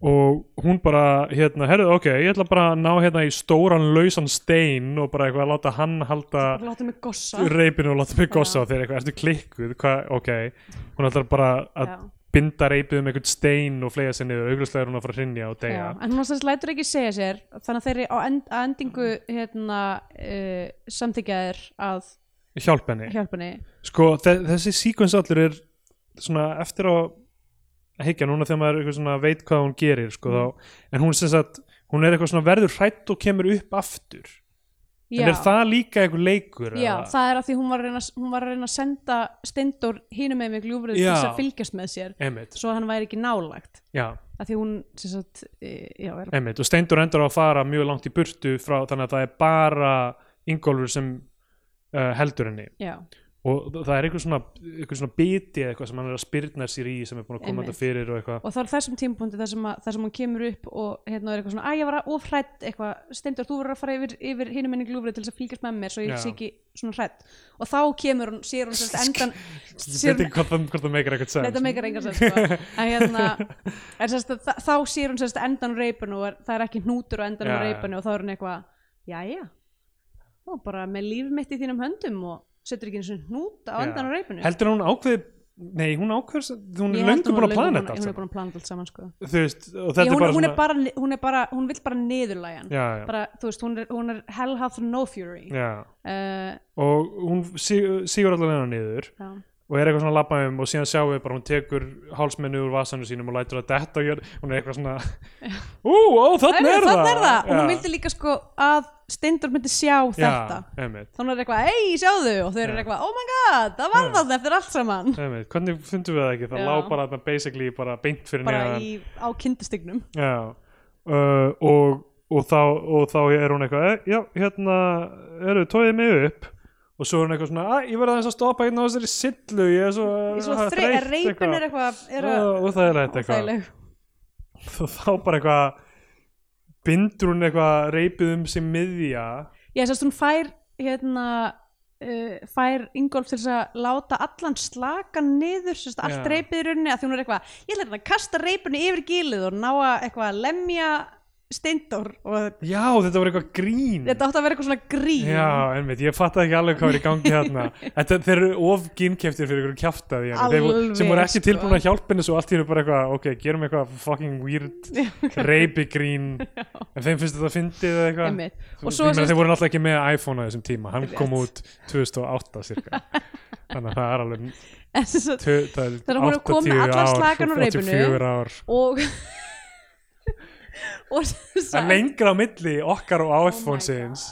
S2: og hún bara hérna, herðu ok, ég ætla bara að ná hérna í stóran lausan stein og bara eitthvað að láta hann halda
S1: bara láta mig gossa
S2: reipinu og láta mig gossa á þeir eitthvað, ertu klikkuð, hvað, ok hún ætlar bara að
S1: Já.
S2: binda reipið um einhvern stein og flega sér niður auglustlega er hún að fara að hrinja og deyja
S1: Já, en hún ástæðis lætur ekki segja sér þannig að þeirri á end, að endingu hérna, uh, samþykja þér að
S2: hjálpa henni
S1: hjálpa henni
S2: sko þe þessi sequence allur er svona eftir á að higgja núna þegar maður eitthvað svona veit hvað hún gerir sko
S1: Mm.
S2: þá, en hún sem sagt hún er eitthvað svona verður hrætt og kemur upp aftur
S1: Já,
S2: en er það líka einhver leikur
S1: já
S2: eða?
S1: það er að því hún var að reyna, hún var að, reyna að senda Steindór hínum með mig gljúfrið til
S2: Já.
S1: þess að fylgjast með sér
S2: einmitt,
S1: svo að hann væri ekki nálagt
S2: já,
S1: að því hún sem sagt, eh, já, er,
S2: einmitt og Steindur endur á að fara mjög langt í burtu frá þannig að það er bara Ingólfur sem uh, heldur henni
S1: já,
S2: og það er einhver svona, einhver svona biti eða eitthvað sem hann er að spyrna sér í sem er búin að koma
S1: Einmitt.
S2: þetta fyrir og eitthvað
S1: og það er á þessum tímpúndi þar sem, að, þar sem hún kemur upp og hérna er eitthvað svona, að ég var of hrætt eitthvað, Steindór, þú verður að fara yfir, yfir hinum henni gljúfrið til þess að fylgjast með mér svo
S2: Já.
S1: ég sé ekki svona hrætt og þá kemur hún, sér hún sérst endan
S2: ég veit ekki hvort það, hvort það meikir eitthvað
S1: Nei,
S2: sens
S1: þetta meikar engan sens sko.
S2: *laughs*
S1: en hérna er, sérst, að þa- þá sér hún sérst endan á reipinu og er, það er ekki hnútur á endan á
S2: Já, já.
S1: reipinu og þá er hún eitthvað, jæja þá bara með líf mitt í þínum höndum og setur ekki eins og hnút á
S2: Já.
S1: endan á reipinu
S2: heldur hún ákveði nei, hún ákveður, hún
S1: Ég
S2: er
S1: held
S2: löngu
S1: hún
S2: búin
S1: var
S2: að
S1: löngu búin
S2: plana þetta
S1: að- hún er
S2: allt saman.
S1: búin að plana þetta allt saman sko.
S2: þú veist, og þetta
S1: Ég, hún,
S2: er bara
S1: hún,
S2: svona
S1: er bara, hún er bara hún vill bara niðurlægja hann
S2: já, já,
S1: bara, þú veist, hún er, hún er hell hath no fury
S2: já.
S1: uh,
S2: og hún sí- sígur allavega niður
S1: já,
S2: og og er eitthvað svona að labba um og síðan sjáum við bara hún tekur hálsmennu úr vasanum sínum og lætur það detta og jörð, hún er eitthvað svona ú, ó,
S1: Þannig
S2: þannig er það
S1: er það. Og hún
S2: Já.
S1: vildi líka sko að Steindor myndi sjá þetta.
S2: Já, einmitt,
S1: Þannig er eitthvað, ei, sjáðu, og þau eru
S2: Já.
S1: eitthvað, oh my god, það var
S2: Já.
S1: það eftir allt saman.
S2: einmitt, hvernig fundum við það ekki það
S1: Já.
S2: lá bara þarna basically bara beint fyrir
S1: Bara
S2: neðan.
S1: í, á kindastignum.
S2: Já, uh, og, og, þá, og þá er hún eitthvað, "Eh, já, hérna, eru, tóðið mig upp og svo er hún eitthvað svona, að, ég verði aðeins að stoppa hérna á þessari sillu, ég er svo,
S1: Í svona
S2: ah,
S1: þre,
S2: þreytt
S1: reipin er eitthvað, er að,
S2: Ó, óþægilegt eitthvað.
S1: óþægileg.
S2: *laughs* Og þá bara eitthvað, bindur hún eitthvað reipið um sig miðja,
S1: Já, sérst, hún fær hérna uh, fær Ingolf til þess að láta allan slakan niður sérst, allt
S2: Já.
S1: reipið í rauninni að því hún er eitthvað ég ætla hérna að kasta reipinu yfir gílið og ná að eitthvað að lemja steindor og
S2: já, þetta var eitthvað grín.
S1: þetta átti að vera eitthvað svona grín
S2: Já, einmitt, ég fattaði ekki alveg hvað er í gangi
S1: *laughs*
S2: hérna Þetta þeir eru of ginkeftir fyrir ykkur kjaftaði hérna. Þeir voru- sem voru
S1: Alveg,
S2: ekki
S1: sko.
S2: tilbúin að hjálpa henni svo allt í henni bara eitthvað, ok, gerum eitthvað fucking weird
S1: *laughs*
S2: reipigrín en þeim finnst þetta fyndið eða eitthvað
S1: Einmitt.
S2: Þú-
S1: Og *laughs*
S2: ég
S1: svo
S2: meina,
S1: sérst-
S2: þeir voru náttúrulega ekki með iPhone á þessum tíma, hann
S1: Rétt.
S2: kom út
S1: *laughs*
S2: 2008 cirka þannig að það er alveg
S1: En sem sagt-
S2: tö- það
S1: Þegar
S2: er
S1: hún er að koma með
S2: 80
S1: allan
S2: ár,
S1: slakan úr reipinu.
S2: 84 ár *laughs*
S1: og og sérst-
S2: Það er lengra á milli okkar og
S1: Oh my
S2: iPhone sinns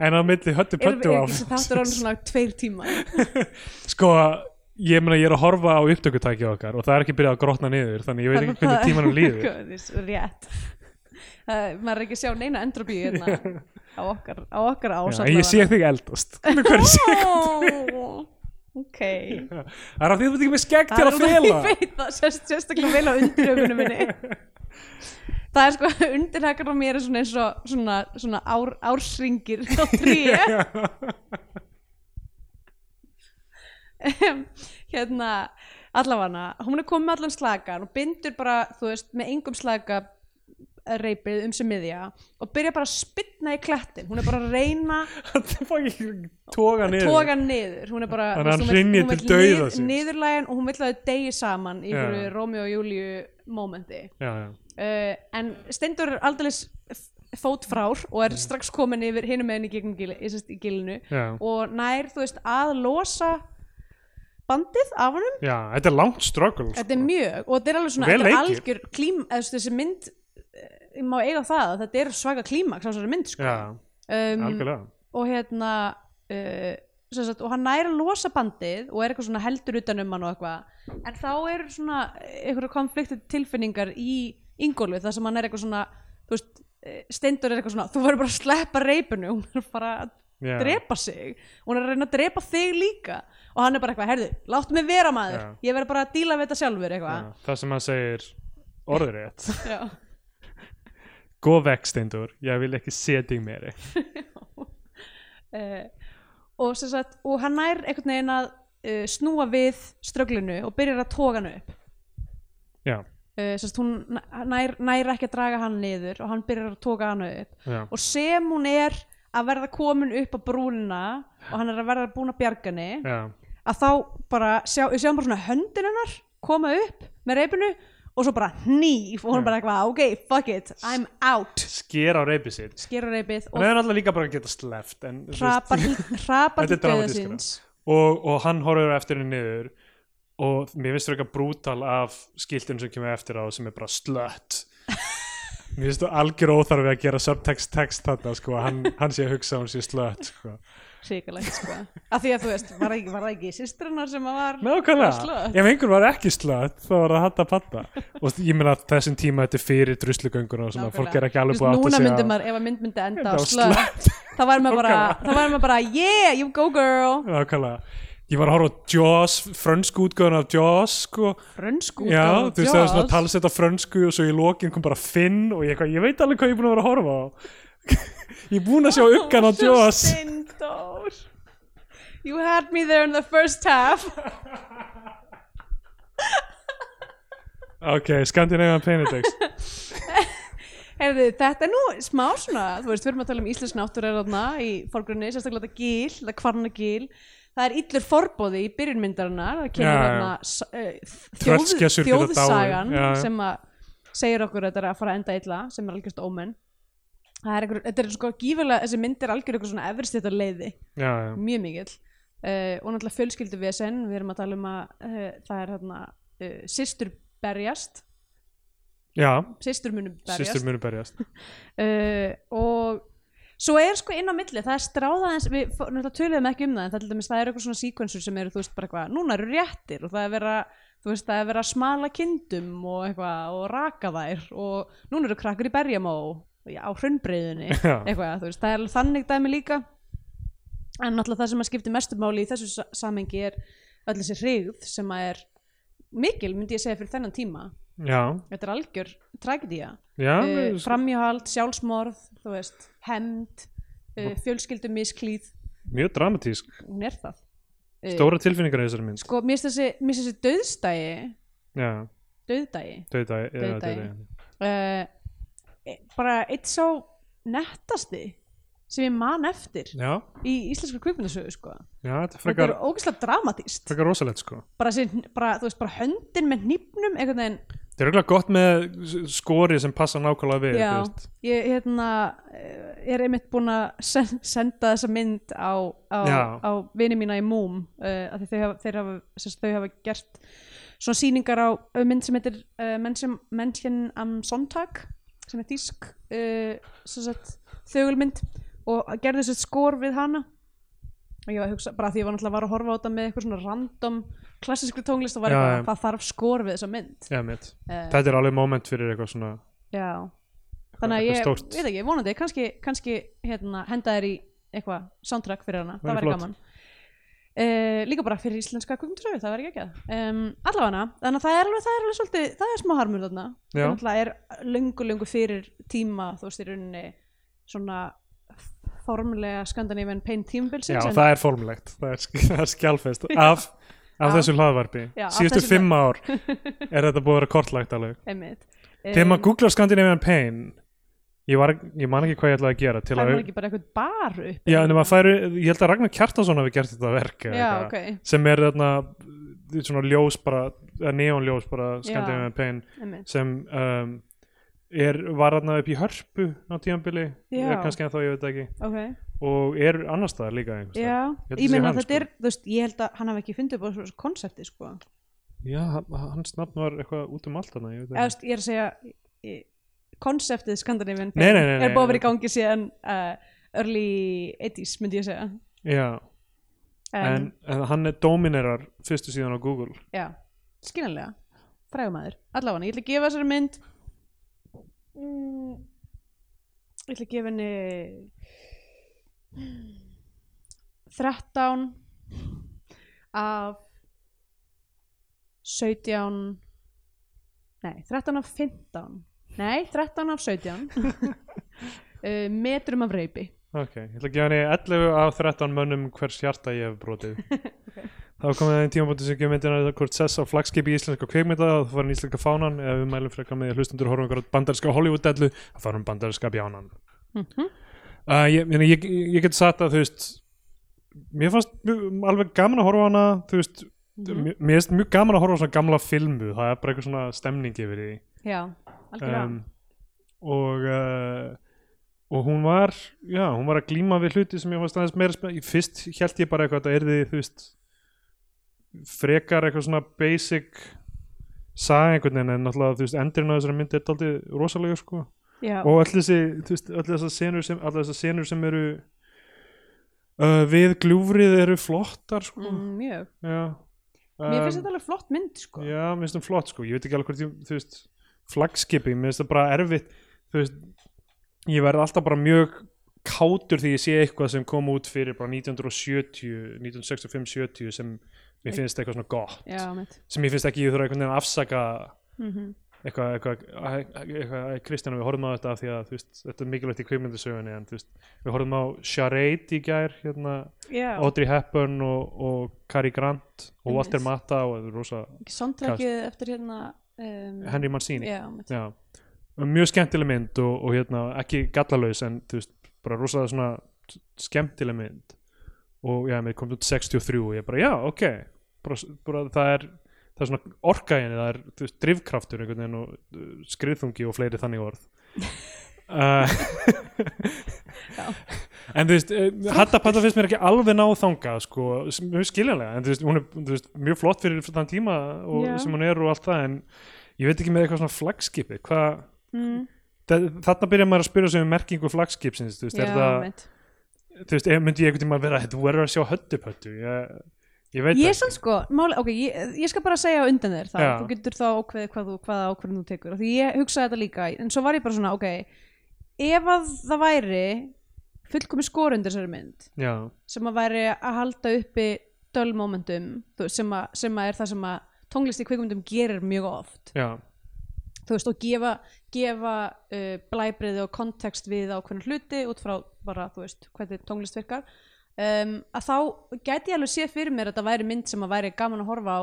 S2: en á milli höttu
S1: erum
S2: pöttu
S1: við
S2: á *laughs*
S1: ekki sem þáttur án svona tveir tíma
S2: Sko, ég meina ég er að horfa á upptökutæki okkar og það er ekki byrjað að grotna niður þannig ég veit ekki hvernig tímanum
S1: *laughs*
S2: líður
S1: rétt uh, maður er ekki að sjá neina endrobíu hérna á okkar, á okkar
S2: Já,
S1: ásall
S2: en ég sé þig eldast Með hverju sé-
S1: Ó, ok
S2: Það er af því þú veit ekki með skegg til
S1: er
S2: að
S1: út af-
S2: fela
S1: *laughs* ég
S2: *laughs*
S1: veit það, sérst, sérstaklega vel á undirhaugunum minni það er sko *laughs* undirhakan á mér er svona eins og svona, svona ár, ársringir á tríu Em, hérna allafana, hún er komið með allan slagan og bindur bara, þú veist, með engum slaga reipið um sem miðja og byrja bara að spinna í klettin hún er bara að reyna
S2: Það fá ekki toga niður
S1: toga hann niður hún er bara
S2: Þannig að
S1: þú veist,
S2: hann hrynji
S1: hún vill-
S2: til dauða
S1: hún vill
S2: síns.
S1: nið- niðurlægin og hún vill að þau degi saman í
S2: Já.
S1: einhverju Rómi og Júliu momenti
S2: Já, já,
S1: uh, en Steindur er aldeilis f- fótfrár og er strax komin yfir hinum meðin í gegnum gili, í, sest, í gilinu
S2: já,
S1: og nær þú veist að losa bandið af honum
S2: já, þetta er langt struggle sko.
S1: þetta er mjög og þetta er alveg svona
S2: Vel
S1: þetta er
S2: leikið.
S1: algjör klím eða þú veist, þessi mynd eh, má eiga það að þetta er svaka klímaks á þessari mynd sko.
S2: Já,
S1: um,
S2: algjörlega
S1: og hérna uh, sem sagt, og hann næri að losa bandið og er eitthvað svona heldur utan um hann og eitthvað en þá eru svona einhverju konfliktu tilfinningar í yngólu þar sem hann er eitthvað svona þú veist, steindur er eitthvað svona þú verður bara að sleppa reipinu hún er bara að
S2: Já.
S1: drepa sig hún er að reyna að drepa þig líka og hann er bara eitthvað, herðu, láttu mig vera maður
S2: Já.
S1: ég verður bara að díla við þetta sjálfur eitthvað
S2: Já, Það sem hann segir orðrétt
S1: *laughs* Já.
S2: Góð vekk, Steindur, ég vil ekki setja í meiri
S1: uh, og, sem sagt, og hann nær einhvern veginn að uh, snúa við ströglinu og byrjar að toga hann upp
S2: Já,
S1: uh, sérst, hún n- nær, nær ekki að draga hann niður og hann byrjar að toga hann upp
S2: já,
S1: og sem hún er að verða komin upp á brúnina og hann er að verða búin að bjarga henni
S2: já
S1: að þá bara sjá, við sjáum bara svona höndin hennar koma upp með reipinu og svo bara hníf og hún
S2: Já.
S1: bara eitthvað "Ah, ok, fuck it, I'm out
S2: Sker á reypi sitt
S1: skera reipið
S2: Hann
S1: og
S2: er alltaf líka bara að geta sleft en, þú veist-
S1: hrapar hrapar til
S2: Þetta er
S1: döða
S2: dramatískara.
S1: síns
S2: og, og hann horfir á eftir henni niður og mér finnst það eitthvað brútal af skiltinu sem kemur eftir á sem er bara
S1: *laughs*
S2: slött mér finnst það algjör óþarfi að gera subtext text þarna sko, hann, hann sé að hugsa að hún sé slött sko.
S1: hrikalegt sko af því að þú veist, var það ekki, var það ekki sýstrinnar sem að var
S2: nákvæmlega,
S1: slött?
S2: ef einhver var ekki slött þá var það hatt að patta og ég meina að þessum tíma þetta er fyrir druslugönguna og svona,
S1: Nákvæmlega.
S2: fólk er ekki alveg
S1: Þú
S2: búið
S1: veist,
S2: að átta
S1: núna
S2: sig
S1: myndi
S2: á-
S1: maður, ef að mynd myndi enda á
S2: Enda á
S1: slött þá væri maður bara, þá væri maður bara yeah, you go girl
S2: nákvæmlega Ég var að horfa á Jaws, frönsku útgöðun af Jaws, sko.
S1: frönsku
S2: Já, þú veist það er svona talsett á frönsku og svo í lokin kom bara Finn og ég, eitthvað, ég veit alveg hvað ég er búin að vera að horfa á *laughs* Ég er búin að sjá um uggan á Jaws
S1: Stindór you had me there in the first half
S2: Ok,
S1: *laughs*
S2: Scandinavian Penedex
S1: Heyrðu, þetta er nú smá svona, þú veist, við erum að tala um íslensk náttúr er þarna í fórgrunni, sérstaklega þetta gil, þetta kvarnagil, það er illur forbóði í byrjunmyndarinnar, það
S2: Já,
S1: kemur
S2: já.
S1: þarna s- eh, þjóð,
S2: Tröllskessur geta dáið,
S1: þjóðsagan
S2: já, já.
S1: sem að segir okkur að þetta er að fara að enda illa, sem er algjörst ómenn. Það er einhver, þetta er sko gífulega, þessi mynd er algjör eitthvað svona efristið leiði,
S2: Já, já,
S1: mjög mikill. uh, og náttúrulega fjölskylduvesen við erum að tala um að uh, það er hérna uh, systur berjast
S2: já,
S1: systur munum berjast
S2: sýstur munu berjast *laughs*
S1: uh, og svo er sko inn á milli það er stráða eins, við fó- náttúrulega töluðum ekki um það en það, er til dæmis, það er eitthvað svona síkvensur sem eru þú veist bara eitthvað, núna eru réttir og það er vera þú veist það er vera að smala kindum og eitthvað og raka þær og núna eru krakkar í berjamó já, á hrunnbreiðinni
S2: Já.
S1: eitthvað þú veist það er alveg þannig dæmi líka en náttúrulega það sem að skipti mestu máli í þessu sa- samhengi er öll þessi hrigð sem að er mikil myndi ég segja fyrir þennan tíma
S2: já,
S1: þetta er algjör tragedía
S2: já,
S1: uh,
S2: uh,
S1: framhjáhald, sjálfsmorð þú veist, hemd uh, fjölskyldum misklíð,
S2: mjög dramatísk
S1: hún er það Eh,
S2: stóra tilfinningar í þessari mynd
S1: sko, mér finnst þessi, mér finnst þessi döðstægi
S2: já,
S1: döðdægi
S2: döðdæ- eða
S1: Dauðdagi.
S2: döðdæ
S1: uh, e- bara eitt sá nettasti sem ég man eftir
S2: já,
S1: í íslensku kvipinasögu sko.
S2: já, þetta er
S1: þetta
S2: frekar,
S1: er ógeðslega dramatíst
S2: frekar rosalegt sko
S1: bara, þessi, bara, þú veist, bara höndin með hnýpnum einhvern veginn
S2: þetta er auðvitað gott með s- skori sem passa nákvæmlega við
S1: Já,
S2: þú veist.
S1: ég hérna, eh, er einmitt búin að sen- senda þessa mynd á, á,
S2: Já.
S1: á vini mína í Moom uh, af því þau hafa, þeir hafa, sérst, þau hafa gert svona sýningar á á mynd sem heitir uh, Menschen, Menschen am Sonntag sem er þýsk uh, sagt, þögulmynd og gerði þessi skor við hana og ég var að hugsa, bara því ég var náttúrulega var að horfa á þetta með eitthvað svona random klassískri tónlist og var
S2: Já,
S1: eitthvað,
S2: já.
S1: hvað þarf skor við þessa mynd
S2: Já, mitt.
S1: uh,
S2: þetta er alveg moment fyrir eitthvað svona
S1: Já Þannig að
S2: Eitthvað
S1: ég,
S2: stórt.
S1: veit ekki, vonandi, kannski, kannski hérna, henda þér í eitthvað soundtrack fyrir hana, það
S2: Væri
S1: væri
S2: flott.
S1: gaman uh, Líka bara fyrir íslenska kvöngmyndsögu, það væri ekki ekki um, Allavega þannig að það er alveg, það er alveg svolítið, það er smá harmur þarna
S2: Já.
S1: Það náttúrulega er löngu, löngu fyrir tíma, þú veist, í rauninni svona formlega Scandinavian Pain
S2: já,
S1: tímabilsins en-
S2: það er formlegt, það er, sk- *laughs* það er skjálfest af, af
S1: Já.
S2: þessu hlaðvarpi
S1: Já, af
S2: síðustu
S1: þessu
S2: fimm ár er þetta búið að vera
S1: *laughs*
S2: kortlagt alveg
S1: einmitt
S2: þegar
S1: Um,
S2: maður googlar Scandinavian Pain ég, var, ég man ekki hvað ég ætlaði að gera til
S1: Það
S2: að,
S1: er ekki bara eitthvað bar upp
S2: já, en maður færi, ég held að Ragnar Kjartason hafi gert þetta verk eða
S1: Já,
S2: eitthvað,
S1: ok,
S2: sem er þarna svona ljós bara, eða neonljós bara Scandinavian Pain
S1: einmitt
S2: sem um, er, var þarna upp í hörpu á tíðanbili,
S1: Já.
S2: kannski en þá ég veit það ekki
S1: okay.
S2: og er annar staðar líka einhvers staðar.
S1: Já,
S2: Ég held að
S1: ég
S2: sé
S1: meina
S2: hann,
S1: þetta
S2: sko.
S1: er, þú veist, ég held að hann hafi ekki fundið upp á þessu konsepti, sko.
S2: Já, hann- hans nafn var eitthvað út um allt hana ég
S1: Eða,
S2: veit
S1: þú
S2: það ekki.
S1: veist, ég er að segja, eh, konseptið Skandinavian
S2: Nei, nei, nei, nei,
S1: er búið að vera í
S2: nei.
S1: gangi síðan uh, early 80s, myndi ég segja.
S2: Já, en, en hann er dominerar fyrstu síðan á Google
S1: já, skiljanlega, frægumæður. Allavega, ég ætla að gefa þessari mynd, mm, ég ætla að gefa henni 13 af 17 nei, 13 af 15 nei, 13 af 17 uh, metrum af reypi
S2: Ok, ég ætla að gefa henni 11 af 13 mönnum hvers hjarta ég hef brotið Þá komið það í tímabóti sem gefur myndina þetta hvort sess á flagskipi í íslenska kveikmynda og það var hann íslenska fánan eða við mælum frekar með því að hlustundur horfum einhverja bandarinska Hollywood-dellu að fara um bandarinska bjánan uh, ég, ég, ég, ég get sagt að þú veist mér fannst mjög- alveg gaman að horfa á hana þú veist,
S1: Mhm.
S2: mér mér finnst mjög gaman að horfa á svona gamla filmu, það er bara eitthvað svona stemning yfir því
S1: já, algjörlega
S2: um, og uh, og hún var já, hún var að glíma við hluti sem ég fannst aðeins meira spenn fyrst held ég bara eitthvað að það yrði þú veist frekar eitthvað svona basic saga einhvern veginn en náttúrulega þú veist endurinn á þessari myndi er daldið rosalega sko
S1: já,
S2: og öll þessi, þú veist, öll þessar senur sem, allar þessar senur sem eru uh, við gljúfrið eru flottar sko
S1: mm, mjög
S2: já,
S1: mér finnst
S2: Um,
S1: þetta alveg flott mynd sko
S2: já, mér finnst það flott sko ég veit ekki alveg hvort ég, þú veist flagskipi, mér finnst það bara erfitt þú veist, ég verð alltaf bara mjög kátur því ég sé eitthvað sem kom út fyrir bara 1970 1965-70 sem mér finnst eitthvað svona gott
S1: já, mitt
S2: sem ég finnst ekki ég þurfa einhvern veginn að afsaka
S1: mm
S2: Mhm. eitthvað, eitthvað, eitthvað Kristján við horfum á þetta af því að þú veist, þetta er mikilvægt í kveikmyndasögunni en þú veist, við horfum á Charade í gær hérna,
S1: já,
S2: Audrey Hepburn og, og Cary Grant og Walter Matta og þetta er rosa,
S1: sondrækið eftir hérna um,
S2: Henry Mancini
S1: já, mitt
S2: Já. Og mjög skemmtileg mynd og, og hérna, ekki gallalaus en þú veist, bara rosa svona skemmtileg mynd og já, mér kom út 63 og ég bara já, ok bara, bara, það er það er svona orka í henni, það er þú veist, drifkraftur einhvern veginn og uh,
S1: *laughs*
S2: skriðþungi og fleiri þannig orð uh, *laughs* en þú veist, eh, Hatta Patta finnst mér ekki alveg ná þangað sko, sem- mjög skiljanlega en þú veist, hún er þú veist, mjög flott fyrir þann tíma og,
S1: Já.
S2: sem hún er og allt það en ég veit ekki með eitthvað svona flagskipi hvað
S1: Mm,
S2: Þa- þarna byrja maður að spyrja sig um merkingu flagskipsins þú veist, er það,
S1: mitt.
S2: þú veist, eh, myndi ég einhvern tímann vera þú verður að sjá höttupöttu ég, ég veit
S1: Ég er
S2: það
S1: sann sko, máli, ok, ég, ég skal bara segja á undan þér það,
S2: Já.
S1: þú getur þá ákveðið hvað þú, hvaða ákveðin þú tekur, af því ég hugsaði þetta líka, en svo var ég bara svona, ok, ef að það væri fullkomi skorundir þessari mynd,
S2: já,
S1: sem að væri að halda uppi dull momentum, þú veist, sem, að, sem að er það sem að tónlist í kvikmyndum gerir mjög oft,
S2: já,
S1: þú veist, og gefa, gefa uh, blæbriði og kontekst við ákveðin hluti út frá bara, þú veist, hvernig tónlist virkar um, að þá gæti ég alveg séð fyrir mér að það væri mynd sem að væri gaman að horfa á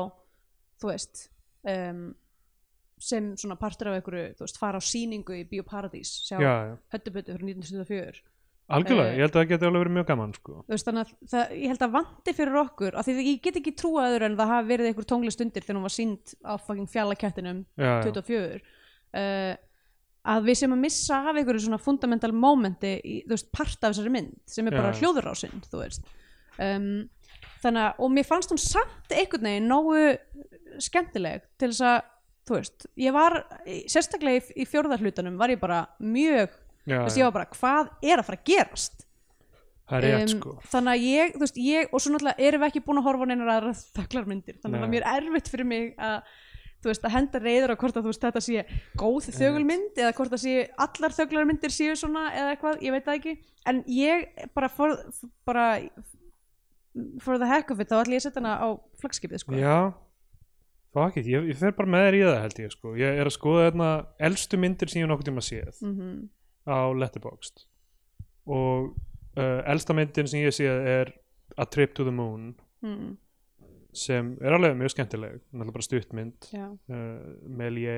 S1: þú veist um, sem svona partur af einhverju, þú veist, fara á sýningu í Bíóparadís, sjá
S2: já, já.
S1: höttubötu frá 1974
S2: algjörlega,
S1: Eh,
S2: ég held að það geti alveg verið mjög gaman sko.
S1: þú veist, þannig að það, ég held að vanti fyrir okkur af því að ég get ekki trúa öðru en það hafi verið einhver tónlist undir þegar hún var sínd á fucking fjallakettinum
S2: já, já.
S1: 24 uh, að við sem að missa af einhverju svona fundamental momenti í, þú veist, part af þessari mynd sem er bara
S2: Já.
S1: hljóðurásinn, þú veist um, þannig að, og mér fannst hún samt einhvern veginn nógu skemmtileg til þess að, þú veist ég var, í- sérstaklega í, í fjórðarhlutanum var ég bara mjög,
S2: Já,
S1: þú veist,
S2: já.
S1: ég var bara hvað er að fara að gerast
S2: það er rétt
S1: Em,
S2: sko
S1: þannig að ég, þú veist, ég og svo náttúrulega erum við ekki búin að horfa á neinar aðra þögglarmyndir þannig að
S2: Nei.
S1: mér er erfitt fyrir mig að þú veist, að henda reyður á hvort að þú veist þetta sé góð þögulmynd eða hvort að sé allar þöglarmyndir séu svona eða eitthvað, ég veit það ekki en ég bara for, bara for the heck of it þá ætlum ég að setja hana á flagskipið sko
S2: Já, það ekki, ég, ég fer bara með þér í það held ég sko, ég er að skoða þarna elstu myndir sem ég hef nokkuð tíma séð
S1: Mhm.
S2: á Letterboxd og uh, elsta myndin sem ég hef séð er A Trip to the Moon
S1: Mm.
S2: sem er alveg mjög skemmtileg, náttúrulega bara stuttmynd
S1: Já.
S2: uh, Melie,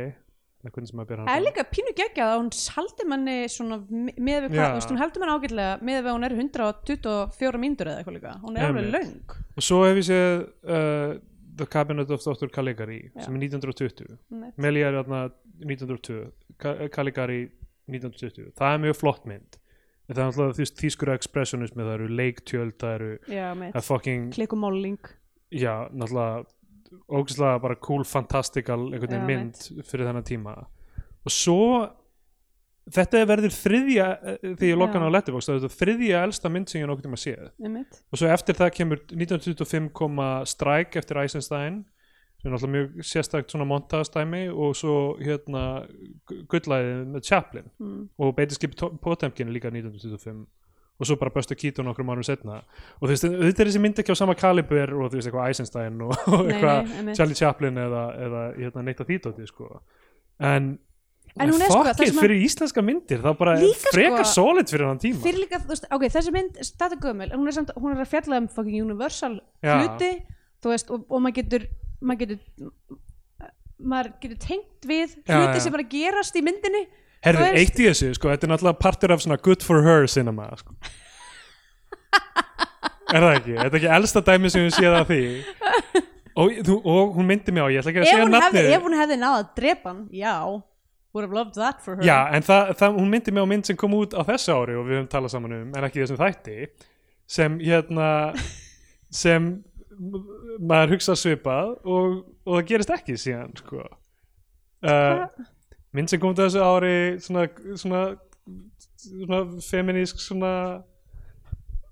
S2: eða hvernig sem maður byrja hann
S1: Það er
S2: fram.
S1: líka pínu geggjað að hún haldi manni svona með við
S2: Já.
S1: hvað, þú veist, hún heldur manni ágætlega með við að hún er 124 mínútur eða eitthvað líka, hún er alveg
S2: Einmitt.
S1: löng
S2: og svo hef ég séð uh, The Cabinet of Dr. Caligari sem er 1920
S1: Einmitt.
S2: Melia er þarna 1902 Ka- eh, Caligari 1920 það er mjög flott mynd En það er alltaf því þýskur expressionismi það eru leiktjöld, það eru
S1: Já, mitt.
S2: það er fucking,
S1: Klikkumálling.
S2: já, náttúrulega ógæslega bara cool, fantastical einhvern
S1: Já,
S2: veginn mynd fyrir þennan tíma og svo þetta verður þriðja, eh, þegar ég lokkan á
S1: Já.
S2: Letterboxd, það er þetta þriðja elsta mynd sem ég nokkuð tíma séð
S1: Einmitt.
S2: og svo eftir það kemur 1925 koma Strike eftir Eisenstein sem er náttúrulega mjög sérstakt svona montagastæmi og svo hérna gullæðið með Chaplin
S1: Mm.
S2: og beitiskip Potemkin er líka 1925 og svo bara Buster Keaton nokkrum árum setna og þú veist, þetta er þessi mynd ekki á sama kaliber og þú veist, eitthvað Eisenstein og og
S1: Nei,
S2: eitthvað
S1: nei, einmitt.
S2: Charlie Chaplin eða, eða hérna, neitt að þýtóti sko. en,
S1: En hún er sko, það
S2: fuck it,
S1: sem að-
S2: fyrir íslenska myndir það bara
S1: Líka sko-
S2: frekar solid fyrir hann tíma
S1: Fyrir líka, þú veist, ok, þessi mynd, þetta er gömul, en hún er samt, hún er að fjalla um fucking universal
S2: Já.
S1: hluti, þú veist, og, og maður getur, maður getur, maður getur tengt við
S2: Já,
S1: hluti
S2: já.
S1: sem bara gerast í myndinni.
S2: Herðu,
S1: Þú veist-
S2: eitt í þessu, sko, þetta er náttúrulega partur af svona good for her cinema, sko. er það ekki? Þetta er ekki elsta dæmi sem við séð af því. Og, þú, og hún myndi mig á, ég ætla ekki að
S1: Ef
S2: segja
S1: hún, hefði,
S2: nafnið.
S1: ef hún hefði náð að drepa hann, já, would have loved that for her.
S2: Já, en það, það, hún myndi mig á mynd sem kom út á þessu ári og við höfum talað saman um, en ekki í þessum þætti, sem
S1: *laughs*
S2: hérna, sem m- maður hugsa svipað og, og það gerist ekki síðan, sko. Uh,
S1: Hva-
S2: mynd sem kom til þessu ári, svona, svona, svona feminísk, svona,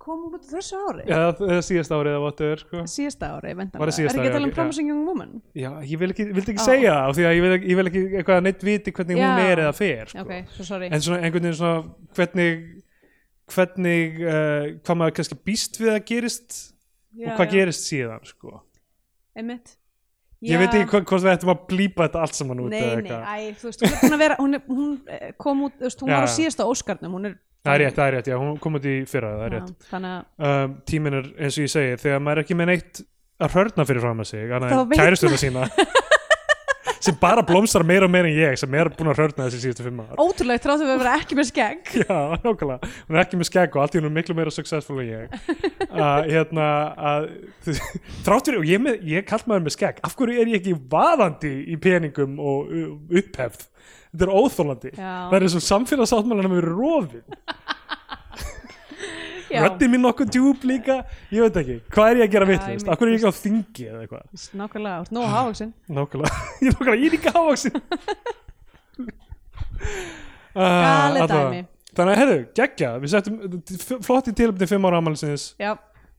S1: Kom hún út á þessu ári?
S2: Já, það síðast árið að vatnur, sko.
S1: Síðasta ári, væntanlega.
S2: Var það síðasta
S1: Er ekki
S2: ári,
S1: að tala um
S2: ok,
S1: Promising Young Woman?
S2: Já, ég vil ekki, vildi ekki
S1: Á.
S2: segja það, af því að ég vil, ekki- ég vil ekki eitthvað að neitt viti hvernig
S1: Já.
S2: hún er eða fer, sko.
S1: Ok, svo sorry.
S2: En svona einhvern veginn svona, hvernig, hvernig, uh, hvað maður kannski býst við að gerist
S1: já,
S2: og hvað
S1: já,
S2: gerist síðan, sko.
S1: Einmitt.
S2: Ég veit
S1: Já.
S2: ekki hva- hvort við ættum að blípa þetta allt saman út eða
S1: Nei, nei,
S2: eitthvað.
S1: æ, þú veist, hún er búin að vera hún, er, hún eh, kom út, þú veist, hún
S2: Já,
S1: var á
S2: já.
S1: síðasta Óskarnum hún er,
S2: Það er rétt, það er rétt, já, hún kom út í fyrra, það er rétt.
S1: Já, þannig að
S2: Um, tíminn er, eins og ég segi, þegar maður er ekki með neitt að hörna fyrir fram að sig, annað
S1: Þá
S2: en
S1: veit
S2: kæristuna sína, *laughs* sem bara blómstar meira og meira en ég, sem er búin að hörna þessi síðustu fimm ár.
S1: ótrúlega þrátt að við vera ekki með skegg
S2: Já, nákvæmlega, hún er ekki með skegg og allt í hún er miklu meira successful en
S3: *laughs*
S2: ég að hérna að þráttur, og ég, með, ég kallt maður með skegg af hverju er ég ekki vaðandi í peningum og u- upphefð þetta er óþólandi,
S1: Já.
S2: það er eins og samfélagsáttmálanum eru rofin
S1: já,
S3: Já.
S2: röddin mín nokkuð djúb líka ég veit ekki, hvað er ég að gera
S3: ég
S2: vittlust
S3: meina,
S2: af hverju er ég ekki á þingi eða eitthvað
S3: Nákvæmlega, þú ert nóg hávaksin
S2: nákvæmlega, *laughs* ég er nákvæmlega, ég er ekki hávaksin
S3: *laughs* Galið
S2: Galið
S3: dæmi.
S2: Þannig að, heyrðu, geggja, við settum flott í tilöfni fimm ára ámælisins,
S3: Já,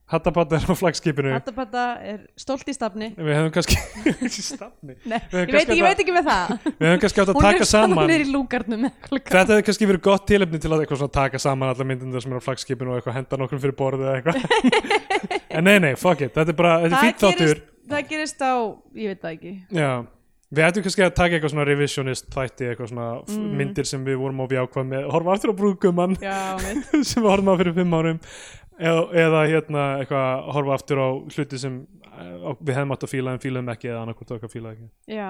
S2: hattapatta er á flagskipinu
S3: Hattapatta er stolt í stafni
S2: Við hefum kannski, *laughs* Stafni.
S3: Nei,
S2: Við hefum
S3: ég veit
S2: kannski
S3: ekki, ég
S2: átt
S3: veit ekki með það
S2: að- við hefum kannski átt að
S3: *laughs* Hún
S2: taka
S3: er saman
S2: saman
S3: niður í lúkarnum eða eitthvað.
S2: Þetta hefði kannski verið gott tilefni til að eitthvað svona taka saman allar myndindar sem eru á flagskipinu og eitthvað henda nokkrum fyrir borðið eða eitthvað
S3: *laughs*
S2: En nei, nei, fuck it, þetta er bara, þetta er
S3: það,
S2: fýtt þáttur
S3: gerist, það gerist á, ég veit það ekki
S2: Já, við ættum kannski að taka eitthvað svona revisionist þætti, eitthvað svona mm. myndir sem við vorum á jákvæð með, horfa aftur á brúkumann
S3: Já, mitt
S2: *laughs* sem við horfum á fyrir fimm árum eða, eða hérna eitthvað horfa aftur á hluti sem eh, á- við hefðum átt að fíla en fílaðum ekki eða annarkvort okkar fílaði ekki
S3: Já,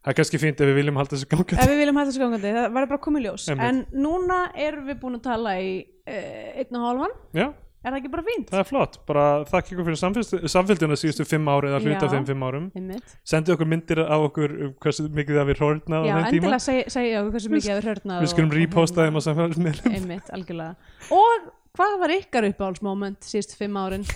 S2: Það er kannski fínt ef við viljum halda þessu gangandi
S3: ef við viljum hægt þessu gangandi, það var bara komið ljós
S2: Einmitt.
S3: En núna erum við búin að tala í uh, einn og hálfan,
S2: Já,
S3: er það ekki bara fínt?
S2: það er flott, bara þakka ykkur fyrir samfélgdina síðustu fimm ári eða hluta
S3: Já.
S2: af þeim fimm árum
S3: Einmitt.
S2: sendi okkur myndir af okkur um hversu mikið það við hórnað á
S3: Já,
S2: þeim tíma
S3: endilega seg- segja okkur hversu mikið hefur hörnað
S2: við skulum reposta þeim á samfélgdina
S3: *laughs* Einmitt, algjörlega Og hvað var ykkar uppáhaldsmoment síðust fimm
S2: *laughs*
S3: árin?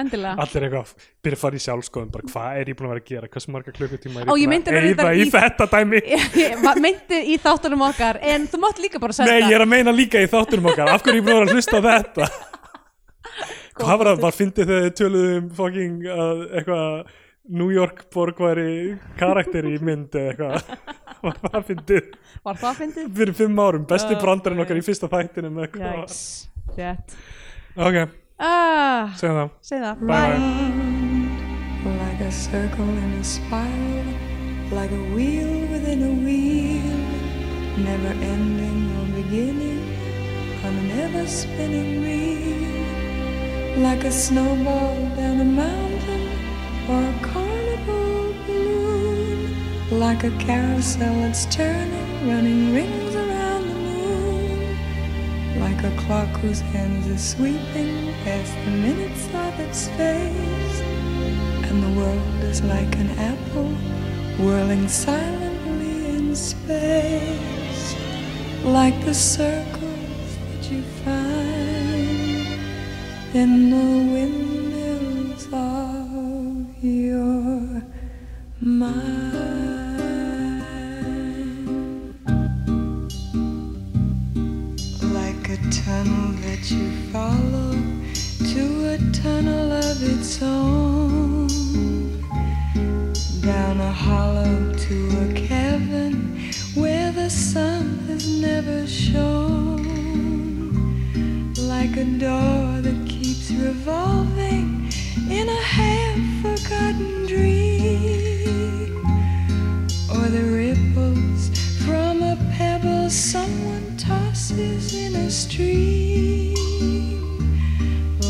S3: Endilega
S2: allir eitthvað, byrja að fara í sjálfskoðum bara hvað er ég búin að vera að gera, hversu marga klukkutíma er
S3: Ó, ég
S2: ég
S3: myndi
S2: búin að
S3: reyndar
S2: eyða í
S3: í-
S2: þetta dæmi
S3: *laughs* *laughs* Ég var- Meinti í þáttunum okkar En þú mátt líka bara senda
S2: nei, ég er að meina líka í þátturum okkar af hverju er ég búin að vera að hlusta á
S3: *laughs*
S2: þetta hvað var það, bara fyndið þegar þið töluðu um fucking að eitthvað New York borg væri karakter í mynd eða
S3: *laughs*
S2: eitthvað Var það fyndið
S3: Var það fyndið?
S2: fyrir fimm árum, besti
S3: Oh,
S2: brandarinn okkar
S3: boy.
S2: í fyrsta þættinu með hvað
S3: Jæks, rétt
S2: ok,
S3: ah,
S2: segjum það,
S3: Segð það,
S2: bye
S3: bye
S2: bye
S4: like a circle in a spiral, like a wheel within a wheel, never ending or beginning on an ever spinning wheel, like a snowball down a mountain or a carnival balloon, like a carousel that's turning, running rings around the moon like a clock whose hands are sweeping past the minutes of its face. And the world is like an apple whirling silently in space, like the circles that you find in the windmills of your mind. like a tunnel that you follow to a tunnel of its own. Down a hollow to a cavern where the sun has never shone. Like a door that keeps revolving in a half forgotten dream or the ripples from a pebble someone tosses in a stream.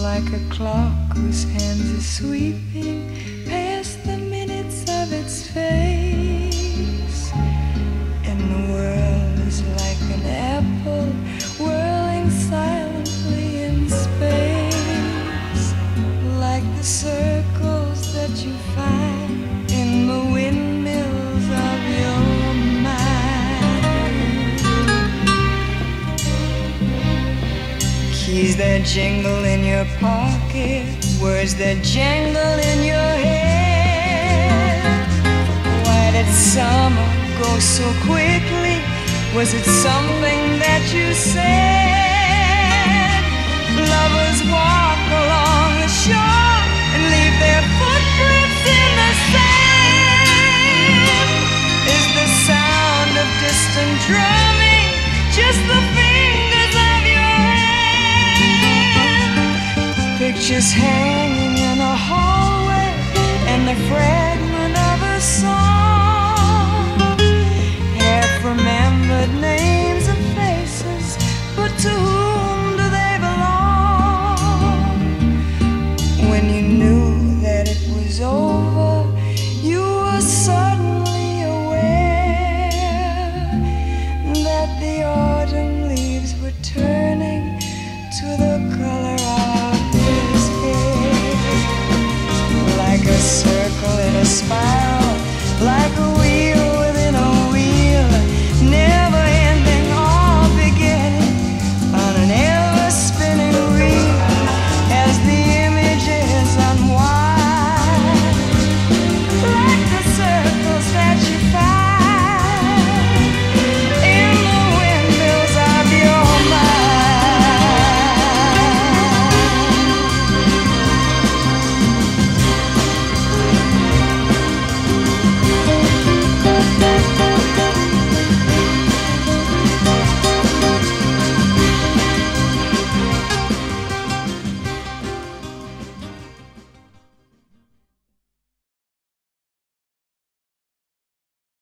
S4: Like a clock whose hands are sweeping past the minutes of its face. And the world is like an apple whirling silently in space. Like the circles that you find in the windmills of your mind. Keys that jingle in your pocket, words that jingle in your head. Why did summer go so quickly? Was it something that you said? Lovers walk along the shore and leave their footprints in the sand. Is the sound of distant drumming just the fingers of your hand? Pictures hang